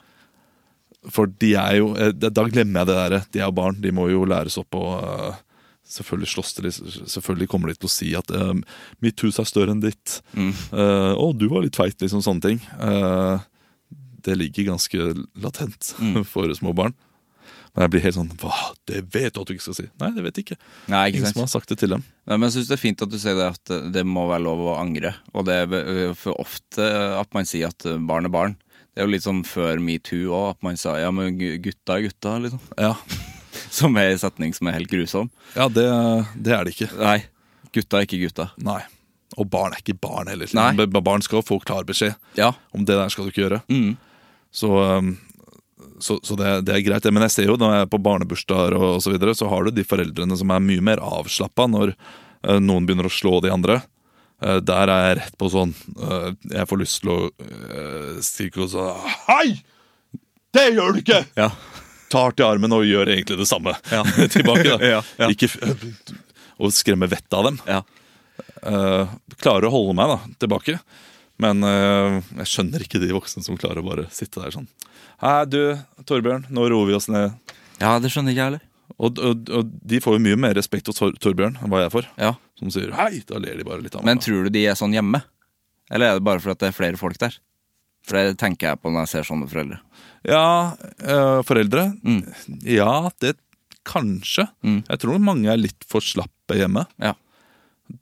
For de er jo eh, Da da glemmer jeg det der. eh, De er jo barn. De må jo læres opp og eh, Selvfølgelig slåss de, selvfølgelig kommer de til å si at eh, 'mitt hus er større enn ditt'. Mm. Eh, 'Å, du var litt feit', liksom sånne ting. Eh, det ligger ganske latent Mm. for små barn. Men jeg blir helt sånn 'hva, det vet du at du ikke skal si'. Nei, det vet jeg ikke. Nei, ikke Ingen sant? som har sagt det til dem. Nei, men jeg syns det er fint at du sier det at det må være lov å angre. Og det er eh, for ofte at man sier at barn er barn. Det er jo litt sånn før metoo òg, at man sa ja, men gu- gutta er gutta, liksom. Ja, Som er en setning som er helt grusom. ja det, det er det ikke. Nei, gutta er ikke gutta. Nei. Og barn er ikke barn heller. Nei. B- Barn skal få klar beskjed Ja. om det der skal du ikke gjøre. Mm. Så, um, så, så det, det er greit. det. Men jeg ser jo når jeg er på barnebursdager og, og så videre, så har du de foreldrene som er mye mer avslappa når eh, noen begynner å slå de andre. Eh, der er jeg rett på sånn eh, Jeg får lyst til å uh, skrike og sånn Hei! Det gjør du ikke! Ja. Tar til armen og gjør egentlig det samme tilbake. da. Ja, ja. Ikke f- og skremme vettet av dem. ja. Eh, klarer å holde meg da, tilbake. Men eh, jeg skjønner ikke de voksne som klarer å bare sitte der sånn. Hei, du, Torbjørn, nå roer vi oss ned. Ja, det skjønner ikke jeg heller. Og, og, og de får jo mye mer respekt hos Tor Torbjørn enn hva jeg får. Ja. Som sier hei, da ler de bare litt av meg. Men tror du de er sånn hjemme? Eller er det bare fordi det er flere folk der? For det tenker jeg på når jeg ser sånne foreldre. Ja, eh, foreldre. Ja, det kanskje. Jeg tror mange er litt for slappe hjemme. Ja.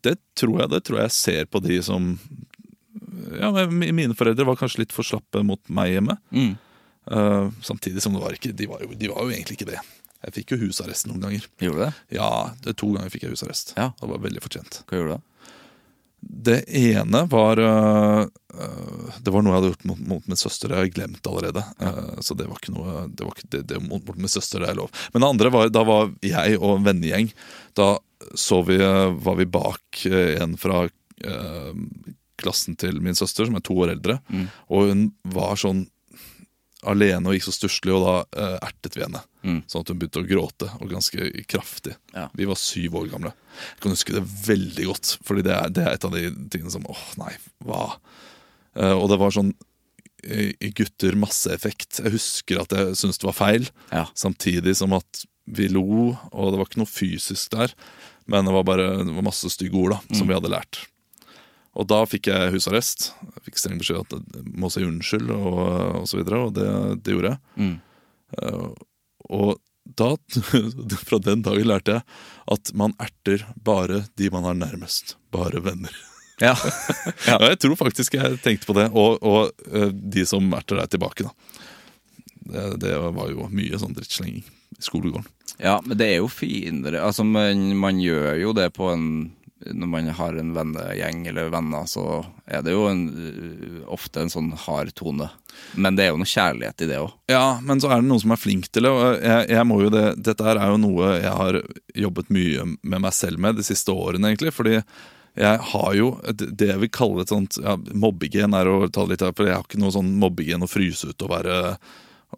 Det tror jeg, det tror jeg ser på de som Ja, men mi- mine foreldre var kanskje litt for slappe mot meg hjemme. Eh, samtidig som det var ikke, de var, jo, de var jo egentlig ikke det. Jeg fikk jo husarrest noen ganger. Gjorde du det? Ja, det To ganger fikk jeg husarrest. Ja. Det var veldig fortjent. Hva gjorde du da? Det ene var øh, øh, Det var noe jeg hadde gjort mot, mot min søster. Jeg har glemt allerede. Eh, så det var ikke noe det var ikke, det, det, Mot mot min søster, det er lov. Men det andre var da var jeg og en vennegjeng Da så vi, øh, var vi bak øh, en fra eh, øh, klassen til min søster, som er to år eldre. Og hun var sånn alene og gikk så stusslig, og da eh, ertet vi henne. Mm. Sånn at hun begynte å gråte, og ganske kraftig. Ja. Vi var syv år gamle. Jeg kan huske det veldig godt, Fordi det er, det er et av de tingene som åh, nei, hva? Eh, og det var sånn eh, gutter masseeffekt. Jeg husker at jeg syntes det var feil, Ja. samtidig som at vi lo, og det var ikke noe fysisk der. Men det var bare det var masse stygge ord da, Mm. som vi hadde lært. Og da fikk jeg husarrest. Jeg fikk streng beskjed at jeg må si unnskyld, og, og så videre, og det, det gjorde jeg. Eh, Mm. Og da, fra den dagen lærte jeg at man erter bare de man er nærmest. Bare venner. Ja. Ja. jeg tror faktisk jeg tenkte på det. Og, og eh, de som erter deg tilbake, da. Det, det var jo mye sånn drittslenging i skolegården. ja, men det er jo finere. Altså, men man gjør jo det på en Når man har en vennegjeng eller venner, så er det jo en, øh, ofte en sånn hard tone. Men det er jo noe kjærlighet i det òg. Ja, men så er det noen som er flink til det. Og jeg, jeg må jo det dette her er jo noe jeg har jobbet mye med meg selv med de siste årene, egentlig. Fordi jeg har jo et- det jeg vil kalle et sånt ja, mobbegen, er å ta det litt her, for jeg har ikke noe sånn mobbegen å fryse ut og være,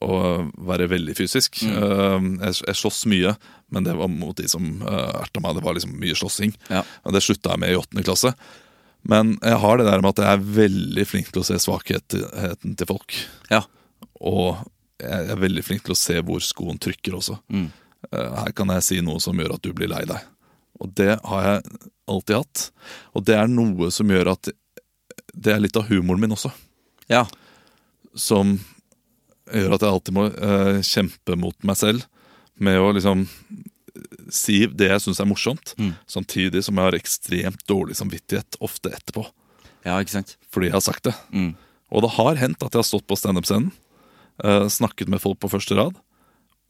og være veldig fysisk. Eh, Jeg, jeg slåss mye, men det var mot de som eh, erta meg. Det var liksom mye slåssing. Ja. Og det slutta jeg med i åttende klasse. Men jeg har det der med at jeg er veldig flink til å se svakheten til folk. Ja. Og jeg er veldig flink til å se hvor skoen trykker også. Eh, Her kan jeg si noe som gjør at du blir lei deg. Og det har jeg alltid hatt. Og det er noe som gjør at det er litt av humoren min også, ja. som gjør at jeg alltid må eh, kjempe mot meg selv med å liksom si det jeg syns er morsomt, samtidig som jeg har ekstremt dårlig samvittighet ofte etterpå Ja, ikke sant? fordi jeg har sagt det. Mm. Og det har hendt at jeg har stått på standup-scenen, eh, snakket med folk på første rad,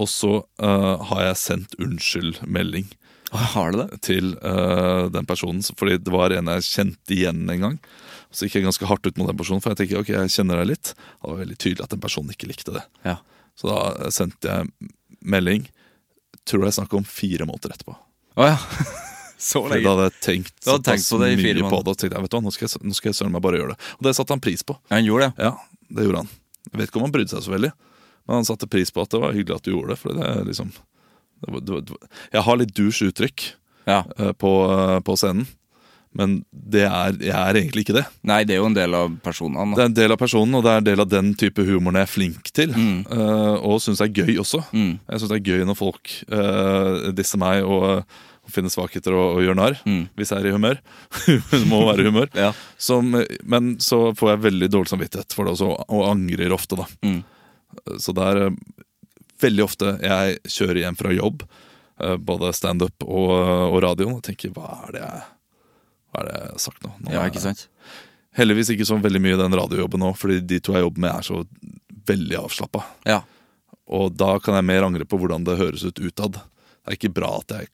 og så eh, har jeg sendt unnskyld-melding Har det det? til eh, den personen. så- Fordi det var en jeg kjente igjen en gang. Så gikk jeg ganske hardt ut mot den personen, for jeg tenker, ok, jeg kjenner deg litt. Det var veldig tydelig at den personen ikke likte det. Ja. Så da eh, sendte jeg melding. Tror det er snakk om fire måneder etterpå. Å ja. Så For da lenge. hadde jeg tenkt Du hadde tenkt såpass på det i fire mye på måneder. det. Og tenkte, jeg, vet du hva, nå skal jeg, nå skal jeg søren meg bare gjøre det. Og det satte han pris på. Han gjorde det. Ja, det gjorde han. Jeg vet ikke om han brydde seg så veldig, men han satte pris på at det var hyggelig at du gjorde det. For det er liksom det var, det var, det var. Jeg har litt douche uttrykk Ja. eh, på, eh, på scenen, men det er, jeg er egentlig ikke det. Nei, det er jo en del av personene. Det da. er en del av personen, og det er en del av den type humoren jeg er flink til. eh, og syns er gøy også. Mm. Jeg syns det er gøy når folk eh, disser meg og, og finner svakheter og, og gjør narr. Mm. Hvis jeg er i humør. det må være i humør. Ja. Som, men så får jeg veldig dårlig samvittighet for det også, og angrer ofte, da. Mm. Så det er eh, veldig ofte jeg kjører hjem fra jobb, eh, både standup og, og radioen, og tenker hva er det jeg, hva er det jeg har sagt nå? nå Ja, er- ikke sant? Heldigvis ikke så veldig mye den radiojobben nå, fordi de to jeg jobber med, er så veldig avslappa. Ja. Og da kan jeg mer angre på hvordan det høres ut utad. Det er ikke bra at jeg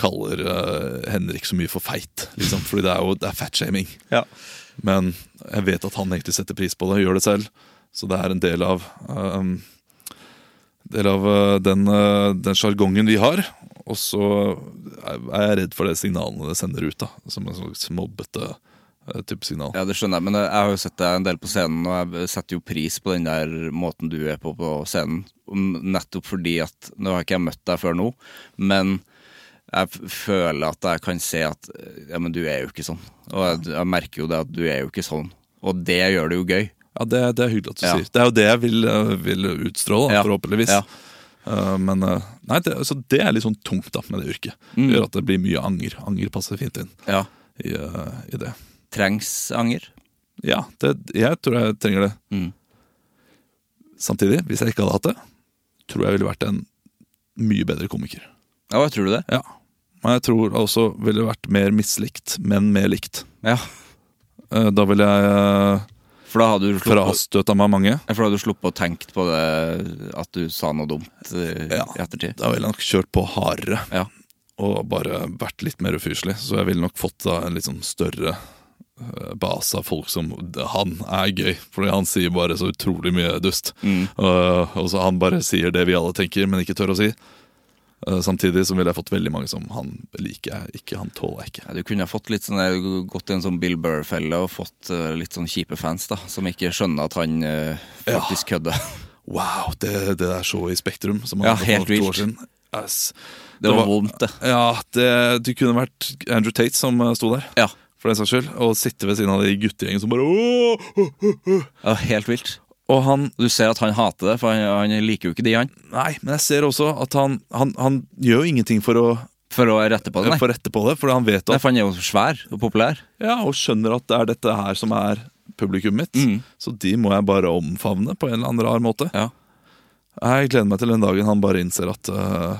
kaller eh, Henrik så mye for feit, liksom, fordi det er jo det er fatshaming. Ja. Men jeg vet at han egentlig setter pris på det, gjør det selv. Så det er en del av eh, Del av eh, den eh, den sjargongen vi har. Og så er jeg redd for det signalene det sender ut, da. Som en slags mobbete eh, type signal. Ja, det skjønner jeg, men jeg har jo sett deg en del på scenen, og jeg setter jo pris på den der måten du er på på scenen. Om- Nettopp fordi at Nå har ikke jeg møtt deg før nå, men jeg f- føler at jeg kan se at Ja, men du er jo ikke sånn. Og jeg, jeg merker jo det at du er jo ikke sånn. Og det gjør det jo gøy. Ja, det, det er hyggelig at du Ja. sier. Det er jo det jeg vil, eh, vil utstråle, da, Ja. forhåpentligvis. Ja. Eh, men eh, nei, det, altså, det er litt sånn tungt da, med det yrket. Det Mm. gjør at det blir mye anger. Anger passer fint inn Ja. i, eh, i det. Trengs anger. Ja, det, jeg tror jeg trenger det. Mm. Samtidig, hvis jeg ikke hadde hatt det, tror jeg ville vært en mye bedre komiker. Ja, tror du det? Ja. Men jeg tror også ville vært mer mislikt, men mer likt. Ja. Eh, Da ville jeg eh, For da hadde du sluppet, frastøta meg mange. for da hadde du sluppet å tenke på det at du sa noe dumt eh, Ja. i ettertid. Da ville jeg nok kjørt på hardere. Ja. og bare vært litt mer ufyselig. Så jeg ville nok fått da en litt sånn større eh, base av folk som Han er gøy, fordi han sier bare så Mm. utrolig mye dust. Eh, og så han bare sier det vi alle tenker, men ikke tør å si. Eh, Samtidig så ville jeg fått veldig mange som han liker jeg ikke, han tåler jeg ikke. Ja, du kunne ha fått litt sånn, der- gått i en sånn Bill Burr-felle og fått eh, litt sånn kjipe fans da, som ikke skjønner at han eh, faktisk kødder. Wow, det, det der showet i Spektrum som han Ja, hadde helt for to vilt. år siden. Ass. Det var vondt, det. Ja, det, det kunne vært Andrew Tate som eh, sto der. Ja. For den saks skyld. Og sitte ved siden av de guttegjengen som bare Åh! Åh!» ja, helt vilt. Og han Du ser at han hater det, for han, han liker jo ikke de, han. Nei, men jeg ser også at han, han, han gjør jo ingenting for å For å rette på det, nei. få rette på det, for han vet Nei, at for han er jo svær og populær. Ja, og skjønner at det er dette her som er publikummet mitt. Så de må jeg bare omfavne på en eller annen rar måte. Mm. Ja. Jeg gleder meg til den dagen han bare innser at øh,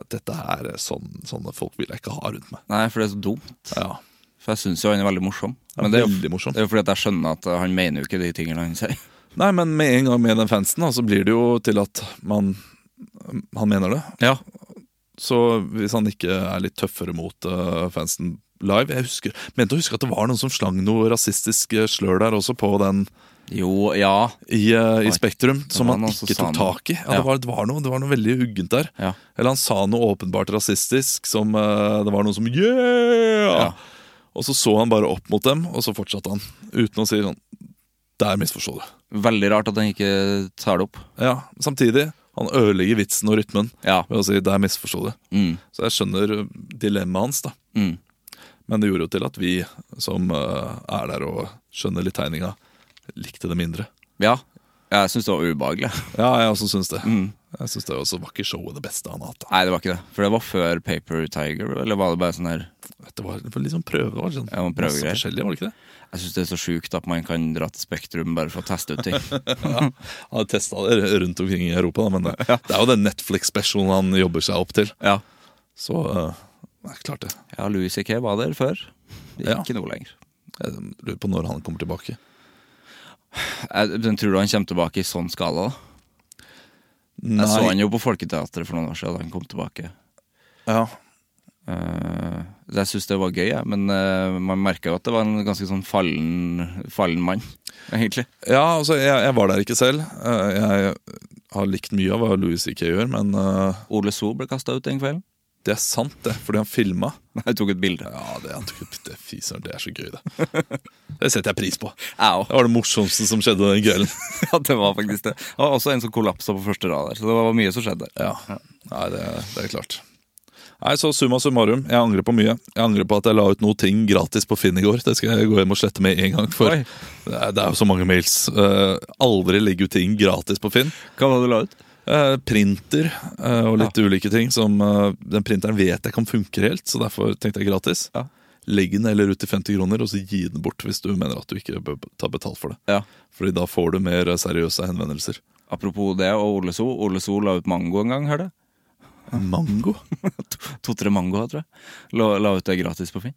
at dette er sånn, sånne folk vil jeg ikke ha rundt meg. Nei, for det er så dumt. Ja, For jeg syns jo han er veldig morsom. Ja, Men det er, jo, veldig morsom. det er jo fordi at jeg skjønner at eh, han mener jo ikke de tingene han sier. Nei, men med en gang med den fansen, da, så blir det jo til at man han mener det. Ja. Så hvis han ikke er litt tøffere mot øh, fansen live Jeg husker, mente å huske at det var noen som slang noe rasistisk øh, slør der også, på den Jo, ja. i, eh, Oi. i Spektrum som var han noen som ikke sa tok noe. tak i. Ja, Ja. Det, var, det, var noe, det var noe veldig uggent der. Ja. Eller han sa noe åpenbart rasistisk, som eh, det var noen som Yeah! Ja. Og så så han bare opp mot dem, og så fortsatte han. Uten å si sånn Der misforsto du. Veldig rart at han ikke tar det opp. Ja, Samtidig, han ødelegger vitsen og rytmen Ja. ved å si 'der misforsto du'. Mm. Så jeg skjønner eh, dilemmaet hans, da. Mm. Men det gjorde jo til at vi som eh, er der og skjønner litt tegninga, likte det mindre. Ja. Jeg syns det var ubehagelig. Ja, jeg også syns det. Mm. Jeg syns det også var ikke showet det beste han har hatt. da. Nei, det var ikke det. For det var før Paper Tiger, eller var det bare sånn her Det var det var litt sånn prøve, det var sånn Ja, man prøver masse greier. forskjellig, var det ikke det? Jeg syns det er så sjukt at man kan dra til Spektrum bare for å teste ut ting. Han hadde testa det r- rundt omkring i Europa, da, men det, det er jo den Netflix-specialen han jobber seg opp til. ja. Så eh, nei, klart det. ja, Louis C.K. var der før. Det er Ja. Ikke nå lenger. Jeg lurer på når han kommer tilbake. Jeg, men tror du han kommer tilbake i sånn skala? da? Nei, Jeg så han jo på Folketeatret for noen år siden. da Han kom tilbake. ja. Eh, jeg syns det var gøy, jeg, men eh, man merka jo at det var en ganske sånn fallen, fallen mann, egentlig. ja, altså, jeg, jeg var der ikke selv. Eh, Jeg har likt mye av hva Louis C.K. gjør, men eh, Ole So ble kasta ut den kvelden. det er sant, det. Fordi han filma. Jeg tok et bilde. Ja, det, han tok ut- det, fy søren, det er så gøy, det. Det setter jeg pris på. Au. Det var det morsomste som skjedde den kvelden. Ja, det var faktisk det. Det var også en som kollapsa på første rad der, så det var mye som skjedde. Ja, Nei, det, det er klart. Nei, så Summa summarum, jeg angrer på mye. Jeg angrer på at jeg la ut noe ting gratis på Finn i går. Det skal jeg gå hjem og slette med en gang. For Oi. det er, det er jo så mange mails. Eh, aldri legge ut ting gratis på Finn. Hva var det du la ut? Eh, printer eh, og litt ulike ting. Som, eh, den printeren vet jeg kan funke helt, så derfor tenkte jeg gratis. Ja. Legg den eller ut til 50 kroner, og så gi den bort hvis du mener at du ikke bør ta betalt for det. Ja. Fordi da får du mer eh, seriøse henvendelser. Apropos det og Ole So. Ole So la ut mango en gang, hør det. Mango? To-tre mangoer, tror jeg. La, la ut det gratis på Finn.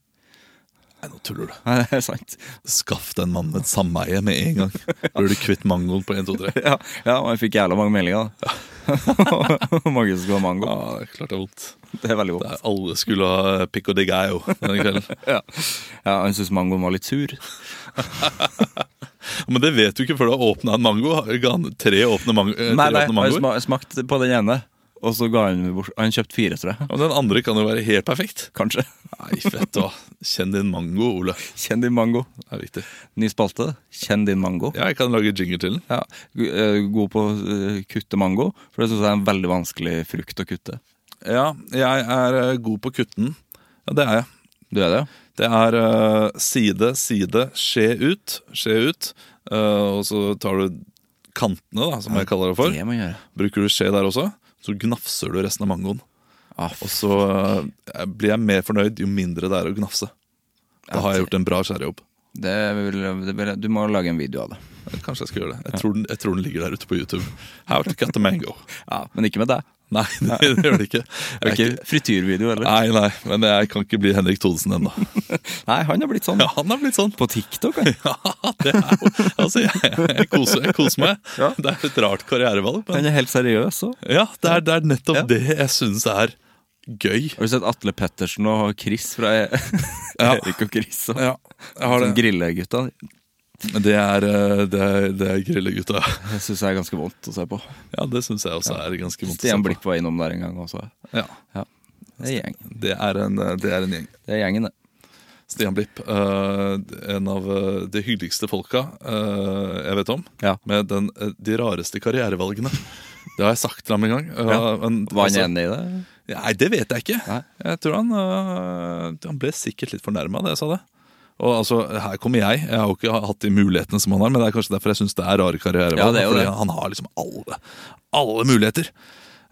Nei, nå tuller du. Nei, det er sant. Skaff den mannen et sameie med en gang. Blir du kvitt mangoen på 1, 2, 3? Ja, ja og jeg fikk jævla mange meldinger, da. mange som skulle ha mango. Ja, det er klart det er vondt. Det er veldig Det godt. er alle skulle ha eh, pico de gallo denne kvelden. Ja. ja, han syntes mangoen var litt sur. Men det vet du ikke før du har åpna en mango. Ga han tre åpne, mang eh, Nei, tre nei, åpne han mangoer? sma- smakte på den ene, og så ga han bort Han kjøpte fire, tror jeg. Ja, men den andre kan jo være helt perfekt. Kanskje. Nei, fett hva. Kjenn din mango, Ole. Kjenn din mango. Det er viktig. Ny spalte. Kjenn din mango. Ja, jeg kan lage jingle til den. Ja. G- eh, God på å eh, kutte mango, for det syns jeg er en veldig vanskelig frukt å kutte. Ja, jeg er eh, god på kutten. Ja, det er jeg. Du er det? Det er eh, side, side, skje ut, skje ut. Eh, og så tar du kantene, da, som jeg kaller det for. Det må jeg gjøre. Bruker du skje der også, så gnafser du resten av mangoen. Ah, f- Og så eh, blir jeg mer fornøyd jo mindre det er å gnafse. Da har jeg gjort en bra skjærejobb. det vil, det vil, du må lage en video av det. Kanskje jeg skal gjøre det. Jeg tror den, jeg tror den ligger der ute på YouTube. How to cut a mango. Ja, Men ikke med deg. Nei, det, det gjør det ikke. Det er Jeg er ikke frityrvideo heller. Nei, nei, men jeg kan ikke bli Henrik Thodesen ennå. Nei, han har blitt sånn. Ja, han har blitt sånn. På TikTok, han. Ja, det er jo Altså, jeg, jeg, koser, jeg koser meg. Det er et rart karrierevalg, men Han er helt seriøs òg. ja, det er, det er nettopp Ja. det jeg syns er gøy. Har du sett Atle Pettersen og Chris fra E- Ja. Erik og Chris? Sånn Og, Ja, jeg har som det. grillegutta. Det er, eh, det er, det er grillegutta. Det syns jeg er ganske vondt å se på. Ja, det syns jeg også er ganske vondt. å se Stian på. Blipp var innom der en gang også. Ja, Ja. Det er, gjeng. det er, en, eh, det er en gjeng. det er gjengen, det. Stian Blipp, eh, en av eh, de hyggeligste folka eh, jeg vet om. Ja. Med den, eh, de rareste karrierevalgene. Det har jeg sagt til ham en gang. eh, men- Var han altså- enig i det? Nei, det vet jeg ikke. Nei. Jeg tror han, øh, han ble sikkert litt fornærma da jeg sa det. Og altså, Her kommer jeg. Jeg har jo ikke hatt de mulighetene som han har. Men det er kanskje derfor jeg syns det er rare karrierevalg. Ja, det er jo fordi det. Han har liksom alle, alle muligheter.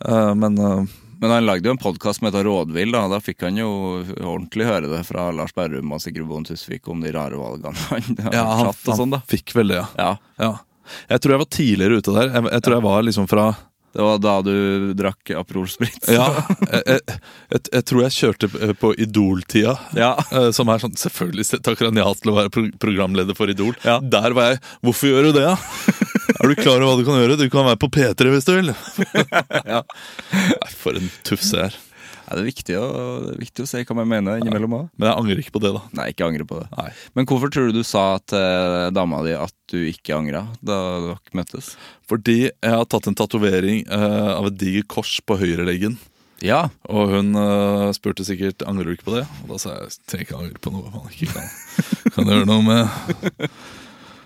Eh, men øh, Men han lagde jo en podkast som heter Rådvill, da. Da fikk han jo ordentlig høre det fra Lars Berrum og Sigrid Bonde Tusvik om de rare valgene han har ja, han, tatt og sånn, da. han fikk vel det, ja. Ja. ja. Jeg tror jeg var tidligere ute der. Jeg, jeg tror jeg var liksom fra Det var da du drakk Aperol Spritz? Ja, jeg, jeg, jeg, jeg tror jeg kjørte eh, på Idol-tida. Ja. eh, Som er sånn Selvfølgelig takker han ja til å være pro programleder for Idol. Der var jeg. Hvorfor gjør du det, da? Er du klar over hva du kan gjøre? Du kan være på P3 hvis du vil. Nei, for en tufse jeg er. Ja, det, er viktig å, det er viktig å se hva man mener innimellom òg. Men jeg angrer ikke på det, da. Nei, ikke angre på det. Nei. Men hvorfor tror du du sa til dama di at du ikke angra da dere møttes? Fordi jeg har tatt en tatovering eh, av et digert kors på høyreleggen. Ja, Og hun eh, spurte sikkert angrer du ikke på det. Og da sa jeg trenger ikke angre på noe man ikke kan, kan gjøre noe med.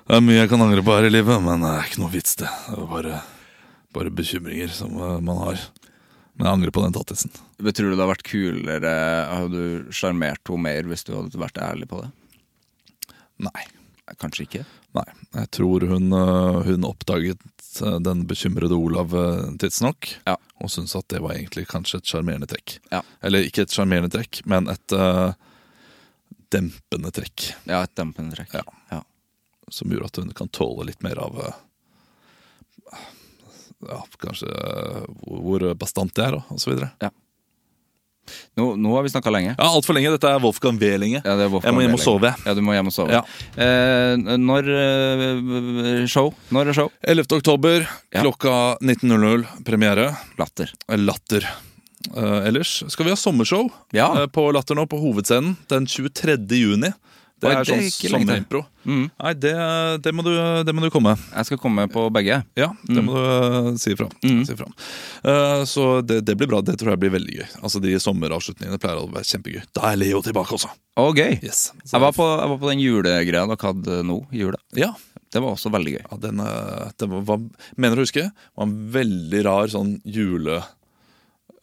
Det er mye jeg kan angre på her i livet, men det er ikke noe vits, det. Det er bare, bare bekymringer som eh, man har. Men jeg angrer på den tattisen. Men Tror du det hadde vært kulere Hadde du sjarmert henne mer hvis du hadde vært ærlig på det? Nei. Kanskje ikke. Nei. Jeg tror hun, eh, hun oppdaget eh, den bekymrede Olav eh, tidsnok. Ja. Og syntes at det var egentlig kanskje et sjarmerende trekk. Ja. Eller ikke et sjarmerende trekk, men et eh, dempende trekk. Ja, et dempende trekk. Ja. som gjorde at hun kan tåle litt mer av eh, ja, kanskje eh, hvor- hvor bastant jeg er, og og så videre. Nå, nå har vi snakka lenge. Ja, altfor lenge. Dette er Wolfgang V lenge. Ja, det er Jeg må hjem og sove. Ja, du må hjem og sove. Ja. Eh, når eh, show? Når er show? 11. oktober Ja. klokka 19.00 premiere. Latter. Latter. Eh, ellers skal vi ha sommershow Ja. eh, på Latter nå, på Hovedscenen, den 23. juni. Det Oi, er det er sånn ikke lenge til. Mm. sommerimpro. Nei, det, det, må du, det må du komme. Jeg skal komme på begge. Ja, det Mm. må du eh, si ifra. Si ifra. Eh, så det, det blir bra. Det tror jeg blir veldig gøy. Altså De sommeravslutningene pleier å være kjempegøy. Da er Leo tilbake også! Å, gøy! Yes. Så- Jeg var, på, jeg var på den julegreia dere hadde nå i jula. Ja, Det var også veldig gøy. ja den, eh, den var, var, mener å huske, var en veldig rar sånn jule...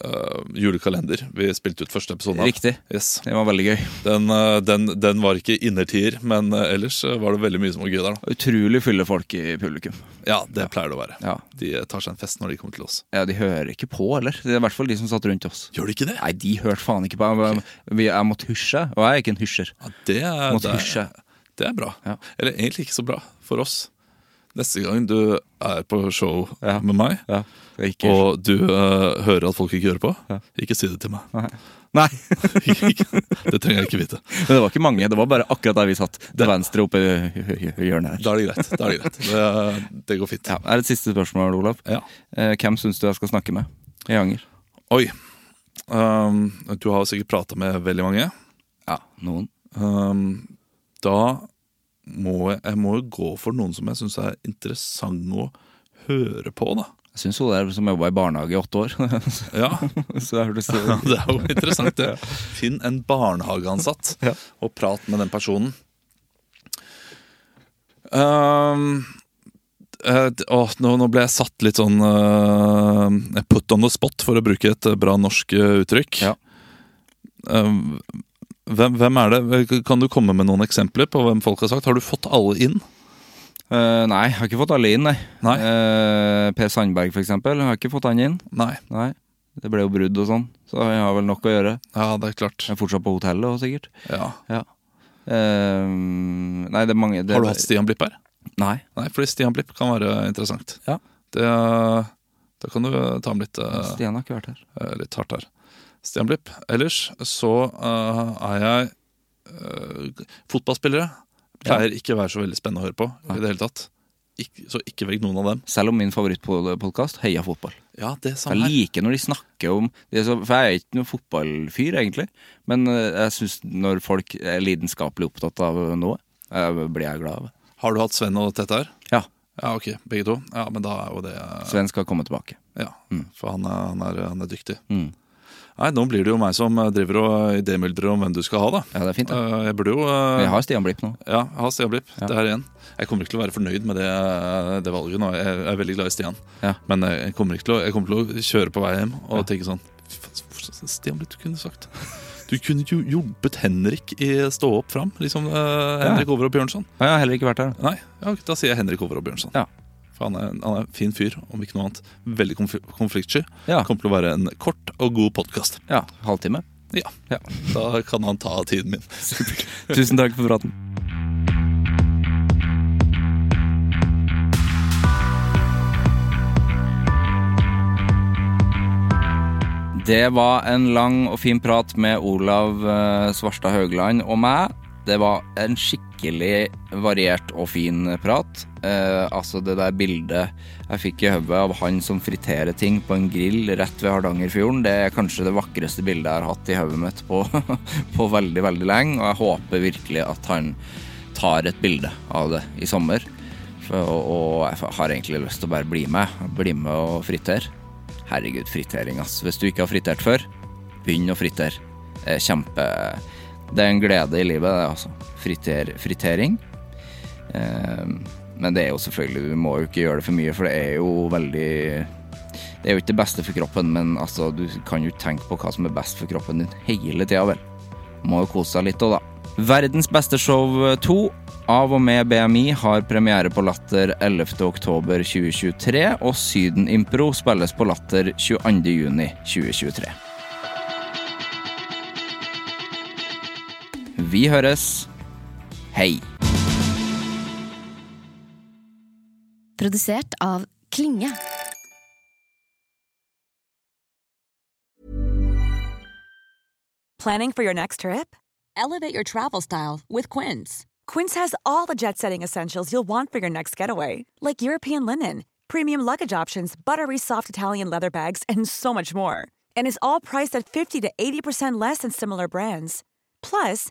eh, julekalender vi spilte ut første episode av. Riktig. Yes. Det var veldig gøy. Den, eh, den, den var ikke innertier, men eh, ellers eh, var det veldig mye som var gøy der. da Utrolig fylle folk i publikum. Ja, det pleier det å være. Ja. De eh, tar seg en fest når de kommer til oss. ja, De hører ikke på, eller? Det er i hvert fall de som satt rundt oss. Gjør de ikke det? Nei, de hørte faen ikke på. Jeg, jeg, jeg måtte hysje, og jeg er ikke en hysjer. Ja, det, er, Måtte det, hysje. er, det er bra. Ja. Eller egentlig ikke så bra for oss. Neste gang du er på show Ja. med meg, Ja, det er ikke og du eh, hører at folk ikke hører på, ikke si det til meg. Nei, det trenger jeg ikke vite. men det var ikke mange. Det var bare akkurat der vi satt. Til venstre oppe i hø- hø- hjørnet her. Da er det greit. Da er Det greit. Det, det går fint. Ja, er et siste spørsmål, Olav. Ja. Eh, hvem syns du jeg skal snakke med i Anger? Oi. Um, du har sikkert prata med veldig mange. Ja, noen. Um, da må jeg, jeg må jo gå for noen som jeg syns er interessant å høre på, da. Jeg syns hun der som jobba i barnehage i åtte år. så Ja, jeg har lyst til Ja, å det er jo interessant, det. Finn en barnehageansatt og prat med den personen. Ehm, eh, d- åh, nå, nå ble jeg satt litt sånn eh, Put on the spot, for å bruke et eh, bra norsk eh, uttrykk. Ja. Ehm, hvem, hvem er det? Kan du komme med noen eksempler på hvem folk har sagt? Har du fått alle inn? Eh, Nei, jeg har ikke fått alle inn, nei. Nei. Eh, per Sandberg, for eksempel. Jeg har ikke fått han inn. Nei. Nei. Det ble jo brudd og sånn, så jeg har vel nok å gjøre. Ja, det er klart. Jeg er fortsatt på hotellet òg, sikkert. Ja. Ja. Eh, nei, det er mange det, Har du hatt Stian Blipp her? Nei. Nei, fordi Stian Blipp kan være interessant. Ja. Det, da kan du ta med litt, eh, Stian har ikke vært her. eh, litt hardt her. Stian Blipp. Ellers så eh, er jeg eh, Fotballspillere pleier ikke å være så veldig spennende å høre på Nei. i det hele tatt. Ikk- så ikke velg noen av dem. Selv om min favorittpodkast, Heia fotball. Ja, det Jeg samme her. liker når de snakker om det er så, For jeg er ikke noen fotballfyr, egentlig. Men eh, jeg syns når folk er lidenskapelig opptatt av noe, eh, blir jeg glad av det. Har du hatt Sven og Tette her? Ja. Ja, ok, begge to. Ja, men da er jo det Sven skal komme tilbake. Ja, for han er, han er, han er dyktig. Mm. Nei, nå blir det jo meg som driver og idémyldrer om hvem du skal ha, da. Ja, det er fint, det. Eh, Jeg burde jo Men eh, jeg har Stian Blipp nå. Ja, jeg har Stian Blipp. Det er én. Jeg kommer ikke til å være fornøyd med det, det valget nå. Jeg er veldig glad i Stian. Ja. Men eh, jeg kommer, ikke til å, jeg kommer til å kjøre på vei hjem og tenke sånn "Fy faen, for- Stian Blipp, du kunne sagt Du kunne jo jobbet Henrik i Stå opp fram. Liksom eh, Henrik Over og Bjørnson. Ja, Jeg har heller ikke vært her. Nei, ja, da sier jeg Henrik Over og Bjørnson. Ja. For han er, han er en fin fyr, om ikke noe annet. Veldig konf konfliktsky. Ja. Kommer til å være en kort og god podkast. Ja, Halvtime. Ja. Ja. Da kan han ta tiden min. Tusen takk for praten. Det var en lang og fin prat med Olav eh, Svarstad Haugland og meg. Det var en skikkelig variert og fin prat. Eh, altså det der bildet jeg fikk i hodet av han som friterer ting på en grill rett ved Hardangerfjorden, det er kanskje det vakreste bildet jeg har hatt i hodet mitt på, på veldig, veldig lenge. Og jeg håper virkelig at han tar et bilde av det i sommer. For, og, og jeg har egentlig lyst til å bare bli med. Bli med og fritere. Herregud, fritering, ass. Hvis du ikke har fritert før, begynn å fritere. Det er kjempe Det er en glede i livet, det, altså. Friter, fritering. Eh, Men det er jo selvfølgelig Du må jo ikke gjøre det for mye, for det er jo veldig Det er jo ikke det beste for kroppen, men altså, du kan jo ikke tenke på hva som er best for kroppen din hele tida, vel. Må jo kose seg litt òg, da. Verdens beste show 2 av og med BMI har premiere på Latter 11.10.2023, og Syden Impro spilles på Latter 22.6.2023. Vi høres. Hei. Produsert av Klinge. Planning for your next trip? Elevate your travel style with Quince. Quince has all the jet setting essentials you'll want for your next getaway, like European linen, premium luggage options, buttery soft Italian leather bags, and so much more. And is all priced at 50 to 80% less than similar brands. Plus,